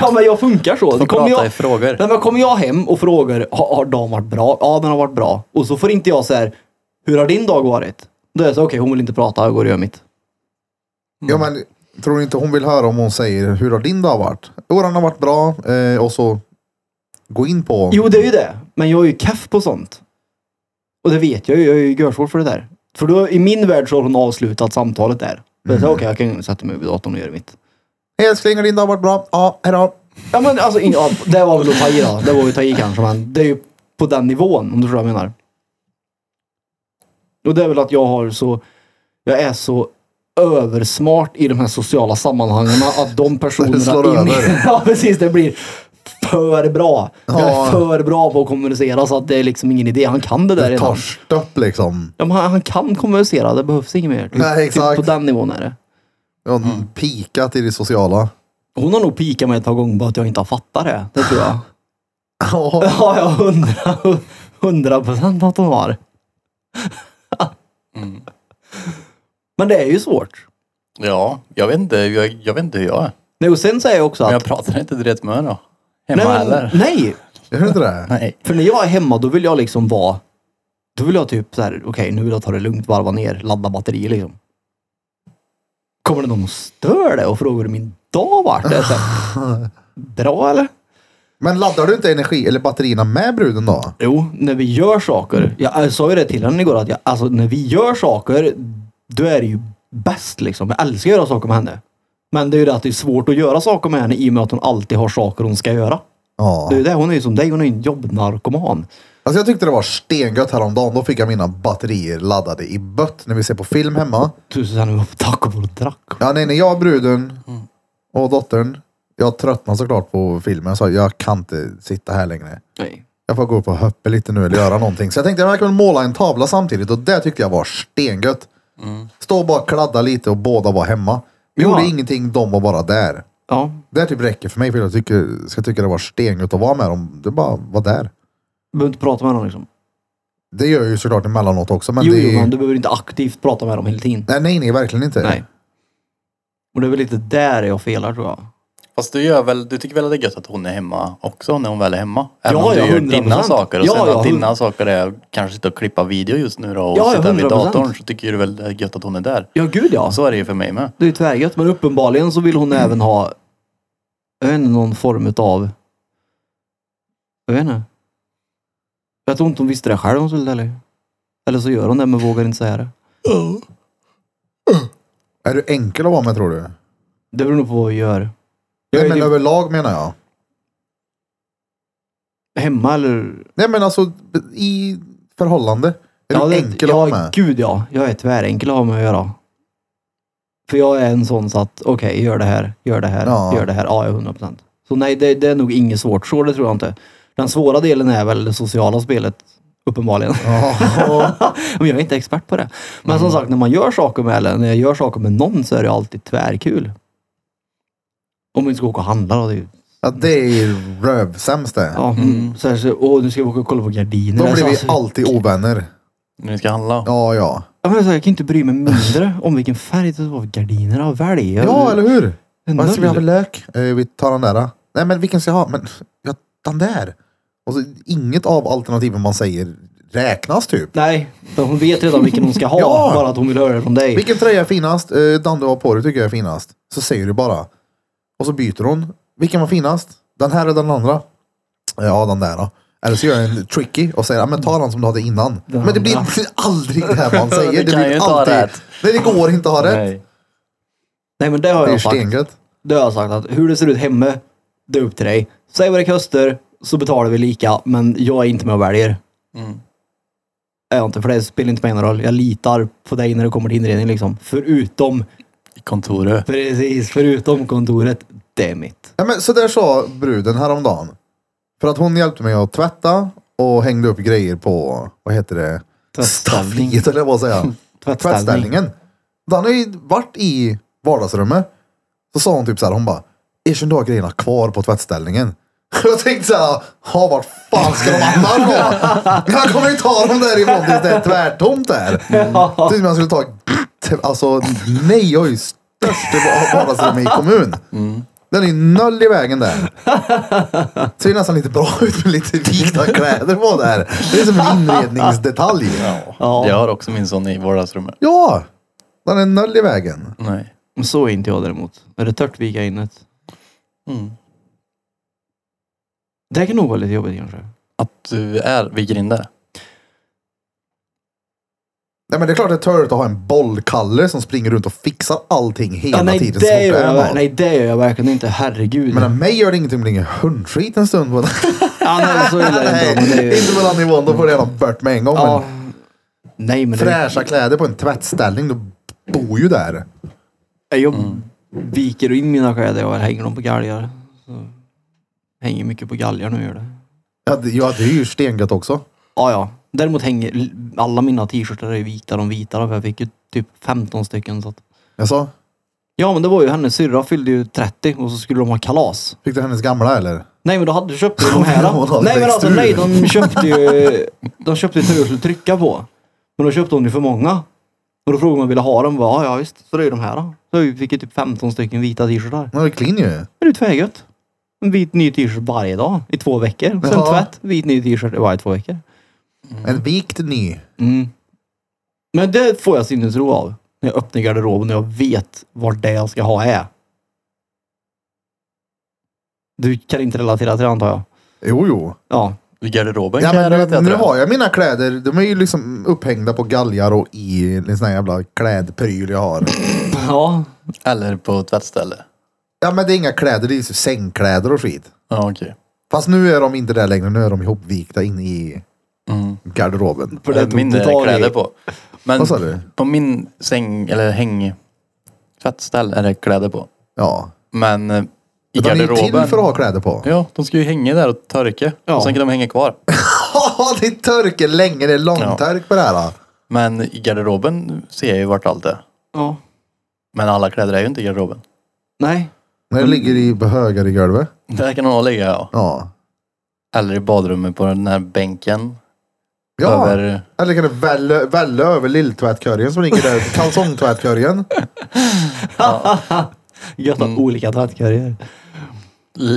B: ja men jag funkar så. Kommer
C: Får prata
B: jag,
C: i frågor.
B: Nej, men kommer jag hem och frågar, har, har dagen varit bra? Ja, den har varit bra. Och så får inte jag så här, hur har din dag varit? Då är jag så, okej hon vill inte prata, jag går och gör mitt.
A: ja, men tror du inte hon vill höra om hon säger hur har din dag varit? Jo, den har varit bra. Eh, och så gå in på.
B: Jo, det är ju det. Men jag är ju keff på sånt. Och det vet jag ju, jag är ju görsvår för det där. För då, i min värld så har hon avslutat samtalet där. Då är jag så, Okej, jag kan sätta mig vid datorn och göra mitt.
A: Hej älskling, har din dag varit bra? Ja, hejdå.
B: Ja men alltså, in, ja, det var väl att ta i då. Det var ju att ta i kanske, men det är ju på den nivån om du förstår vad jag menar. Och det är väl att jag har så, jag är så översmart i de här sociala sammanhangen
A: [LAUGHS]
B: att de personerna
A: slår
B: i min-
A: över.
B: [LAUGHS] ja precis, det blir för bra. Jag
A: Ja.
B: är för bra på att kommunicera så att det är liksom ingen idé. Han kan det där
A: Det
B: redan.
A: tar stört liksom.
B: Ja, men han, han kan kommunicera, det behövs inget mer. Typ,
A: Nej, exakt.
B: Typ på den nivån är det.
A: Jag har
B: Mm.
A: pikat i det sociala.
B: Hon har nog pikat mig ett par gånger bara att jag inte har fattat det. Det tror [LAUGHS] jag.
A: Ja.
B: Ja,
C: [LAUGHS]
B: ja, hundra, hundra procent att de har.
C: Mm.
B: Men det är ju svårt.
C: Ja, jag vet, inte, jag, jag vet inte hur jag är.
B: Nej, och sen säger jag också att...
C: Men jag pratar inte direkt med henne då. Hemma
B: nej, men-
C: heller.
B: nej,
A: Gör du inte det?
C: Nej.
B: för när jag är hemma då vill jag liksom vara... Då vill jag typ så här, okej nu vill jag ta det lugnt, varva ner, ladda batterier liksom. Kommer det
C: [LAUGHS]
B: någon och stör det och frågar hur min dag vart? Det är så här, Bra eller?
A: Men laddar du inte energi eller batterierna med bruden då?
B: Jo, när vi gör saker. Jag, jag sa ju det till henne igår att jag, alltså, när vi gör saker, då är det ju bäst liksom. Jag älskar att göra saker med henne. Men det är ju det att det är svårt att göra saker med henne i och med att hon alltid har saker hon ska göra.
A: Ja.
B: Det är ju det. Hon är ju som dig, hon är ju en jobbnarkoman.
A: Alltså jag tyckte det var stengött häromdagen. Då fick jag mina batterier laddade i bött när vi ser på film hemma.
B: Tusen sen när vi var på taco Bowl och drack.
A: Ja, nej, när jag, bruden
B: Mm.
A: och dottern. Jag tröttnade såklart på filmen. Så jag kan inte sitta här längre.
B: Nej.
A: Jag får gå upp och höppe lite nu eller göra någonting. Så jag tänkte jag kan väl måla en tavla samtidigt och det tyckte jag var stengött. Stå och bara kladda lite och båda var hemma. Vi
B: Mm. Ja.
A: gjorde ingenting, de var bara där.
B: Ja.
A: Det typ räcker för mig för jag tycker, ska tycka det var stengött att vara med dem. Det bara var där.
B: Behöver inte prata med dem liksom.
A: Det gör jag ju såklart emellanåt också. Men
B: jo,
A: det är...
B: jo, men du behöver inte aktivt prata med dem hela tiden.
A: Nej, nej, nej, verkligen inte.
B: Nej. Och det är väl lite där jag felar tror jag.
C: Fast du, gör väl, du tycker väl att det är gött att hon är hemma också när hon väl är hemma? Även
B: Ja,
C: om du
B: ja,
C: gör
B: 100%.
C: dina saker och
B: Ja,
C: sen
B: ja,
C: att dina
B: hund-
C: saker är kanske sitta och klippa video just nu då och
B: Ja, ja,
C: sitta vid
B: 100%.
C: datorn så tycker du väl det är gött att hon är där.
B: Ja, gud ja.
C: Så är det ju för mig med.
B: Det är ju tvärgött, men uppenbarligen så vill hon
A: Mm.
B: även ha jag vet inte, någon form utav... Jag vet inte. Jag tror inte hon visste det själv hon skulle eller? Eller så gör hon det men vågar inte säga det.
A: Är du enkel att vara med tror du?
B: Det beror nog på vad vi gör.
A: Nej,
B: Jag är typ
A: men
B: ju-
A: överlag menar jag.
B: Hemma eller...
A: Nej, men alltså i förhållande. Är du
B: det-
A: enkel
B: ja,
A: att vara med?
B: gud ja. Jag är tvärenkel att ha med att göra. För jag är en sån så att, okej, gör det här, gör det här,
A: Ja.
B: gör det här. Ja, jag är 100 procent. Så nej, det, det är nog inget svårt så, det tror jag inte. Den svåra delen är väl det sociala spelet, uppenbarligen.
A: Ja.
B: Men jag är inte expert på det. Men som sagt, när man gör saker med, eller när jag gör saker med någon så är det alltid tvärkul. Om vi inte ska åka och handla då. Det är ju,
A: ja, det är ju rövsämst det.
B: ja, Mm. så här, så, åh, nu ska vi åka och kolla på gardiner.
A: Då
B: Alltså,
A: blir vi
B: alltså,
A: alltid ovänner.
C: När vi ska handla.
A: Ja, ja.
B: ja, men, så, här, jag kan inte bry mig mindre om vilken färg det var på gardinerna. Välj! Jag-
A: Ja, eller hur?
B: en
A: Vad ska vi
B: noll.
A: ha för lök? Eh, vi tar den där. Nej, men vilken ska jag ha? Men ja, den där. Och så, inget av alternativen man säger räknas typ.
B: Nej, för hon vet redan vilken hon ska [LAUGHS] ha.
A: Ja.
B: Bara att hon vill höra det från dig.
A: Vilken tröja är finast? Eh, den du har på dig tycker jag är finast. Så säger du bara. Och så byter hon. Vilken var finast? Den här eller den andra? Ja, den där då. Eller så gör jag en tricky och säger, ja, men ta den som du hade innan.
B: Den
A: men det blir
B: andra.
A: [LAUGHS] aldrig det här
C: [LAUGHS]
A: man säger.
C: Du
A: det
C: kan
A: blir
C: ju inte ha rätt.
A: Nej, det går inte att ha rätt.
C: Nej.
B: Nej, men det
A: Det
B: har
A: är
B: jag sagt.
A: stengött.
B: Det har jag sagt att hur det ser ut hemma, det är upp till dig. Säg vad det kostar, så betalar vi lika. Men jag är inte med och väljer.
C: Mm.
B: Är jag inte, för det spelar inte mig någon roll. Jag litar på dig när det kommer till inredning liksom. Förutom,
C: I kontoret.
B: precis, förutom kontoret. Det är mitt.
A: Ja, men så där sa bruden häromdagen. För att hon hjälpte mig att tvätta och hängde upp grejer på, vad heter det?
B: Tvättställning.
A: Staffliet eller vad säger jag?
B: [LAUGHS] Tvättställning.
A: Tvättställningen. Den har ju varit i vardagsrummet. Så sa hon typ så här, hon bara, erkänn du har grejerna kvar på tvättställningen. [LAUGHS] Jag tänkte så här, ha vart fan ska de annars
B: [LAUGHS]
A: vara? Jag kommer ju ta dem därifrån tills det är tvärtomt
B: [LAUGHS]
A: där. Tills man skulle ta, alltså nej, jag är ju största vardagsrummet i kommun.
B: Mm.
A: Den är ju noll i vägen där. Ser ju nästan lite bra ut med lite vita kläder på där. Det är som en inredningsdetalj.
B: Ja.
C: Jag har också min sån i vardagsrummet.
A: Ja, den är noll i vägen.
C: Nej.
B: Men Så är inte jag däremot. Är det tört vika inet?
C: Mm.
B: Det kan nog vara lite jobbigt kanske.
C: Att du är, viker in det.
A: Nej men det är klart det är törligt att ha en bollkalle som springer runt och fixar allting hela
B: Ja, nej,
A: tiden.
B: det
A: så fort
B: gör jag,
A: är något.
B: ver- nej, det gör jag verkligen inte. Herregud.
A: Men mig gör det ingenting om det ringer hundskit en stund. På den.
B: ja, [LAUGHS] nej, så är
A: [LAUGHS]
B: det
A: Nej,
B: inte. Men det är ju...
A: inte på den nivån, då får det gärna bort med en gång.
B: Ja. Nej,
A: Men
B: men det
A: fräscha kläder på en tvättställning, du bor ju där.
B: jag viker in mina kläder och hänger dem på galgar. Så. Hänger mycket på galgar nu gör det.
A: Ja, det, ja, det är ju stengött också.
B: Ja, ja. Däremot hänger l- alla mina t-shirtar är ju vita, de vita. då, För jag fick ju typ 15 stycken. Så att...
A: Jag sa,
B: Ja, men det var ju hennes syrra fyllde ju 30 och så skulle de ha kalas.
A: fick du hennes gamla eller?
B: Nej, men då hade köpte de här.
A: Hon hade
B: nej, men
A: växt
B: alltså
A: ur.
B: nej, de köpte ju... De köpte ju tröjor som skulle trycka på. Men då köpte hon ju för många. Och då frågade man om jag ville ha dem. Bara, ja, ja, visst. Så det är ju de här då. Så vi fick ju typ 15 stycken vita t-shirtar.
A: Hon är clean ju.
B: Det är ju tvärgött. En vit ny t-shirt varje dag i två veckor. Sen
A: Ja.
B: tvätt, vit ny t-shirt i varje två veckor.
A: En vikt ny.
B: Mm. Men det får jag sinnesro av. När jag öppnar garderoben och jag vet vad det jag ska ha är. Du kan inte relatera till det antar jag?
A: Jo, jo.
B: Ja.
C: I garderoben
A: Ja,
C: kan jag
A: men nu,
C: relatera
A: nu
C: till det.
A: har jag mina kläder. De är ju liksom upphängda på galgar och i en sån här jävla klädpryl jag har.
B: ja.
C: Eller på tvättställe.
A: Ja, men det är inga kläder. Det är ju sängkläder och skit.
C: Ja, okej.
A: Fast nu är de inte där längre. Nu är de ihopvikta inne i garderoben.
B: För det
C: Jag har
B: tog Eh, du
C: Mm. mindre
B: tag i.
C: kläder på. Men
A: Mm. Vad sa du?
C: på min säng eller häng tvättställ är det kläder på.
A: Ja.
C: Men eh, i
A: De är ju till
C: garderoben.
A: för att ha kläder på.
C: Ja, de ska ju hänga där och torka.
B: Ja.
C: Och sen kan de hänga kvar.
A: [LAUGHS] Ja, det är törke länge. Det är långtörk på det här. då.
C: Men i garderoben ser jag ju vart allt är.
B: ja.
C: Men alla kläder är ju inte i garderoben.
B: Nej.
A: Men det
C: Mm.
A: ligger i högar i golvet.
C: Där kan de ligga ja.
A: Ja.
C: Eller i badrummet på den här bänken.
A: Ja,
C: Över...
A: eller kan det välla, välla över lilltvättkorgen som ligger där.
C: [LAUGHS]
A: Kalsongtvättkorgen.
B: [LAUGHS] Gött att olika tvättkorgar.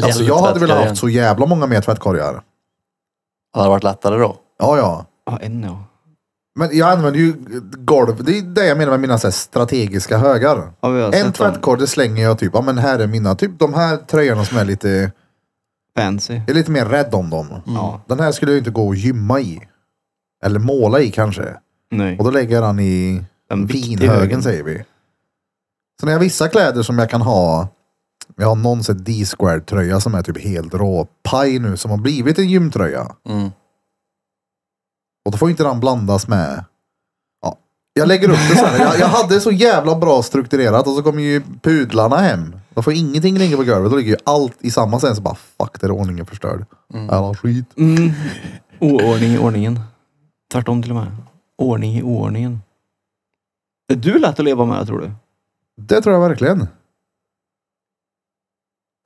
A: Alltså jag hade velat
C: tvättkorgen.
A: haft så jävla många mer tvättkorgar.
C: Hade det varit lättare då?
A: Ja, ja.
B: Ja, en ja.
A: Men jag använder ju golv. Det är det jag menar med mina så här strategiska högar.
B: Ja, vi har
A: En
B: sett dem.
A: tvättkorg det slänger jag typ, ja men här är mina, typ de här tröjorna som är lite,
B: Fancy.
A: jag är lite mer rädd om dem.
B: Ja.
A: Den här skulle jag inte gå och gymma i. Eller måla i kanske.
B: Nej.
A: Och då lägger jag den i
B: En viktig höger.
A: vinhögen säger vi. Sen har jag vissa kläder som jag kan ha. Jag har någon sån här D-square tröja som är typ helt rå paj nu som har blivit en gymtröja.
C: Mm.
A: Och då får ju inte den blandas med... Ja. Jag lägger upp det sen. Jag, jag hade så jävla bra strukturerat och så kommer ju pudlarna hem. Då får ingenting ligga på golvet. Då ligger ju allt i samma sen. Så bara fuck, där är ordningen förstörd. Alla skit.
B: Mm. Oordning i ordningen. Tvärtom till och med. Ordning i oordningen. Är du lätt att leva med tror du?
A: Det tror jag verkligen.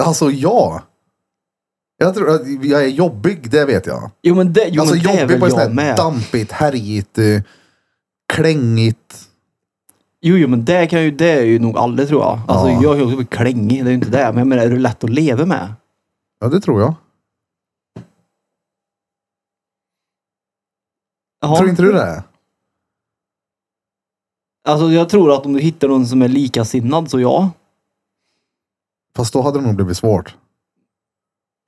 A: Alltså ja. Jag tror att jag är jobbig, det vet jag.
B: Jo men det, jo,
A: alltså
B: men det är
A: jobbig
B: väl
A: på ett
B: jag
A: sånt här
B: med.
A: dampigt, härjigt, eh, klängigt.
B: Jo, jo men det, kan ju, det är ju nog alla tror jag. Alltså
A: Ja.
B: jag är ju också klängig, det är ju inte det. Men jag menar, är du lätt att leva med?
A: Ja, det tror jag.
B: Jaha.
A: Tror inte du det?
B: Alltså jag tror att om du hittar någon som är likasinnad så ja.
A: Fast då hade det nog blivit svårt.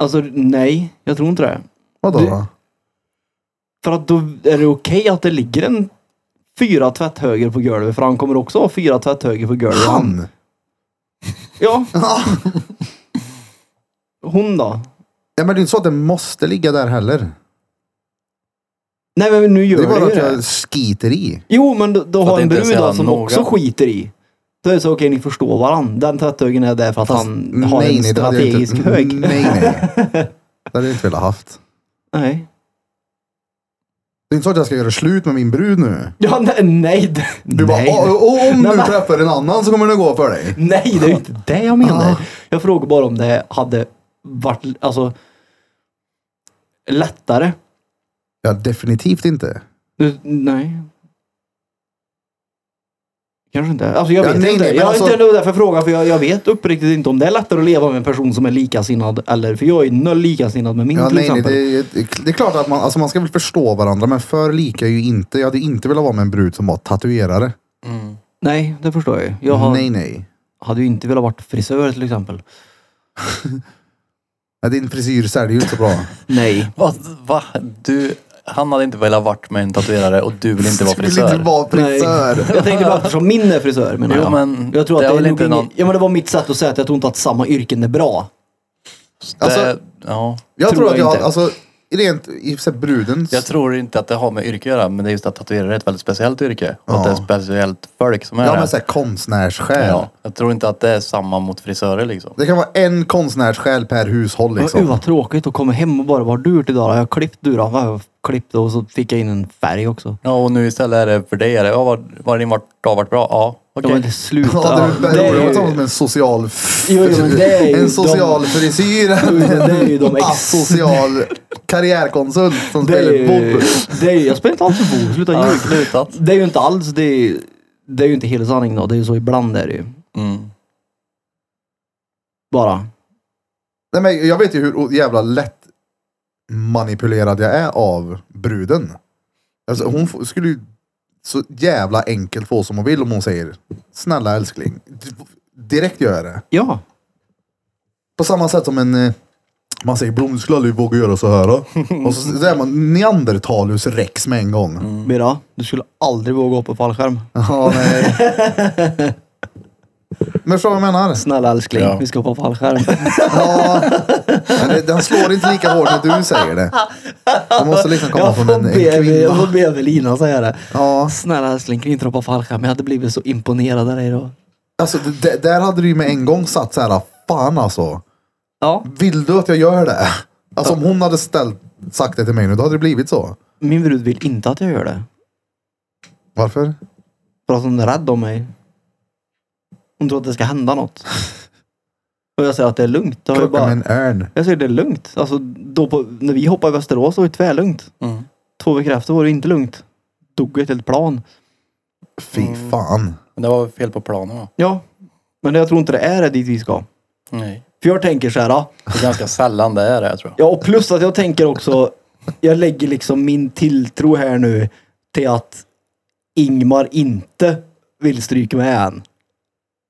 B: Alltså nej, jag tror inte det.
A: Vadå
B: Du-
A: då?
B: För att då är det okej att det ligger en fyra tvätthöger på golvet. För han kommer också ha fyra tvätthöger på golvet.
A: Han!
B: Ja,
A: Ja,
B: hon då?
A: men det är inte så att det måste ligga där heller.
B: Nej men nu gör
A: Det är bara
B: ju
A: att
B: det.
A: jag skiter i.
B: Jo, men då, då
C: För att
B: har en
C: det inte är så
B: brud då
C: jävla
B: som
C: noga.
B: också skiter i. Då är det så, okej ni förstår varandra. Den tvätthögen är där för att han har en
A: det hade jag inte- Mm.
B: strategisk hög.
A: Nej, nej.
B: [LAUGHS]
A: Det hade jag inte velat haft.
B: Nej.
A: Det är inte så att jag ska göra slut med min brud nu.
B: Ja, nej, nej. d-
A: Du bara,
B: nej.
A: "Å- å- om
B: Nej,
A: du
B: men-
A: träffar en annan så kommer det gå för dig.
B: nej, det är ju inte det jag menar.
A: Ah.
B: Jag frågar bara om det hade varit, alltså, lättare.
A: Ja, definitivt inte.
B: Du, nej. Kanske inte. Alltså jag
A: Ja,
B: vet
A: nej,
B: inte.
A: nej, men
B: jag
A: alltså-
B: alltså... inte det var därför jag frågar, för jag, jag vet uppriktigt inte om det är lättare att leva med en person som är likasinnad eller, för jag är noll likasinnad med min
A: Ja,
B: till
A: nej, nej,
B: exempel.
A: det, är- det är klart att man, alltså man ska väl förstå varandra, men för lika är ju inte. Jag hade inte velat vara med en brud som var tatuerare.
B: Nej, det förstår jag ju. Jag har,
A: Nej, nej.
B: hade ju inte velat vara frisör till exempel.
A: Ja, Din frisyr säljer ju inte så bra.
B: Nej.
C: Va? Va? Du, han hade inte velat varit med en tatuerare och du vill
A: [LAUGHS]
C: inte vara
A: Du vill inte
C: frisör.
A: vara frisör.
B: Nej. Jag tänkte bara eftersom min är frisör menar
C: Jo,
B: jag.
C: men
B: jag tror
C: det
B: att
C: är
B: det,
C: väl
B: är
C: inte
B: inte
C: någon-
B: ja, men det var mitt sätt att säga att jag tror inte att samma yrken är bra.
A: Alltså-
C: det, ja.
A: Jag tror,
B: Tror
A: att
B: jag
A: jag,
B: inte.
A: alltså, rent i så här, brudens...
C: Jag tror inte att det har med yrke att göra, men det är just att tatuerare är ett väldigt speciellt yrke. Och att det
A: Ja.
C: är speciellt folk som är
A: ja,
C: det.
A: men så här, konstnärssjäl.
C: ja. Jag tror inte att det är samma mot frisörer liksom.
A: Det kan vara en konstnärssjäl per hushåll
B: Liksom.
A: liksom.
B: Gud vad tråkigt att komma hem och bara, vad har du gjort idag? Jag har klippt du då? Vad har Jag klippt och så fick jag in en färg också.
C: Ja, och nu istället är det för dig. Är det, ja, var, var din vart, dag varit bra? Ja, okej.
B: Ja men det slutar.
A: Ja, det
B: det
A: är
B: är
A: roligt
B: ju-
A: som en social... f-
B: Jo, jo, men det är ju
A: en
B: de-
A: social
B: [LAUGHS]
A: frisyr.
B: men det är ju de ex-
A: asocial karriärkonsult som
B: det är
A: spelar
B: ju-
A: bob.
B: det är ju- Jag spelar inte alls för bob, sluta
C: Ja,
B: ljuga.
C: slutat.
B: Det är ju inte alls, det är, det är ju inte hela sanningen då. Det är ju så ibland är det ju.
C: Mm.
B: Bara.
A: Nej, men jag vet ju hur jävla lätt manipulerad jag är av bruden. Alltså, hon f- skulle ju så jävla enkelt få som hon vill om hon säger snälla älskling. D- Direkt gör jag det.
B: Ja.
A: På samma sätt som en eh, Man säger blomsklalle vågar göra så här.
B: [LAUGHS]
A: då." Och så säger man neandertalus rex med en gång.
B: Bira, du skulle aldrig våga hoppa fallskärm.
A: [LAUGHS] Mm. Ja, nej. Men förstår vad jag
B: [LAUGHS]
A: menar?
B: Snälla älskling,
C: Ja.
B: vi ska hoppa fallskärm.
A: Ja, men det- den slår inte lika hårt när du säger det. Det måste liksom komma
B: jag, [LAUGHS]
A: från
B: får
A: en, en
B: be, jag får
A: kvinna.
B: be Evelina säga det.
A: Ja,
B: Snälla älskling, kan vi inte hoppa fallskärm? Jag hade blivit så imponerad av dig då.
A: alltså det- det, där hade du ju med en gång satt så här, fan alltså.
B: Ja,
A: Vill du att jag gör det? Alltså om hon hade ställt, sagt det till mig nu, då hade det blivit så.
B: min brud vill inte att jag gör det.
A: Varför?
B: För att hon är rädd om mig. Hon tror att det ska hända något. Och jag säger att det är lugnt. Då har jag,
A: Klockan
B: bara,
A: med en örn.
B: jag säger det är lugnt. Alltså, då på, när vi hoppade i Västerås var det tvärlugnt.
C: Mm.
B: Två veckor efter var det inte lugnt. Dog ett helt plan.
A: Fy
B: Mm.
A: fan.
C: Men det var fel på planen va?
B: Ja, men jag tror inte det är det dit vi ska.
C: Nej.
B: För jag tänker så här. ja.
C: Det är ganska sällan det är det jag tror jag.
B: Ja, och plus att jag tänker också. Jag lägger liksom min tilltro här nu till att Ingmar inte vill stryka med än.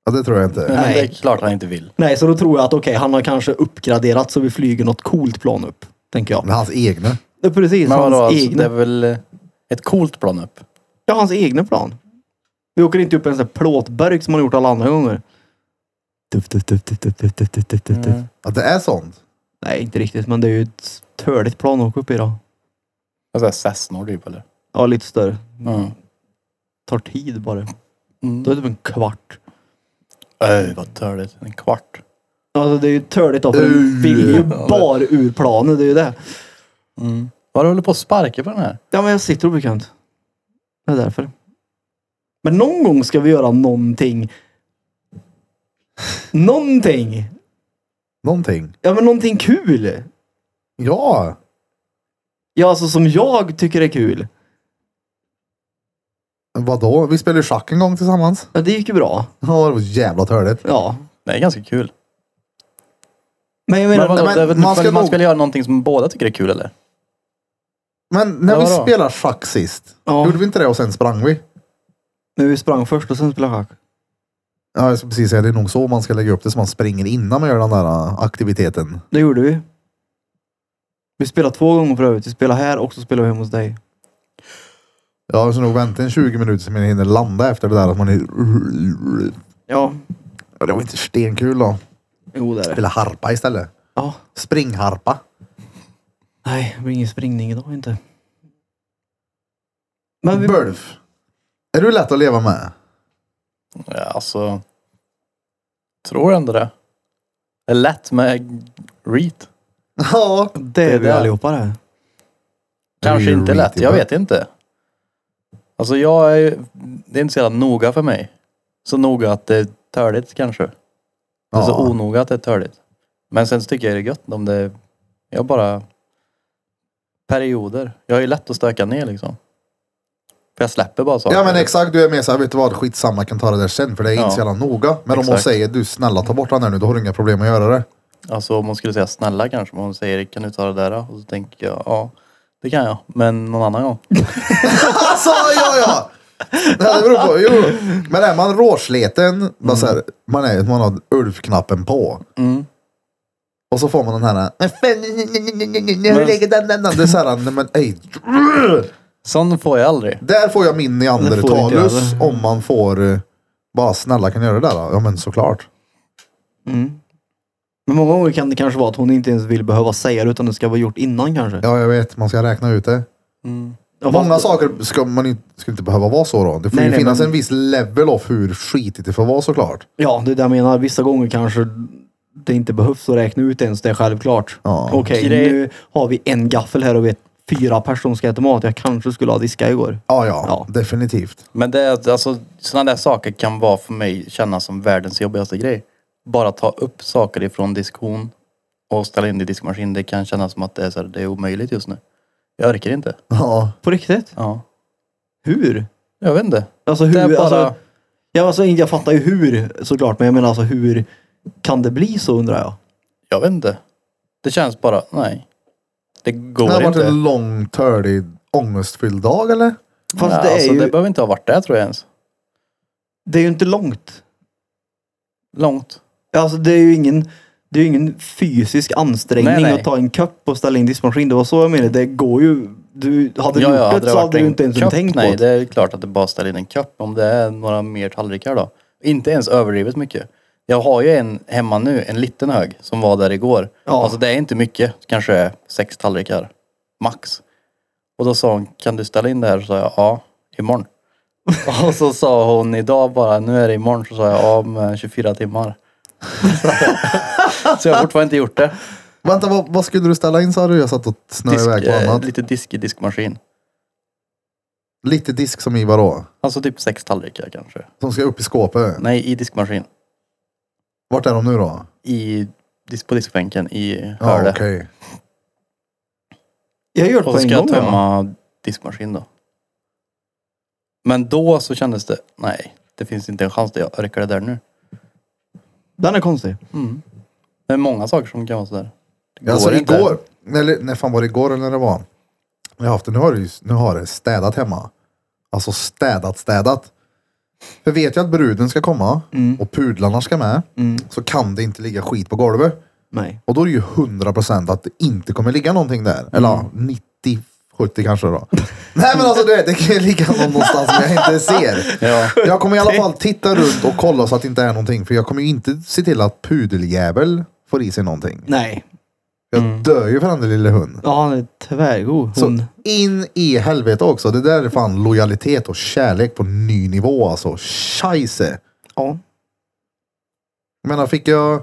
A: Ja, det tror jag inte.
C: Men det är
B: Nej.
C: klart han inte vill.
B: Nej, så då tror jag att okej, han har kanske uppgraderat så vi flyger något coolt plan upp. Tänker jag.
A: Men hans egna.
B: Det är precis,
C: Men
B: hans
C: vadå, alltså,
B: egna.
C: det är väl eh, ett coolt plan upp?
B: Ja, hans egna plan. Vi åker inte upp en sån här plåtberg som man har gjort alla andra gånger. Tuff, tuff, tuff, tuff, tuff, tuff, tuff, tuff, tuff, tuff.
C: Mm.
A: Att det är sånt.
B: Nej, inte riktigt, men det är ju ett törligt plan att åka upp i då.
C: Alltså Cessnor typ eller?
B: Ja, lite större.
C: Mm.
B: Tar tid bara.
C: Mm.
B: Det är typ en kvart.
C: Öj, vad törligt. En kvart.
B: Alltså det är ju törligt då, för
A: Uh.
B: den vill ju bara ur planen, det är ju det.
C: Mm. Vad håller du på att sparka på den här?
B: Ja, men jag sitter obekvämt. Det är därför. Men någon gång ska vi göra någonting. Någonting!
A: Någonting.
B: Ja, men någonting kul!
A: Ja.
B: Ja, alltså som jag tycker är kul.
A: Vadå? Vi spelade ju schack en gång tillsammans. [LAUGHS]
B: Ja, det gick ju bra.
A: Ja, det var jävla törligt.
B: Ja.
C: Det är ganska kul.
B: Men jag
C: Men
B: menar,
C: vadå,
A: men
C: det är väl,
A: man
C: man,
A: ska
C: ska man
A: nog-
C: ska väl göra någonting som båda tycker är kul eller?
A: Men när vi
C: Ja, då.
A: spelade schack sist,
B: Ja.
A: gjorde vi inte det och sen sprang vi?
B: men vi sprang först och sen spelade schack.
A: Ja, jag skulle precis säga det är nog så man ska lägga upp det, så man springer innan man gör den där äh, aktiviteten.
B: Det gjorde vi. Vi spelade två gånger för övrigt. Vi spelade här och så spelade vi hemma hos dig.
A: Ja, Jag ska nog vänta en 20 minuter så man hinner landa efter det där att man är...
B: Ja.
A: Ja, Det var inte stenkul då.
B: Jo, det är det.
A: Spela harpa istället.
B: Ja.
A: Springharpa.
B: Nej, det blir ingen springning idag inte. Men vi...
A: Bulf. Är du lätt att leva med?
C: Ja, alltså... Tror ändå det. Det är lätt med reet.
A: Ja.
B: Det är vi
C: det.
B: allihopa det.
C: Kanske
A: Det är ju
C: inte lätt,
A: riktigt
C: jag
A: bra.
C: vet inte. Alltså jag är ju- det är inte så jävla noga för mig. Så noga att det är törligt kanske. Det är så
A: Ja.
C: onoga att det är törligt. Men sen så tycker jag det är gött om det, jag bara, perioder. Jag är ju lätt att stöka ner liksom. För jag släpper bara saker.
A: Ja men exakt, du är med såhär, vet du vad, skitsamma, kan ta det där sen för det är inte
C: Ja.
A: så jävla noga. Men om hon
C: Exakt.
A: säger, du snälla ta bort den här nu, då har du inga problem att göra det.
C: Alltså om hon skulle säga snälla kanske, men hon säger kan du ta det där då? Och så tänker jag, ja det kan jag, men någon annan gång.
A: Alltså ja ja! Ja, det beror på, jo. Men är man råsleten, bara så här, man, är, man har Ulf-knappen på.
C: Mm.
A: Och så får man den här, "Men fan, nej, nej, nej, nej, nej, nej, hur ligger den, den, den? Det är såhär, nej men ej.
C: Sån får jag aldrig.
A: Där får jag min
B: Det får
A: neandertalus
B: inte
A: om man får, eh, bara snälla kan du göra det där då? Ja men såklart.
B: Mm. Men många gånger kan det kanske vara att hon inte ens vill behöva säga det utan det ska vara gjort innan kanske.
A: Ja jag vet, man ska räkna ut det.
B: Ja,
A: Många
B: fast-
A: saker ska, man inte, ska inte behöva vara så då. Det får
B: Nej,
A: ju
B: nej,
A: finnas
B: men-
A: en viss level av hur skitigt det får vara såklart.
B: Ja, det är det jag menar. Vissa gånger kanske det inte behövs att räkna ut ens. Det är självklart.
A: Ja.
B: Okej,
C: Grej-
B: nu har vi en gaffel här och vi är fyra personer ska äta mat. Jag kanske skulle ha diskat igår.
A: Ja, ja,
B: Ja.
A: definitivt.
C: Men det är alltså, sådana där saker kan vara för mig kännas som världens jobbigaste grej. Bara ta upp saker ifrån diskon och ställa in det i diskmaskin. Det kan kännas som att det är, så här, det är omöjligt just nu. Jag orkar inte.
A: Ja.
B: På riktigt?
C: Ja.
B: Hur?
C: Jag vet inte.
B: Alltså
C: Det är
B: hur?
C: bara...
B: Alltså, ja, alltså, jag fattar ju hur såklart, men jag menar alltså hur kan det bli så undrar jag?
C: Jag vet inte. Det känns bara, nej. Det går
A: Det har varit
C: inte.
A: en lång, tördig, ångestfylld dag eller?
B: Fast
C: Nej,
B: det, är
C: alltså,
B: ju,
C: det behöver inte ha varit det tror jag ens.
B: det är ju inte långt.
C: Långt.
B: Alltså det är ju ingen Det är ju ingen fysisk ansträngning
C: Nej, nej.
B: att ta en cup och ställa in diskmaskin. Det var så jag menade. Det går ju. Du, hade du
C: Ja, ja,
B: gjort det så
C: varit
B: hade du
C: en
B: inte ens
C: cup,
B: tänkt
C: Nej,
B: på
C: det
B: det.
C: är klart att det bara ställer in en cup om det är några mer tallrikar då. Inte ens överdrivet mycket. Jag har ju en hemma nu, en liten hög, som var där igår.
B: Ja.
C: Alltså det är inte mycket, kanske sex tallrikar. Max. Och då sa hon, kan du ställa in det här? Så sa jag, ja, imorgon. [LAUGHS] Och så sa hon idag bara, nu är det imorgon. Så sa jag, ja, om eh, 24 timmar. [LAUGHS] så jag har fortfarande inte gjort det.
A: Vänta, vad, vad skulle du ställa in sa du? Jag satt och snurrade iväg
C: Disk,
A: på
C: eh,
A: annat.
C: lite disk i diskmaskin.
A: Lite disk som i vadå?
C: Alltså typ sex tallrikar kanske.
A: Som ska upp i skåpet.
C: Nej, i diskmaskin.
A: Vart är de nu då?
C: i, dis- på diskbänken i
A: Ja,
C: hörde.
A: okej.
B: Jag gör det
C: Och
B: på
C: så
B: en
C: ska jag
B: gång. ja.
C: tömma diskmaskin då. Men då så kändes det, nej, det finns inte en chans att jag orkar det där nu.
B: Den är konstig.
C: Det är många saker som kan vara sådär. Det går
A: Alltså
C: inte.
A: igår, eller när fan var det igår eller när det var? Jag har haft det, nu har det, ju- nu har det städat hemma. Alltså städat, städat. För vet jag att bruden ska komma
C: Mm.
A: och pudlarna ska med så kan det inte ligga skit på golvet.
B: Nej.
A: Och då är det ju 100% att det inte kommer ligga någonting där. Eller
C: Mm.
A: ja, 90, 70 kanske då. [LAUGHS] Nej men alltså du vet, det kan ju ligga någon någonstans som jag inte ser. [LAUGHS]
C: Ja.
A: Jag kommer i alla fall titta runt och kolla så att det inte är någonting. För jag kommer ju inte se till att pudeljävel får i sig någonting.
B: Nej.
A: Jag dör ju för den där lilla hunden.
B: Ja, han är tvärgod.
A: Så
B: Hon.
A: in i helvete också. Det där är fan lojalitet och kärlek på ny nivå alltså. Scheisse.
B: Ja.
A: Jag menar, fick jag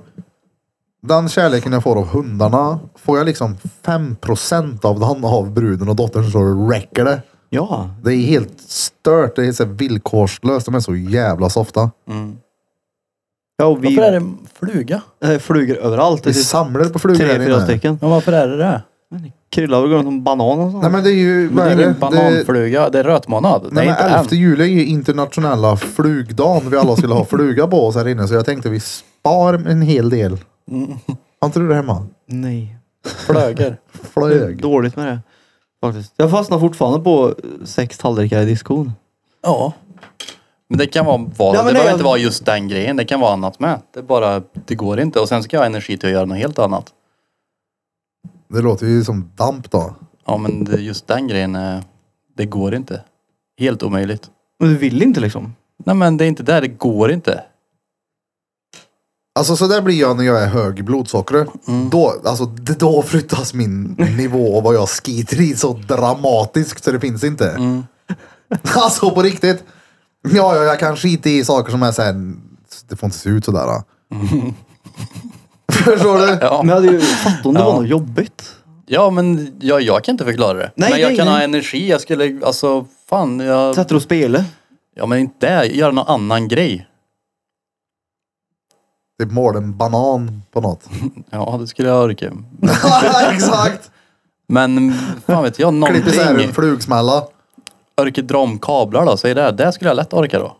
A: den kärleken jag får av hundarna, får jag liksom 5% av den av bruden och dottern så räcker det.
B: Ja.
A: Det är helt stört. Det är så här villkorslöst. De är så jävla softa.
C: Mm.
B: Ja, och vi
C: Varför är det en fluga?
B: eh, flugor överallt. Det
A: Vi
B: är
A: samlar på flugor
B: tre,
A: här
B: fyra
A: inne.
B: stycken.
C: Ja, varför är det det?
B: Kryllar och går runt som banan och sånt.
A: Nej men det är ju,
C: Men
A: vad är
C: det är ingen
A: det? det
C: bananfluga, det är rötmånad. Det är
A: nej, men
C: inte
A: 11
C: än.
A: juli är ju internationella flugdagen. Vi alla skulle ha fluga på oss här inne. Så jag tänkte vi spar en hel del. Har inte du det hemma?
B: Nej.
C: Flöger.
B: Det är
A: Flög.
B: dåligt med det. Faktiskt. Jag fastnar fortfarande på eh, sex tallrikar i diskon.
C: Ja. Men det kan vara vad,
B: Ja, men
C: det
B: det
C: behöver
B: är-
C: inte vara just den grejen. Det kan vara annat med. Det är bara, det går inte. Och sen ska jag ha energi till att göra något helt annat.
A: Det låter ju som damp då.
C: Ja men det, just den grejen, eh, det går inte. Helt omöjligt.
B: Men du vill inte liksom?
C: Nej men det är inte där, det går inte.
A: Alltså så där blir jag när jag är hög i blodsockret. Då, alltså, d- då flyttas min nivå och vad jag skiter i så dramatiskt så det finns inte. [LAUGHS] Alltså på riktigt. Ja, ja, jag kan skita i saker som är såhär, det får inte se ut sådär.
C: [LAUGHS]
A: då. Förstår du?
C: Ja.
B: Men jag
C: [LAUGHS]
B: hade ju fattat om det var
C: Ja.
B: något jobbigt.
C: Ja men jag, jag kan inte förklara det.
B: Nej,
C: men jag
B: nej,
C: kan ha
B: nej.
C: energi, jag skulle, alltså fan. Jag,
B: Sätter och spelar.
C: ja men inte det, göra någon annan grej.
A: Det målar Typ en banan på
C: [LAUGHS]
A: något. [LAUGHS]
C: Ja det skulle jag orka.
A: Exakt!
C: Men fan vet jag,
A: Klipper såhär en
C: någonting.
A: flugsmälla.
C: Orka dra om kablar då, säg det. Det skulle jag lätt orka då.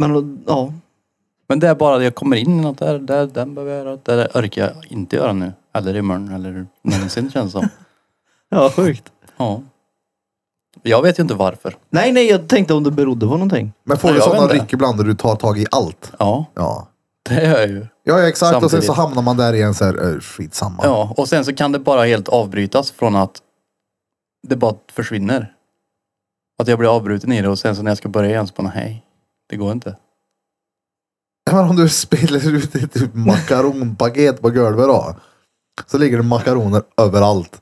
B: Men ja.
C: Men det är bara det jag kommer in i något där, där den behöver jag göra. Det där orkar jag inte göra nu. Eller imorgon eller någonsin känns det som.
B: Ja, sjukt.
C: Ja. Jag vet ju inte varför.
B: Nej, nej, jag tänkte om det berodde på någonting.
A: Men får
C: Nej,
A: du
C: jag
A: sådana
C: vet inte.
A: ryck ibland där du tar tag i allt?
C: Ja,
A: Ja.
C: det gör jag ju.
A: Ja, ja, exakt. Och sen så
C: Samtidigt.
A: hamnar man där igen såhär, äh, skitsamma.
C: Ja, och sen så kan det bara helt avbrytas från att det bara försvinner. Att jag blir avbruten i det och sen så när jag ska börja igen så bara nej, det går inte.
A: Ja, [LAUGHS] Men om du spiller ut ett typ makaronpaket på golvet då. Så ligger det makaroner överallt.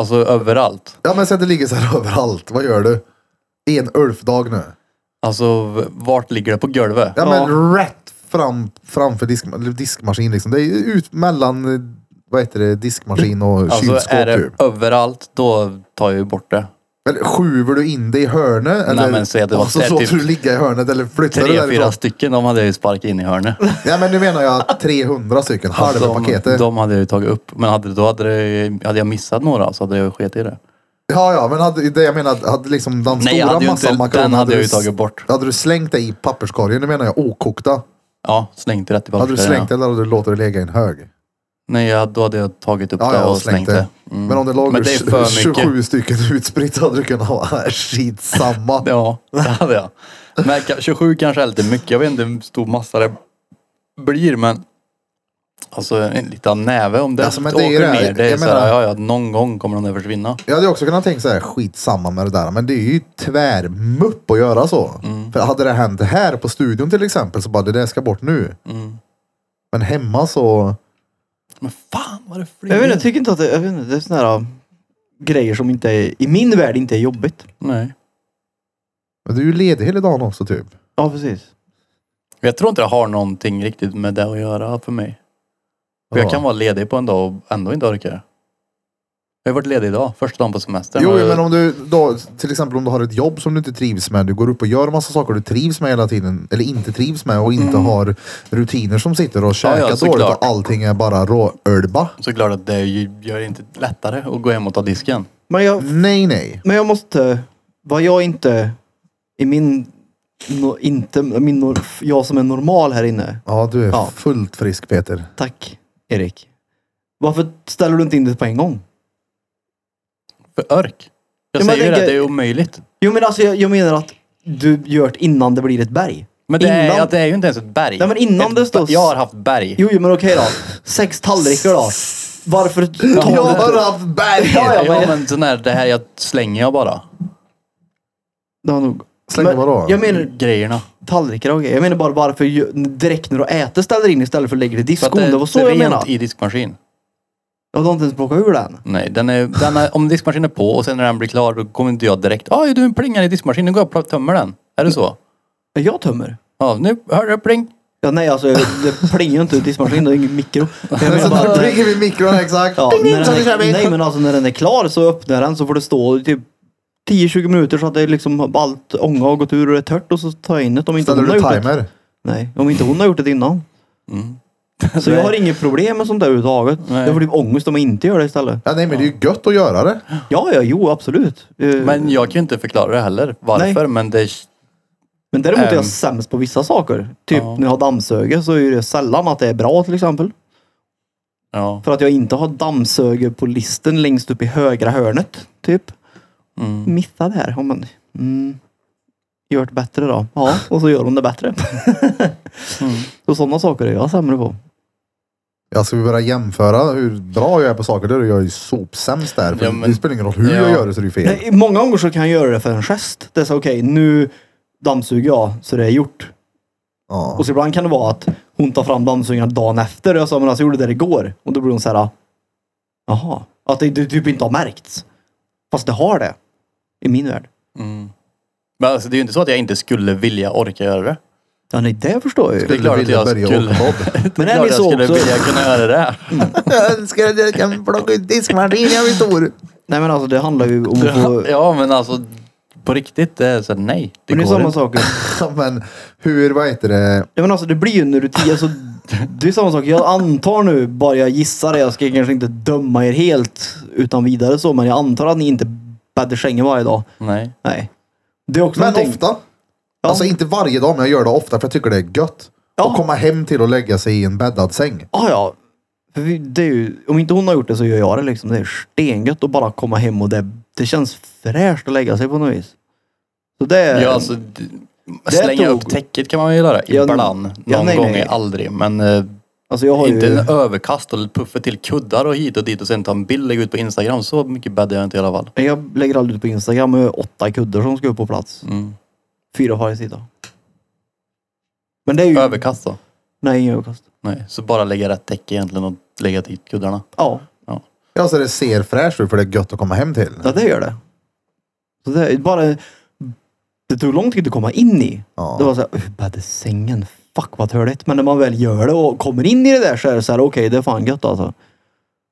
C: Alltså överallt.
A: Ja men säg att det ligger så här överallt. Vad gör du? I en ulfdag nu.
C: Alltså v- vart ligger det på golvet?
A: Ja,
B: Ja.
A: men rätt fram, framför disk, eller diskmaskin liksom. Det är ut mellan, eh, vad heter det, diskmaskin och
C: Alltså
A: kylskåp
C: är det
A: typ.
C: överallt, då tar jag ju bort det.
A: Eller skjuver du in det i hörnet? Eller,
C: men säg att det var
A: och så
C: tre-
A: låter
C: typ
A: du ligga i hörnet eller flyttar du
C: Tre, fyra
A: därifrån?
C: stycken, de hade jag ju sparkat in i hörnet.
A: [LAUGHS] Ja men nu menar jag 300 stycken.
C: Alltså,
A: Halva
C: de,
A: paketet.
C: de hade jag ju tagit upp. Men hade, då hade, det, hade jag missat några så hade jag ju skitit i det.
A: Ja, ja, men hade, det jag menar, hade liksom den
C: Nej, jag
A: stora
C: hade ju
A: massan
C: inte-
A: makaroner.
C: den hade jag
A: du
C: ju
A: s-
C: tagit bort.
A: Hade du slängt det i papperskorgen, nu menar jag okokta.
C: Ja, slängt rätt i
A: Hade du
C: papperskorgen,
A: slängt det
C: ja.
A: eller hade du låtit det ligga i en hög?
C: Nej, jag, då hade jag tagit upp
A: Ja,
C: det
A: ja,
C: och slängt det. Mm.
A: Men om det låg
C: Men det
A: [LAUGHS]
C: är för mycket.
A: 27 stycken utspritt hade du kunnat ha [LAUGHS] skitsamma.
C: Ja, [LAUGHS] det hade jag. Men ka- 27 kanske är lite mycket. Jag vet inte hur stor massa det blir, men Alltså en liten näve om det
A: Alltså, men det är ju
C: åker
A: det här.
C: ner. Det är
A: Jag
C: så här,
A: menar-
C: ja, ja, någon gång kommer de där försvinna.
A: Jag hade ju också kunnat tänka så här, skitsamma med det där. Men det är ju tvärmupp att göra så.
C: Mm,
A: För hade det hänt här på studion till exempel så bara, det där ska bort nu. Men hemma så...
C: mm. Men fan vad det flyger.
B: Jag vet inte, typ- jag tycker inte att det, jag vet inte, det är sådana här äh, grejer som inte är, i min värld inte är jobbigt.
C: Nej.
A: Men du är ju ledig hela dagen också typ.
B: Ja, precis.
C: Jag tror inte det har någonting riktigt med det att göra för mig. För
A: Ja.
C: jag kan vara ledig på en dag och ändå inte orka. Jag har varit ledig idag, första dagen på semestern.
A: Jo,
C: Och-
A: jo, men om du då, till exempel om du har ett jobb som du inte trivs med. Du går upp och gör massa saker du trivs med hela tiden. Eller inte trivs med och inte
B: Mm.
A: har rutiner som sitter och
C: ja,
A: käkar dåligt.
C: såklart.
A: Och allting är bara råölba.
C: Såklart att det ju- gör det inte lättare att gå hem och ta disken.
B: Men jag,
A: Nej, nej.
B: men jag måste, vad jag inte, i min, no, inte, min, nor- jag som är normal här inne.
A: Ja, du är
B: Ja.
A: fullt frisk Peter.
B: Tack, Erik. Varför ställer du inte in det på en gång?
C: För örk. Jag
B: Ja, men
C: säger ju
B: jag
C: det,
B: tänker-
C: det är omöjligt.
B: Jo, men alltså jag, jag menar att du gör det innan det blir ett berg.
C: Men det, är,
B: Innan-
C: ja, det är ju inte ens ett berg.
B: Nej, men innan
C: ett,
B: det står-
C: Jag har haft berg.
B: Jo, jo men okej [LAUGHS] då. Sex tallrikar då. Varför tar
A: Jag
B: du
A: har
B: inte?
A: haft berg!
B: Ja, ja,
C: Ja,
B: men-
C: men sån här, det här jag slänger jag bara.
B: Det har nog...
A: Slänger
B: Men
A: vadå?
B: Jag menar
C: Grejerna.
B: tallrikar och grejer. Jag menar bara varför ju- direkt när du äter ställer in istället för att lägga det i
C: För att
B: diskon. Det var så jag
C: rent
B: menade.
C: i diskmaskin.
B: Jag har inte ens plockat ur den.
C: Nej, den är, den är, om diskmaskinen är på och sen när den blir klar då kommer inte jag direkt. Ja, du plingar i diskmaskinen. Nu går jag och tömmer den. Är det så?
B: Men Jag tömmer.
C: Ja, nu hör du pling.
B: Ja, nej alltså det plingar ju inte ut i diskmaskinen. Det är ingen mikro. Jag
A: [LAUGHS]
B: menar
A: Så
B: bara
A: nu
B: att-
A: prickar vi mikron exakt.
B: Ja,
A: Ding, ding,
B: när
A: så
B: den
A: kör vi.
B: är, nej men alltså när den är klar så öppnar den så får det stå i typ 10-20 minuter så att det liksom allt ånga har gått ur och det är tört och så tar jag in det om inte
A: Ställer
B: hon har
A: du
B: gjort det.
A: timer?
B: Nej, om inte hon har gjort det innan. Så jag har inget problem med sånt där överhuvudtaget.
C: Nej.
B: Jag får typ ångest om jag inte gör det istället.
A: Ja, nej men det är ju gött att göra det.
B: Ja, ja, jo absolut. Eh, Men,
C: Men jag kan ju inte förklara det heller. Varför? Men det...
B: däremot är
C: Ehm.
B: jag sämst på vissa saker. Typ
C: Ja.
B: när jag har dammsugit så är det sällan att det är bra till exempel.
C: Ja.
B: För att jag inte har dammsugit på listen längst upp i högra hörnet. Typ.
C: Mm.
B: Missade här. Ja, men, mm, gjort bättre då. Ja, och så gör hon det
C: [LAUGHS]
B: bättre.
C: Mm.
B: så sådana saker är jag sämre på.
A: Ja, ska vi börja jämföra hur bra jag är på saker? Då är jag ju sopsämst där. För
C: Ja, men-
A: Det spelar ingen roll hur
C: Ja.
A: jag gör det så det är fel.
B: Nej, många gånger så kan jag göra det för en gest. Det är så okej, nu dammsuger jag så det är gjort.
A: Ja.
B: Och så ibland kan det vara att hon tar fram dammsugaren dagen efter. Jag sa, men alltså jag gjorde det igår. Och då blir hon så här, jaha. Att det, det typ inte har märkts. Fast det har det. I min värld.
C: Mm. Men alltså, det är ju inte så att jag inte skulle vilja orka göra det.
B: Ja, nej, det förstår jag ju.
C: Det är klart att
A: vilja
C: jag
A: börja
C: skulle...
A: åka
B: Men
C: det
B: är
C: är klart
B: ni
C: jag
B: så
C: skulle
B: också?
C: vilja kunna göra det.
A: Jag önskar att jag kan plocka ut diskmaskinen jag blir stor.
B: Nej, men alltså det handlar ju om att få...
C: Ja, men alltså på riktigt, det är så här, nej. Det
B: Men det är
C: går
B: samma
C: inte.
B: sak.
A: Ja, men hur, vad heter det?
B: Ja, men alltså det blir ju när du tio, alltså, Det är samma sak. Jag antar nu, bara jag gissar det. Jag ska kanske inte döma er helt utan vidare så, men jag antar att ni inte bäddar sängen varje dag.
C: Nej.
B: Nej. Det är också
A: Men
B: någonting-
A: ofta.
B: Ja.
A: Alltså inte varje dag, men jag gör det ofta för jag tycker det är gött.
B: Ja.
A: Att komma hem till och lägga sig i en bäddad säng.
B: Ja, Ah, ja. För vi- Det är ju, om inte hon har gjort det så gör jag det liksom. Det är stengött att bara komma hem och det, det känns fräscht att lägga sig på något vis. Så det är...
C: Ja, alltså, d-
B: Eh, Det
C: slänga
B: tog-
C: upp täcket kan man ju göra
B: Ja,
C: ibland.
B: ja,
C: Någon
B: nej,
C: gång
B: nej.
C: är aldrig. Men eh,
B: alltså jag har
C: inte
B: ju...
C: en överkast och puffa till kuddar och hit och dit och sen ta en bild och lägga ut på Instagram. Så mycket bäddar jag inte i alla fall.
B: Jag lägger aldrig ut på Instagram med åtta kuddar som ska upp på plats.
C: Mm.
B: Fyra på varje sida. Men det är ju...
C: Överkast då?
B: Nej, ingen överkast.
C: Nej, så bara lägga rätt täcke egentligen och lägga dit kuddarna.
B: Ja,
A: Ja, så det ser fräscht ut för det är gött att komma hem till.
B: ja det gör det. Så det är bara... Det tog lång tid att komma in i.
A: Ja.
B: Det var så här, "Uff, bädde sängen. Fuck vad törligt. Men när man väl gör det och kommer in i det där så är det så här, okej det är fan gött alltså.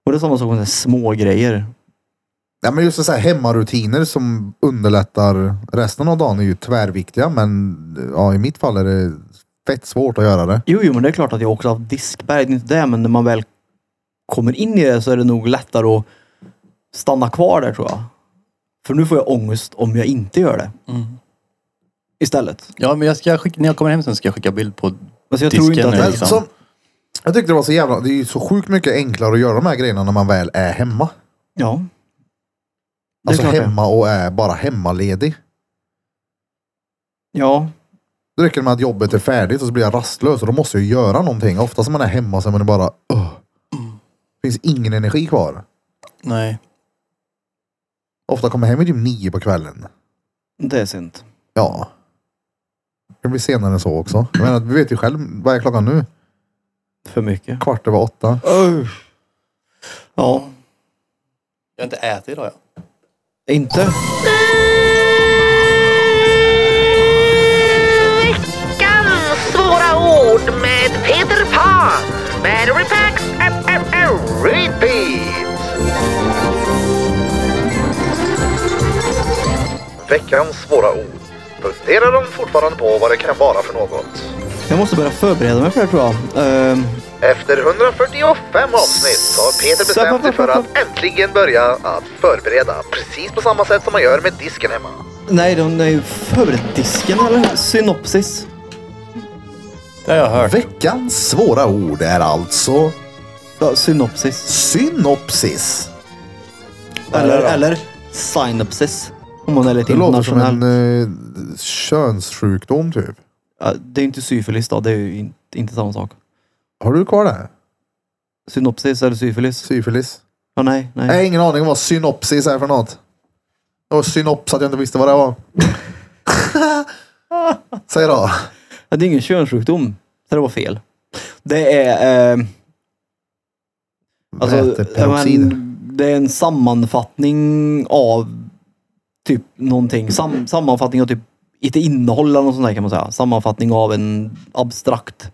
B: Och det är samma sak med såna här små grejer.
A: Ja, men just så här hemmarutiner som underlättar resten av dagen är ju tvärviktiga. Men ja, i mitt fall är det fett svårt att göra det.
B: Jo, jo, men det är klart att jag också har haft diskberg, det är inte det, men när man väl kommer in i det så är det nog lättare att stanna kvar där tror jag. För nu får jag ångest om jag inte gör det.
C: Mm.
B: Istället.
C: Ja, men jag ska skicka, när jag kommer hem sen ska jag skicka bild på...
B: Alltså jag tror
C: Disken
B: inte att
C: är
B: det
A: Men
C: liksom-
A: som, jag tyckte det var så jävla, det är ju så sjukt mycket enklare att göra de här grejerna när man väl är hemma.
B: Ja. Det är
A: Alltså
B: klart det.
A: hemma och är bara hemmaledig.
B: Ja.
A: Det räcker det med att jobbet är färdigt och så blir jag rastlös och då måste jag göra någonting. Ofta som man är hemma så är man bara "Åh,
B: Mm.
A: finns ingen energi kvar.
C: Nej.
A: Ofta kommer jag hem vid typ nio på kvällen.
B: Det är synd.
A: Ja. Det blir senare än så också. Jag menar, du vet ju själv, vad är klockan nu?
B: För mycket.
A: Kvart över åtta.
B: Ja.
C: Jag har inte ätit idag ja.
B: Inte?
D: Veckans svåra ord med Peter Pan. Battery packs and, and, and repeat.
A: Veckans svåra ord. Funderar de fortfarande på vad det kan vara för något?
B: Jag måste börja förbereda mig för det tror jag. Ehm,
A: Efter 145 avsnitt har Peter bestämt sig för att äntligen börja att förbereda. Precis på samma sätt som man gör med disken hemma.
B: nej, de är ju förberett disken eller synopsis.
C: Det har jag hört.
A: Veckans svåra ord är alltså
B: Ja, synopsis.
A: synopsis.
B: Eller, eller synopsis. Om man är lite
A: Det låter som
B: internationell.
A: en eh, könssjukdom typ.
B: Ja, det är inte syfilis då, det är ju in, inte samma sak.
A: Har du kvar det?
B: Synopsis eller syfilis?
A: Syfilis?
B: Ja, nej, nej.
A: Jag har ingen aning om vad synopsis är för något. Det var synops att jag inte visste vad det
B: [LAUGHS]
A: var. Säg då.
B: Ja, det är ingen könssjukdom. Så det var fel. Det är... Eh, alltså, ja,
A: Väteperoxid.
B: men, det är en sammanfattning av typ någonting. Sam, sammanfattning av typ ett innehåll eller något sånt där kan man säga. Sammanfattning av en abstrakt.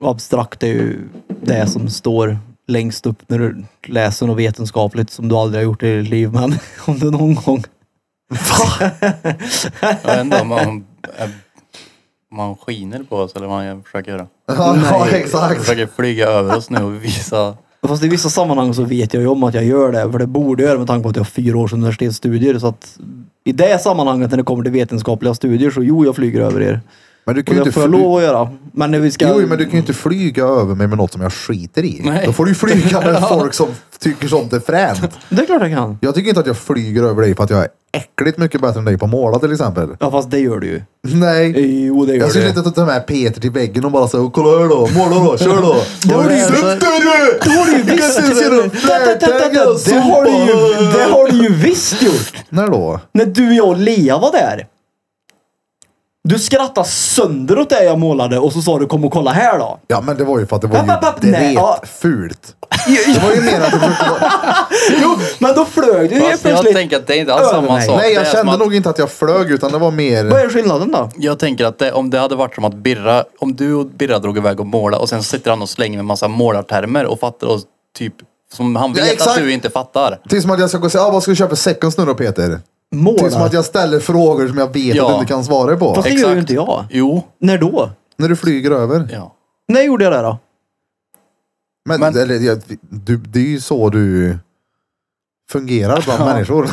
B: Och Abstrakt är ju det som står längst upp när du läser något vetenskapligt som du aldrig har gjort i ditt liv. Men [LAUGHS] om du någon gång...
C: Jag vet inte om man, eh, om man skiner på oss eller vad han försöker göra.
A: [LAUGHS] Ja, ja,
C: Han
A: exakt.
C: försöker flyga över oss nu och visa.
B: [LAUGHS] Fast i vissa sammanhang så vet jag ju om att jag gör det, för det borde jag göra med tanke på att jag har fyra års universitetsstudier. Så att i det sammanhanget när det kommer till vetenskapliga studier så jo, jag flyger över er.
A: Men du kan
B: Och
A: ju
B: det
A: inte
B: får jag
A: fly-
B: lov att göra. Men när vi ska...
A: Jo, men du kan ju inte flyga över mig med något som jag skiter i.
C: Nej.
A: Då får du ju flyga
B: [LAUGHS]
A: med folk som tycker sånt är fränt.
B: Det är klart jag kan.
A: Jag tycker inte att jag flyger över dig för att jag är äckligt mycket bättre än dig på att måla till exempel.
B: Ja, fast det gör du ju. Eh,
A: Nej.
B: Jo, det gör
A: Jag
B: du.
A: skulle inte ta med Peter till väggen och bara säga kolla här då, måla då, kör då. Det
B: har du ju-
A: du! Det har du ju
B: Visst, Det har du ju, det har du ju visst gjort!
A: När då?
B: När du, jag och Lea var där. Du skrattade sönder åt det jag målade och så sa du kom och kolla här då.
A: Ja men det var ju för att det var
B: Papp, papp,
A: ju
B: nej, ja.
A: direkt fult. Det var ju mer att det försökte vara-
B: Jo, men då flög du helt
C: Fast jag
B: plötsligt.
C: tänker att det är inte alls
B: Över
C: samma
B: mig.
C: sak.
A: Nej jag
C: Det är som
A: kände
C: att-
A: nog inte att jag flög utan det var
B: Vad
A: mer...
B: är skillnaden då?
C: Jag tänker att det, om det hade varit som att Birra, om du och Birra drog iväg och målade och sen sitter han och slänger med massa målartermer och fattar oss typ som han
A: Ja,
C: vet
A: exakt.
C: att du inte fattar.
A: Det är som att jag ska gå och säga, ah, vad ska du köpa för seconds nu då Peter? Det är som att
B: Måla?
A: jag ställer frågor som jag vet att
C: Ja.
A: du inte kan svara på.
B: Fast- Det gör ju inte jag.
C: Jo.
B: När då?
A: När du flyger över.
C: Ja.
B: När gjorde jag det då?
A: Men,
C: Men-
A: Eller, ja, du, det är ju så du fungerar bland
B: [LAUGHS]
A: människor.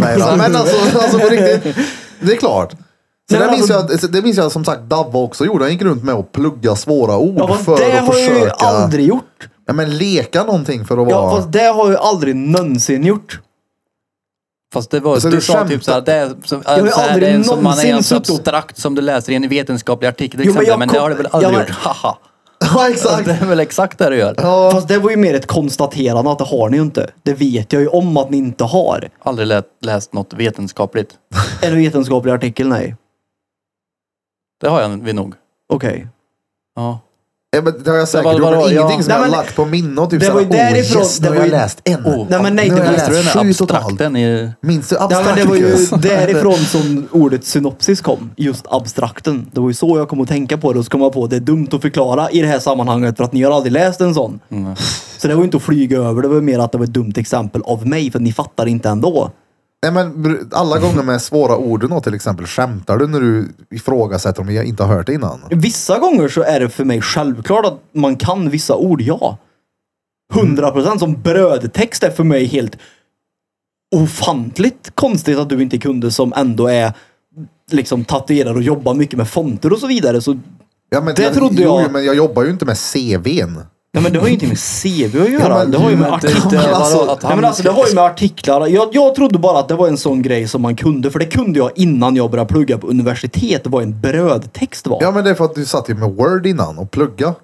A: Nej, då. men alltså, alltså på riktigt. Det är klart. Så
B: Nej, men
A: det, minns
B: alltså-
A: jag, att- det minns jag som sagt Davva också gjorde. Han gick runt med att plugga svåra ord
B: Ja, fast
A: för
B: det
A: att
B: har jag ju
A: försöka.
B: aldrig gjort.
A: Ja, men leka någonting för att
B: Ja,
A: vara...
B: fast det har jag ju aldrig någonsin gjort.
C: Fast det var
A: Alltså,
C: du
A: du
C: sa
A: skämtar.
C: typ såhär, det är, som,
B: har ju
C: så här, det
B: aldrig
C: är som man är
B: någonsin
C: en så
B: suttit och-
C: abstrakt som du läser i en vetenskaplig artikel
B: men
C: exempel,
B: jag
C: men, Liksom det
B: kom-
C: har du väl aldrig
B: Ja, men-
C: gjort? [LAUGHS] Haha.
A: [LAUGHS] Ja, exakt.
C: Det är väl exakt det du gör?
A: Ja,
B: Fast det var ju mer ett konstaterande att det har ni ju inte. Det vet jag ju om att ni inte har.
C: Aldrig lä- läst något vetenskapligt.
B: En vetenskaplig artikel, nej.
C: Det har jag vi nog.
B: Okej.
C: Ja.
A: ja, men det har jag säkert
C: var-
A: gjort.
C: var-
A: men
C: ja.
A: Ingenting som jag
B: Nej,
A: har
B: men-
A: lagt på minne och typ
B: Det var
A: såhär,
B: ju
A: oh
B: därifrån-
A: yes,
B: det
A: nu har
B: var
A: jag
B: ju-
A: läst en.
C: Oh,
B: Nej, men nej,
A: nu
B: det
A: har jag
B: var-
A: läst
C: Läste du den
A: sju totalt.
C: abstrakten i...
A: Minns du
B: Nej, men det var ju
A: abstraktikus?
B: därifrån som ordet synopsis kom. Just abstrakten. Det var ju så jag kom att tänka på det och så kom jag på att det är dumt att förklara i det här sammanhanget för att ni har aldrig läst en sån.
C: Mm.
B: Så det var ju inte att flyga över. Det var mer att det var ett dumt exempel av mig för ni fattar inte ändå.
A: [LAUGHS] Nej men br- alla gånger med svåra orden då till exempel, skämtar du när du ifrågasätter om jag inte har hört det innan?
B: Vissa gånger så är det för mig självklart att man kan vissa ord, ja. 100 procent som brödtext är för mig helt ofantligt konstigt att du inte kunde som ändå är liksom tatuerad och jobbar mycket med fonter och så vidare. Så
A: Ja, men
B: Det trodde
A: jo,
B: jag.
A: men jag jobbar ju inte med CVn.
B: Ja men det har ju inte med CV att
A: Ja,
B: göra.
A: men
B: det har ju
A: du-
B: med
C: Det, det,
B: artiklar.
A: men
C: vadå,
A: alltså-
C: att
B: Nej,
C: han
B: men alltså, det har ju med artiklar jag, jag trodde bara att det var en sån grej som man kunde, för det kunde jag innan jag började plugga på universitet. Det var en brödtext var.
A: Ja men det är för att du satt ju med Word innan och plugga.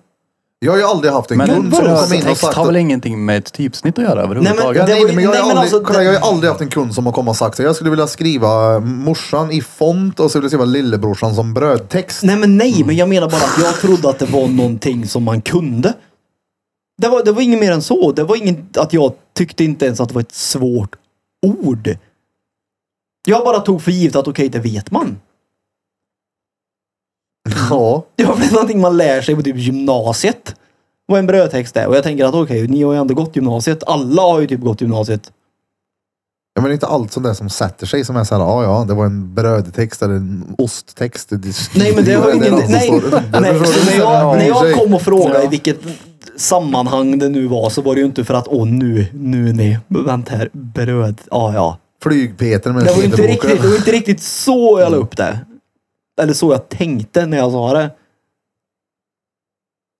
A: Jag har ju aldrig haft en
C: Men,
A: kund som kom in och
C: text
A: sagt...
C: har väl
A: att-
C: ingenting med ett typsnitt att göra
B: Nej,
C: överhuvudtaget?
B: det
A: Nej,
B: var ju-
A: men jag, har
B: nej, men
A: aldrig,
B: alltså,
A: kolla, jag har aldrig haft en kund som har kommit och sagt så. Jag skulle vilja skriva eh, morsan i font och så vill jag skriva lillebrorsan som brödtext.
B: Nej men nej, men jag menar bara att jag trodde att det var någonting som man kunde. Det var, det var inget mer än så. Det var inget att jag tyckte inte ens att det var ett svårt ord. Jag bara tog för givet att okej, det vet man.
A: [LAUGHS]
B: [LAUGHS]
A: Ja.
B: Ja, men det är någonting man lär sig på typ gymnasiet. Vad en brödtext är. Och jag tänker att okej, ni har ju ändå gått gymnasiet. Alla har ju typ gått gymnasiet.
A: Ja, men det är inte allt sånt där som sätter sig som är såhär, ja ja, det var en brödtext eller en osttext. Det-
B: Nej, men det har
A: är
B: ju
A: någon
B: ingenting...
A: som
B: Nej,
A: står under.
B: nej,
A: [LAUGHS] Förstår du?
B: när, jag, när jag kom och frågade
C: Ja.
B: i vilket sammanhang det nu var så var det ju inte för att åh nu, nu är ni, vänta här, bröd, ja ja.
A: Flyg-Peter med
B: Det var ju inte
A: cd-boken.
B: riktigt, det var inte riktigt så jag la upp det. Eller så jag tänkte när jag sa det.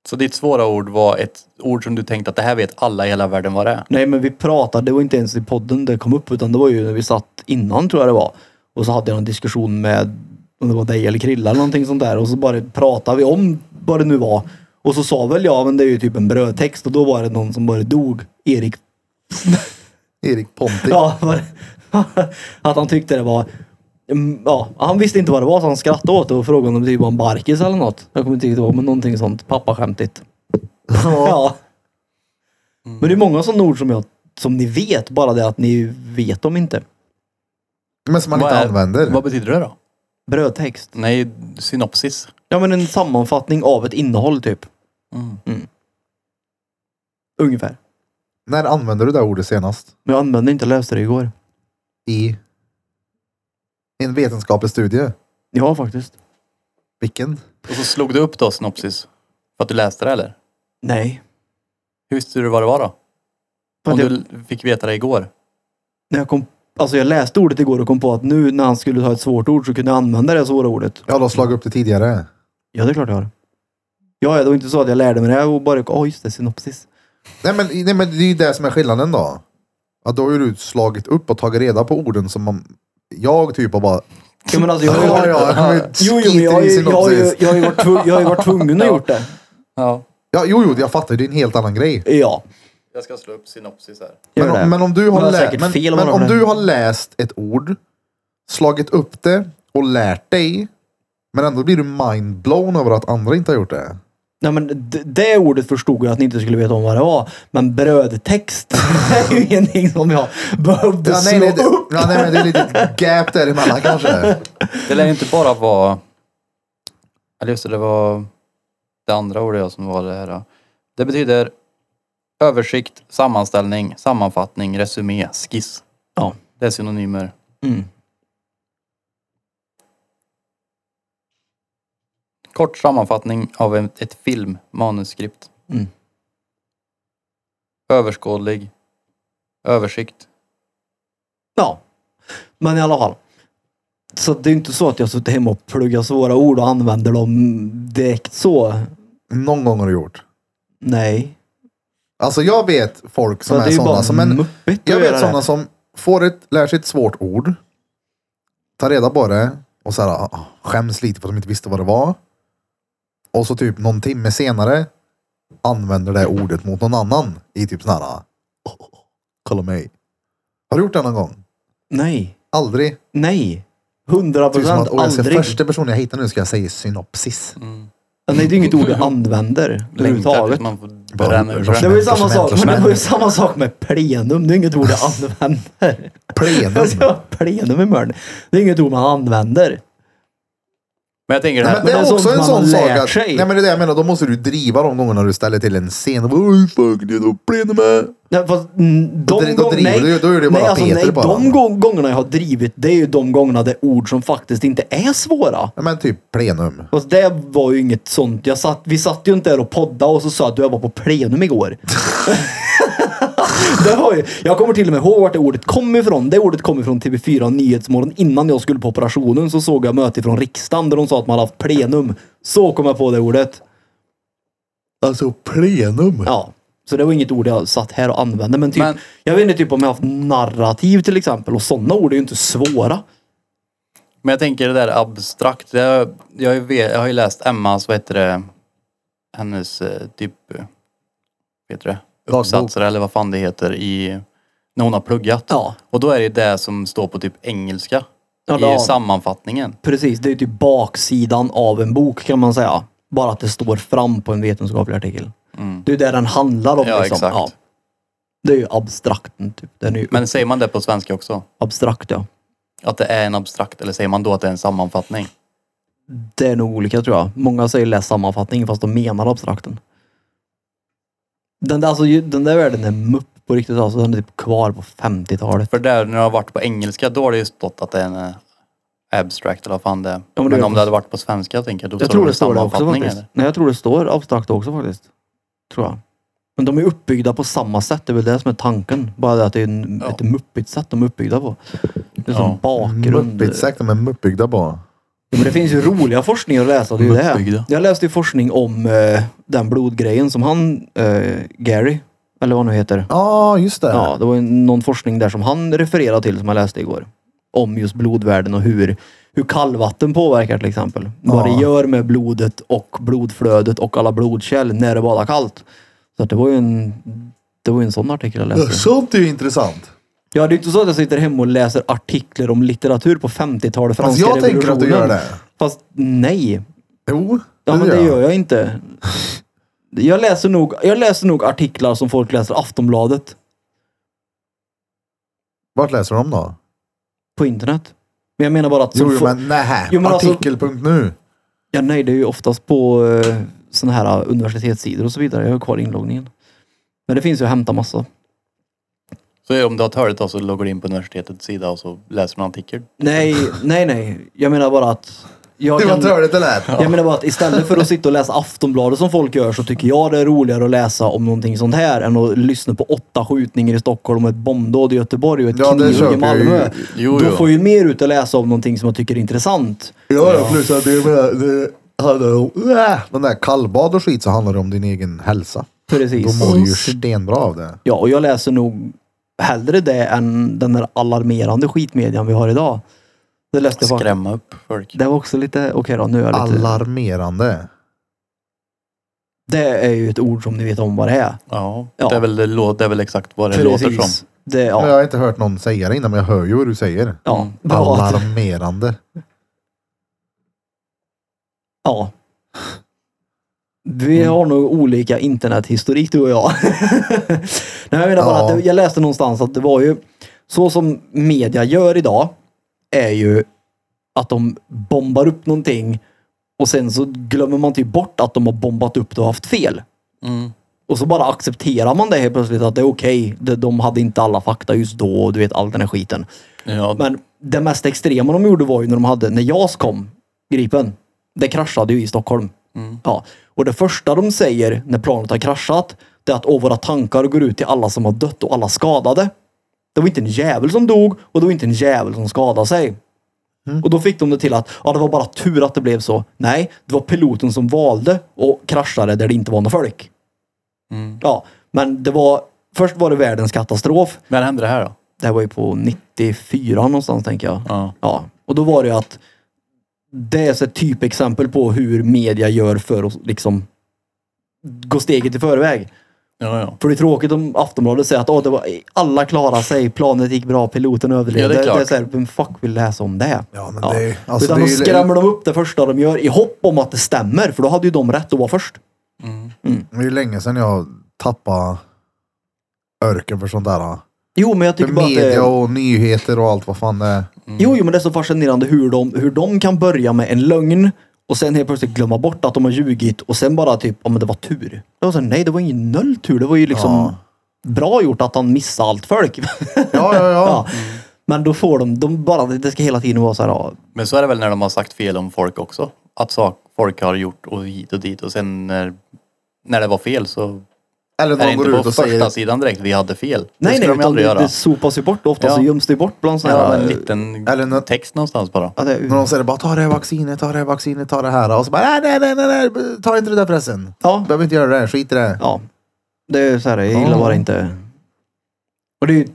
C: Så ditt svåra ord var ett ord som du tänkte att det här vet alla i hela världen vad det är?
B: Nej men vi pratade, det var inte ens i podden det kom upp utan det var ju när vi satt innan tror jag det var. Och så hade jag en diskussion med, om det var dig eller Krilla eller någonting sånt där. Och så bara pratade vi om vad det nu var. Och så sa väl jag, men det är ju typ en brödtext och då var det någon som bara dog. Erik
A: Erik Ponti.
B: Ja, var [LAUGHS] det- att han tyckte det var... Mm, Ja, han visste inte vad det var så han skrattade åt det och frågade om det typ var en barkis eller något. Jag kommer inte riktigt ihåg, men någonting sånt pappaskämtigt. [LAUGHS] Ja. Men det är många sådana ord som, jag, som ni vet, bara det att ni vet dem inte.
A: Men som man
C: Vad
A: inte
C: är-
A: använder.
C: Vad betyder det då?
B: Brödtext.
C: Nej, synopsis.
B: Ja, men en sammanfattning av ett innehåll typ.
C: Mm.
B: Ungefär.
A: När använde du det ordet senast?
B: Men jag använde inte, jag läste det igår.
A: I en vetenskaplig studie.
B: Ja, faktiskt.
A: Vilken?
C: Och så slog du upp då synopsis? För att du läste det eller?
B: Nej.
C: Hur visste du vad det var då?
B: För
C: Om
B: att jag,
C: du fick veta det igår?
B: när jag, kom, alltså jag läste ordet igår och kom på att nu när han skulle ta ett svårt ord så kunde jag använda det svåra ordet.
A: Jag har slagit upp det tidigare.
B: Ja, det är klart jag har. Ja, ja, det var inte så att jag lärde mig det här och bara, åh just det, synopsis.
A: Nej men, nej men det är ju det som är skillnaden då. Att då har ju du slagit upp och tagit reda på orden som man, jag typ har bara...
B: Ja, men alltså, jag har ju
A: Ja, [LAUGHS]
B: varit,
A: ja, men
B: jo, jo, men
A: skiter
B: jag, har
A: i
B: ju- jag, har ju-
A: synopsis.
B: jag, har ju varit tvu- jag har ju varit tvungen att gjort det.
C: Ja.
A: Ja, jo, jo, jag fattar. Det är en helt annan grej.
B: Ja,
C: Jag ska slå upp synopsis här.
B: gör
A: Men,
B: det.
A: om- men om du
B: Men
A: har,
B: det är
A: lä-
B: säkert
A: men,
B: fel
A: men
B: bara
A: om
B: för det.
A: du har läst ett ord, slagit upp det och lärt dig, men ändå blir du mindblown över att andra inte har gjort det.
B: Nej, men d- det ordet förstod jag att ni inte skulle veta om vad det var. Men brödtext [LAUGHS] är ju ingenting som jag behövde
A: Ja, nej,
B: slå
A: nej, det,
B: upp.
A: ja, nej, men det är lite gap däremellan
B: [LAUGHS]
A: kanske.
C: Det lär ju inte bara vara... Eller just det, det var det andra ordet jag som var det här. då. Det betyder översikt, sammanställning, sammanfattning, resumé, skiss.
B: Ja.
C: Det är synonymer.
B: Mm.
C: Kort sammanfattning av en- ett film, manuskript.
B: Mm.
C: Överskådlig, översikt.
B: Ja, men i alla fall. Så det är ju inte så att jag suttit hemma och pluggat svåra ord och använder dem direkt så.
A: Någon gång har du gjort.
B: Nej.
A: Alltså jag vet folk
B: Så
A: som
B: det
A: är
B: är ju
A: sådana
B: bara
A: som en...
B: muppigt
A: Jag
B: att
A: vet
B: göra
A: sådana
B: det.
A: som får ett, lär sig ett svårt ord, tar reda på det och så här, ah, skäms lite för att de inte visste vad det var. Och så typ någon timme senare använder det ordet mot någon annan i typ sån här, ah, kolla mig. Har du gjort det någon gång?
B: Nej.
A: Aldrig.
B: Nej. Hundra
A: Det är Typ som att,
B: procent
A: "Åh, jag ska,
B: aldrig.
A: första personen jag hittar nu ska jag säga synopsis.
B: Ja, Nej, det är inget ord jag
A: [LAUGHS]
B: använder
C: Längtar
B: överhuvudtaget.
C: tills man får
A: Bara
C: bränna ur
B: Det
C: sig.
B: var ju
A: Som
B: samma
A: händer, som
B: sak, men det
A: händer.
B: var ju samma sak med plenum. Det är inget ord jag använder. [LAUGHS]
A: Plenum.
B: Alltså, plenum i munnen. Det är inget ord man använder.
C: Men jag tänker det
A: Nej,
C: här.
A: men det är
B: Men det är
A: också
B: sånt
A: en
B: man
A: sån sak
B: har lärt
A: att...
B: sig.
A: Nej men det är det jag menar, då måste du driva de gångerna du ställer till en scen. Oj fuck, det är då plenum här.
B: Nej, fast, mm,
A: Då
B: de
A: dri- då
B: gång-
A: driver du ju, då är det ju
B: nej,
A: bara
B: alltså,
A: Peter
B: nej,
A: på
B: de
A: varandra.
B: gång- gångerna jag har drivit, det är ju de gångerna det är ord som faktiskt inte är svåra.
A: Ja, men typ plenum.
B: Fast Alltså, det var ju inget sånt. Jag satt, vi satt ju inte där och poddade och så sa att du jag var på plenum igår. [LAUGHS] det var ju, jag kommer till och med ihåg vart det ordet kom ifrån. Det ordet kom ifrån TV4 Nyhetsmorgon. Innan jag skulle på operationen så såg jag möte från riksdagen där de sa att man hade haft plenum. Så kom jag på det ordet.
A: Alltså plenum.
B: Ja. Så det var inget ord jag satt här och använde. Men, typ,
C: Men-
B: jag vet inte typ om jag haft narrativ till exempel. Och sådana ord är ju inte svåra.
C: Men jag tänker det där abstrakt. Det, jag, har ju ve- jag har ju läst Emmas, vad heter det, hennes eh, typ, eh, vet du det?
A: Dagbok.
C: Uppsatser eller vad fan det heter i, när hon har pluggat.
B: Ja.
C: Och då är det det som står på typ engelska
B: Ja,
C: i
B: då-
C: sammanfattningen.
B: Precis, det är ju typ baksidan av en bok kan man säga. Bara att det står fram på en vetenskaplig artikel. Det är ju det den handlar om.
C: Mm. Ja,
B: liksom.
C: exakt.
B: Det är ju abstrakten. Typ. Den är ju
C: Men säger man det på svenska också?
B: abstrakt ja.
C: Att det är en abstrakt eller säger man då att det är en sammanfattning?
B: Det är nog olika tror jag. Många säger läs sammanfattningen fast de menar abstrakten. Den där, alltså, ju- den där världen är mupp på riktigt alltså. Den är typ kvar på 50-talet.
C: För där när det har varit på engelska då har det ju stått att det är en eh, abstract eller vad fan det är.
B: men det
C: men
B: gör
C: om
B: det.
C: det hade varit på svenska tänker jag, då
B: Jag
C: står
B: tror
C: det
B: det står det också
C: sammanfattning
B: faktiskt.
C: eller?
B: Nej, jag tror det står abstrakt också faktiskt. Tror jag. Men de är uppbyggda på samma sätt. Det är väl det som är tanken. Bara det att det är en,
C: Ja.
B: ett muppigt sätt de är uppbyggda på. Det är
C: Ja.
B: som bakgrund.
A: Muppigt sagt, de är uppbyggda på.
B: Ja, men det finns ju roliga forskning att läsa. Det är ju det.
C: Muppbyggda.
B: Jag läste ju forskning om eh, den blodgrejen som han, eh, Gary, eller vad han nu heter.
A: Ja, just det.
B: Ja, det var ju någon forskning där som han refererade till som jag läste igår. Om just blodvärden och hur, hur kallvatten påverkar till exempel. Vad
A: Ja.
B: det gör med blodet och blodflödet och alla blodkärl när det badar kallt. Så att det var ju en, det var ju en sån artikel jag läste.
A: Sånt är ju intressant.
B: Ja, det är inte så att jag sitter hemma och läser artiklar om litteratur på 50-talet, franska
A: Alltså, jag tänker att du
B: revolutionen.
A: gör det.
B: Fast nej,
A: Jo,
B: Ja, men det gör jag inte. Jag läser, nog, jag läser nog artiklar som folk läser i Aftonbladet
A: Vart läser de då?
B: på internet. Men jag menar bara att... som
A: Jo, jo,
B: fo-
A: men nähä.
B: Jo, men alltså-
A: Artikel.nu.
B: ja, nej, det är ju oftast på eh, såna här universitetssidor och så vidare. Jag har kvar inloggningen. Men det finns ju att hämta massa.
C: Så om du har törligt då så loggar du in på universitetets sida och så läser du en artikel.
B: Nej, nej, nej. Jag menar bara att... Jag
A: Det var
B: kan-
A: törligt det lät.
B: Jag menar bara att istället för att sitta och läsa Aftonbladet som folk gör så tycker jag det är roligare att läsa om någonting sånt här än att lyssna på åtta skjutningar i Stockholm och ett bombdåd i Göteborg och ett
A: Ja, det
B: knivhugg
A: köper jag
B: i Malmö.
A: ju.
C: Jo,
B: Då
C: jo.
B: får ju mer ut att läsa om någonting som jag tycker är intressant.
A: Ja, ja, plus att det, med, det handlar om... Äh, den där kallbad och skit så handlar det om din egen hälsa.
B: Precis.
A: Då mår du ju stenbra av det.
B: Ja, och jag läser nog hellre det än den där alarmerande skitmedian vi har idag. Det läste jag faktiskt.
C: Skrämma upp folk.
B: Det var också lite, okej då, nu är jag lite...
A: Alarmerande.
B: Det är ju ett ord som ni vet om vad det är.
C: Ja,
B: Ja.
C: Det, är väl, det, lå- det är väl exakt vad det låter som.
B: Det,
A: Men
B: ja.
A: jag har inte hört någon säga det innan, men jag hör ju vad du säger.
B: Ja. Bra att-
A: Alarmerande.
B: Ja. Vi har nog olika internethistorik du och jag. [LAUGHS] Nej, jag menar bara
A: Ja.
B: att det, jag läste någonstans att det var ju så som media gör idag är ju att de bombar upp någonting och sen så glömmer man typ bort att de har bombat upp det och haft fel.
C: Mm.
B: Och så bara accepterar man det helt plötsligt att det är okej. det- De hade inte alla fakta just då och du vet all den här skiten.
C: Ja,
B: Men det mest extrema de gjorde var ju när de hade, när JAS kom, Gripen. Det kraschade ju i Stockholm. Ja. Och det första de säger när planet har kraschat, det är att Åh, våra tankar går ut till alla som har dött och alla skadade. Det var inte en jävel som dog och det var inte en jävel som skadade sig. Och då fick de det till att ja, det var bara tur att det blev så. Nej, det var piloten som valde och kraschade där det inte var något folk. Ja, men det var, först var det världens katastrof.
C: När hände det här då?
B: Det här var ju på 94 någonstans tänker jag.
C: Ja.
B: Och då var det ju att det är så ett typexempel på hur media gör för att liksom gå steget i förväg.
C: Ja, ja.
B: För det är tråkigt om Aftonbladet säger att "Åh, det var, alla klarade sig, planet gick bra, piloten överlevde.
C: Ja, det är klart.
B: det är så här, vem fuck vill läsa om det?
A: Ja, men det är- alltså,
B: Utan
A: det är
B: då
A: ju-
B: skrämmer de upp det första de gör i hopp om att det stämmer, för då hade ju de rätt att vara först.
A: Det är ju länge sedan jag tappade örken för sånt där.
B: Jo, men jag
A: För
B: tycker bara att det...
A: media och nyheter och allt vad fan det är.
B: Mm. Jo, jo, men det är så fascinerande hur de, hur de kan börja med en lögn och sen helt plötsligt glömma bort att de har ljugit och sen bara typ, ja men det var tur. Det var så, här, nej, det var ingen noll tur. Det var ju liksom
A: Ja.
B: bra gjort att han missade allt folk. [LAUGHS]
A: Ja, ja, ja.
B: ja. Men då får de, de bara, det ska hela tiden vara så här, ja,
C: Men så är det väl när de har sagt fel om folk också. Att sak, folk har gjort och hit och dit och sen när, när det var fel så
A: Eller
C: är
A: när
C: det
A: de går ut
C: inte på
A: och
C: första
A: säger...
C: sidan direkt vi hade fel. det
B: nej, nej,
C: skulle de
B: utan
C: aldrig
B: det,
C: göra.
B: det sopas ju bort. Ofta
C: Ja.
B: så göms det ju bort bland sådana
C: ja,
B: här...
C: en liten
A: Eller nå-
C: text någonstans bara.
B: Ja,
A: När
B: det,
A: de säger bara ta det här vaccinet, ta det här vaccinet, ta det här. Och så bara nej, nej, nej, nej, nej ta inte det där pressen.
B: ja,
A: Behöver inte göra det, skit i det.
B: ja. Det är så här, jag gillar
A: Ja.
B: bara inte... Och det är ju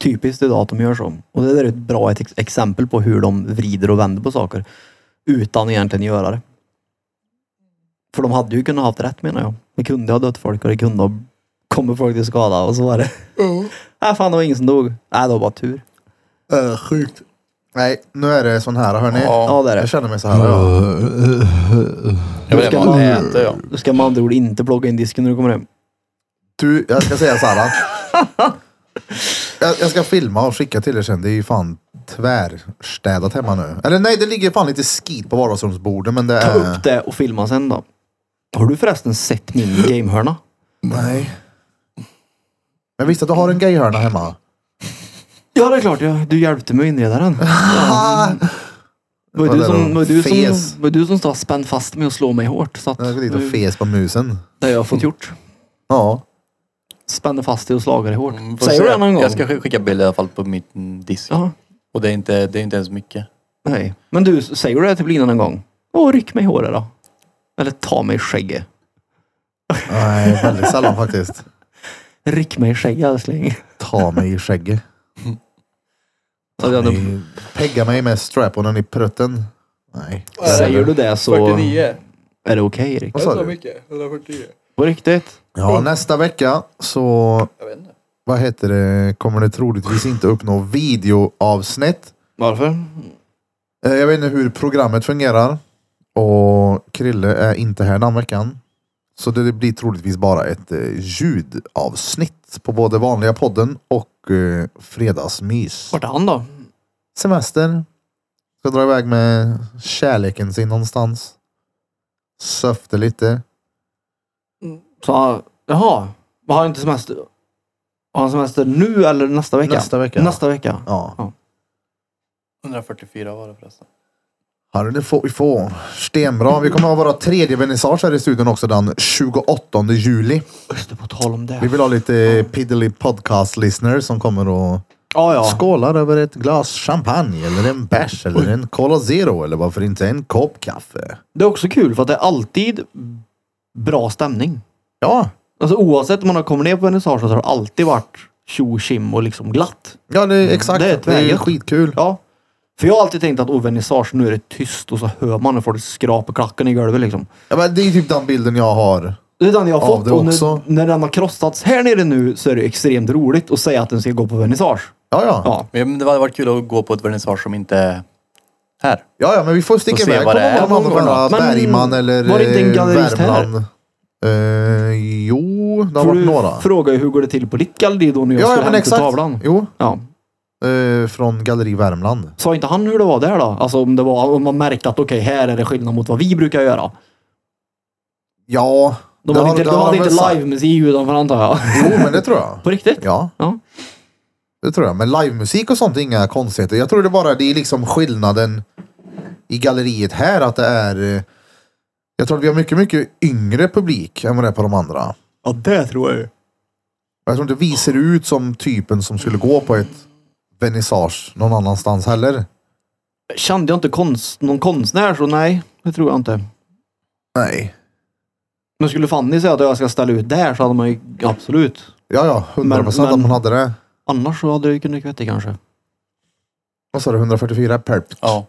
B: typiskt idag att de gör så. Och det där är ett bra ett ex- exempel på hur de vrider och vänder på saker. Utan egentligen göra det. För de hade ju kunnat haft rätt menar jag. Det kunde ha dött folk och det kunde ha kommit folk till skada och så var det. Mm. [LAUGHS] Nej fan det var ingen som dog. Nej det var bara tur.
A: Äh, sjukt. Nej, nu är det sån här hörni.
C: Ja.
B: Ja det är
A: Jag
B: det.
A: känner mig så här. Ja.
C: Jag vet
B: Ska
C: inte vad
B: man-
C: man äter ja.
B: Du ska med andra ord inte plocka in disken när du kommer hem.
A: Du, jag ska säga så här. jag, jag ska filma och skicka till er sen. Det är ju fan tvärstädat hemma nu. Eller nej, det ligger fan lite skit på vardagsrumsbordet men det
B: Ta
A: är...
B: upp det och filma sen då. Har du förresten sett min gamehörna?
A: Nej. Men visst att du har en gayhörna hemma?
B: Ja det är klart, jag, du hjälpte mig att inreda den. Ja. Var det du som, var det du
A: Fes.
B: som, var det du som stod och spänn fast mig och slå mig hårt? Så att,
A: Jag gick dit och
B: nu-
A: fes på musen.
B: det har jag fått gjort.
A: Ja.
B: Spände fast dig och slagade dig hårt.
C: Mm, får
B: Säger du
C: se.
B: det någon gång?
C: Jag ska sk- skicka bilder i alla fall på mitt mm, disk.
B: Ja,
C: Och det är, inte, det är inte ens mycket.
B: nej. Men du, säger du det till Lina någon gång? Åh, ryck mig i håret då. Eller ta mig i skägget.
A: Nej, väldigt sällan faktiskt.
B: Ryck mig i skägget älskling.
A: Ta mig i skägget.
B: Ja, det-
A: Ni Pegga mig med straponen i prutten. Nej.
B: Säger du det så är det okej Erik.
A: Vad sa du?
C: mycket. 149.
B: På riktigt?
A: Ja, nästa vecka så,
C: Jag vet inte.
A: vad heter det, kommer det troligtvis inte uppnå videoavsnitt.
B: Varför?
A: Eh, Jag vet inte hur programmet fungerar. Och Krille är inte här den här veckan. Så det blir troligtvis bara ett eh, ljudavsnitt på både vanliga podden och eh, fredagsmys.
B: Vart är han då?
A: Semester. Ska dra iväg med kärleken sin någonstans. Söfte lite.
B: Så, jaha. Har han inte semester? Har han semester nu eller nästa vecka?
A: Nästa vecka.
B: Nästa vecka.
A: Ja.
C: 144 var det förresten.
A: Harry, det får vi få. Stenbra. Vi kommer ha våra tredje vernissage här i studion också den 28 juli.
B: Just det, på tal om det.
A: Vi vill ha lite piddly podcast listeners som kommer och
B: Ja, ja.
A: skålar över ett glas champagne eller en bärs eller en Cola Zero eller varför inte en kopp kaffe.
B: Det är också kul för att det är alltid bra stämning.
A: Ja,
B: Alltså oavsett om man har kommit ner på vernissage så har det alltid varit tjo tjim och liksom glatt.
A: ja det är exakt.
B: Det är
A: Det
B: ett
A: är,
B: vägen.
A: skitkul.
B: Ja. För jag har alltid tänkt att oh, vernissage, nu är det tyst och så hör man när folk skrapar klacken i golvet liksom.
A: Ja, men det är typ den bilden jag har.
B: Det är den jag har
A: Ja,
B: fått.
A: det
B: och
A: också.
B: när, när den har krossats här nere nu så är det extremt roligt att säga att den ska gå på vernissage.
A: Ja, ja.
B: Ja.
C: Men det hade varit kul att gå på ett vernissage som inte är här.
A: Ja, ja, men vi får sticka
C: Får se
A: iväg.
C: vad det
A: Kommer
C: är.
A: någon annan vara
B: Men
A: Bergman eller
B: var det inte en
A: eh,
B: gallerist här?
A: Värmland? Eh, jo, det har
B: För
A: varit
B: du
A: några.
B: frågar ju hur går det till på ditt galleri då när jag
A: Ja, ja
B: skulle
A: men
B: hämta
A: exakt.
B: tavlan.
A: Jo,
B: Ja.
A: eh, från Galleri Värmland.
B: Sa inte han hur det var där då? Alltså om, det var, om man märkte att okej, här är det skillnad mot vad vi brukar göra.
A: Ja,
B: De
A: det
B: hade
A: har-
B: inte,
A: det
B: de
A: har
B: hade
A: väl
B: inte
A: sagt.
B: livemusik utanför antar jag.
A: Jo, men det tror jag.
B: [LAUGHS] På riktigt?
A: Ja,
B: Ja.
A: det tror jag. Men livemusik och sånt är inga konstigheter. Jag tror det bara det är liksom skillnaden i galleriet här att det är. eh, Jag tror att vi har mycket, mycket yngre publik än vad det är på de andra.
B: Ja, det tror jag
A: Jag tror inte vi ser ut som typen som skulle gå på ett vernissage någon annanstans heller.
B: Kände jag inte konst, någon konstnär så nej, det tror jag inte.
A: Nej.
B: Men skulle Fanny säga att jag ska ställa ut där så hade man ju absolut.
A: Ja, ja, 100 procent
B: Men-
A: att
B: men-
A: man hade det.
B: Annars så hade det ju kunnat kvetta kanske.
A: Vad sa du, 144 per?
C: Ja.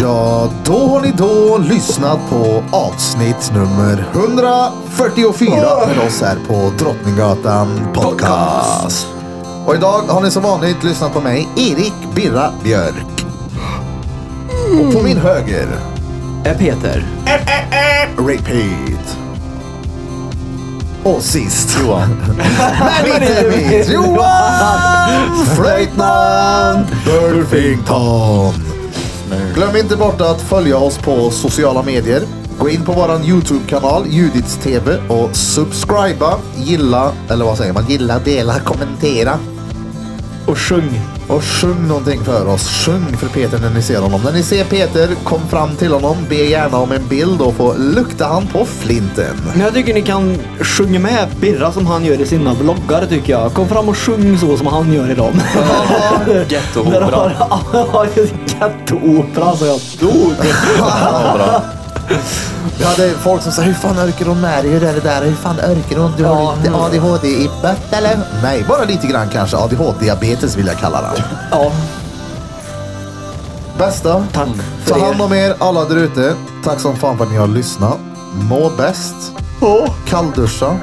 A: Ja, då har ni då lyssnat på avsnitt nummer 144 med oss här på Drottninggatan Podcast. Och idag har ni som vanligt lyssnat på mig, Erik Birra Björk. Och på min höger,
B: Är Peter.
A: repeat. Och sist,
C: Johan.
A: [LAUGHS] men inte minst, Johan Flöjtnant Burfington. Glöm inte bort att följa oss på sociala medier. Gå in på vår Youtube-kanal, Judits TV och subscriba, gilla, eller vad säger man? Gilla, dela, kommentera.
B: Och sjung.
A: Och sjung någonting för oss. Sjung för Peter när ni ser honom. När ni ser Peter, kom fram till honom, be gärna om en bild och få lukta han på flinten.
B: Men jag tycker ni kan sjunga med Birra som han gör i sina vloggar tycker jag. Kom fram och sjung så som han gör i dem. [LAUGHS] När de
C: Gettoopera.
B: [LAUGHS] har gettoopera så jag dog.
A: Vi hade folk som sa, hur fan orkar hon med dig? Hur är det där? Hur fan orkar hon? Du har
B: Ja.
A: lite ADHD i bött eller? Nej, bara lite grann kanske. ADHD-diabetes vill jag kalla det.
B: Ja.
A: Bästa.
B: Tack
A: Ta
B: för
A: hand
B: er.
A: om er alla där ute. Tack som fan för att ni har lyssnat. Må bäst. Kallduscha. Öva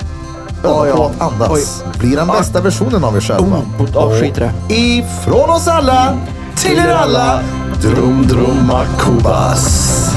B: Ja, ja. Ah.
A: på att andas. Bli den bästa versionen av er själva.
B: Oh, oh, skit i det.
A: Ifrån oss alla, till er alla. Drum, drumma, kubas.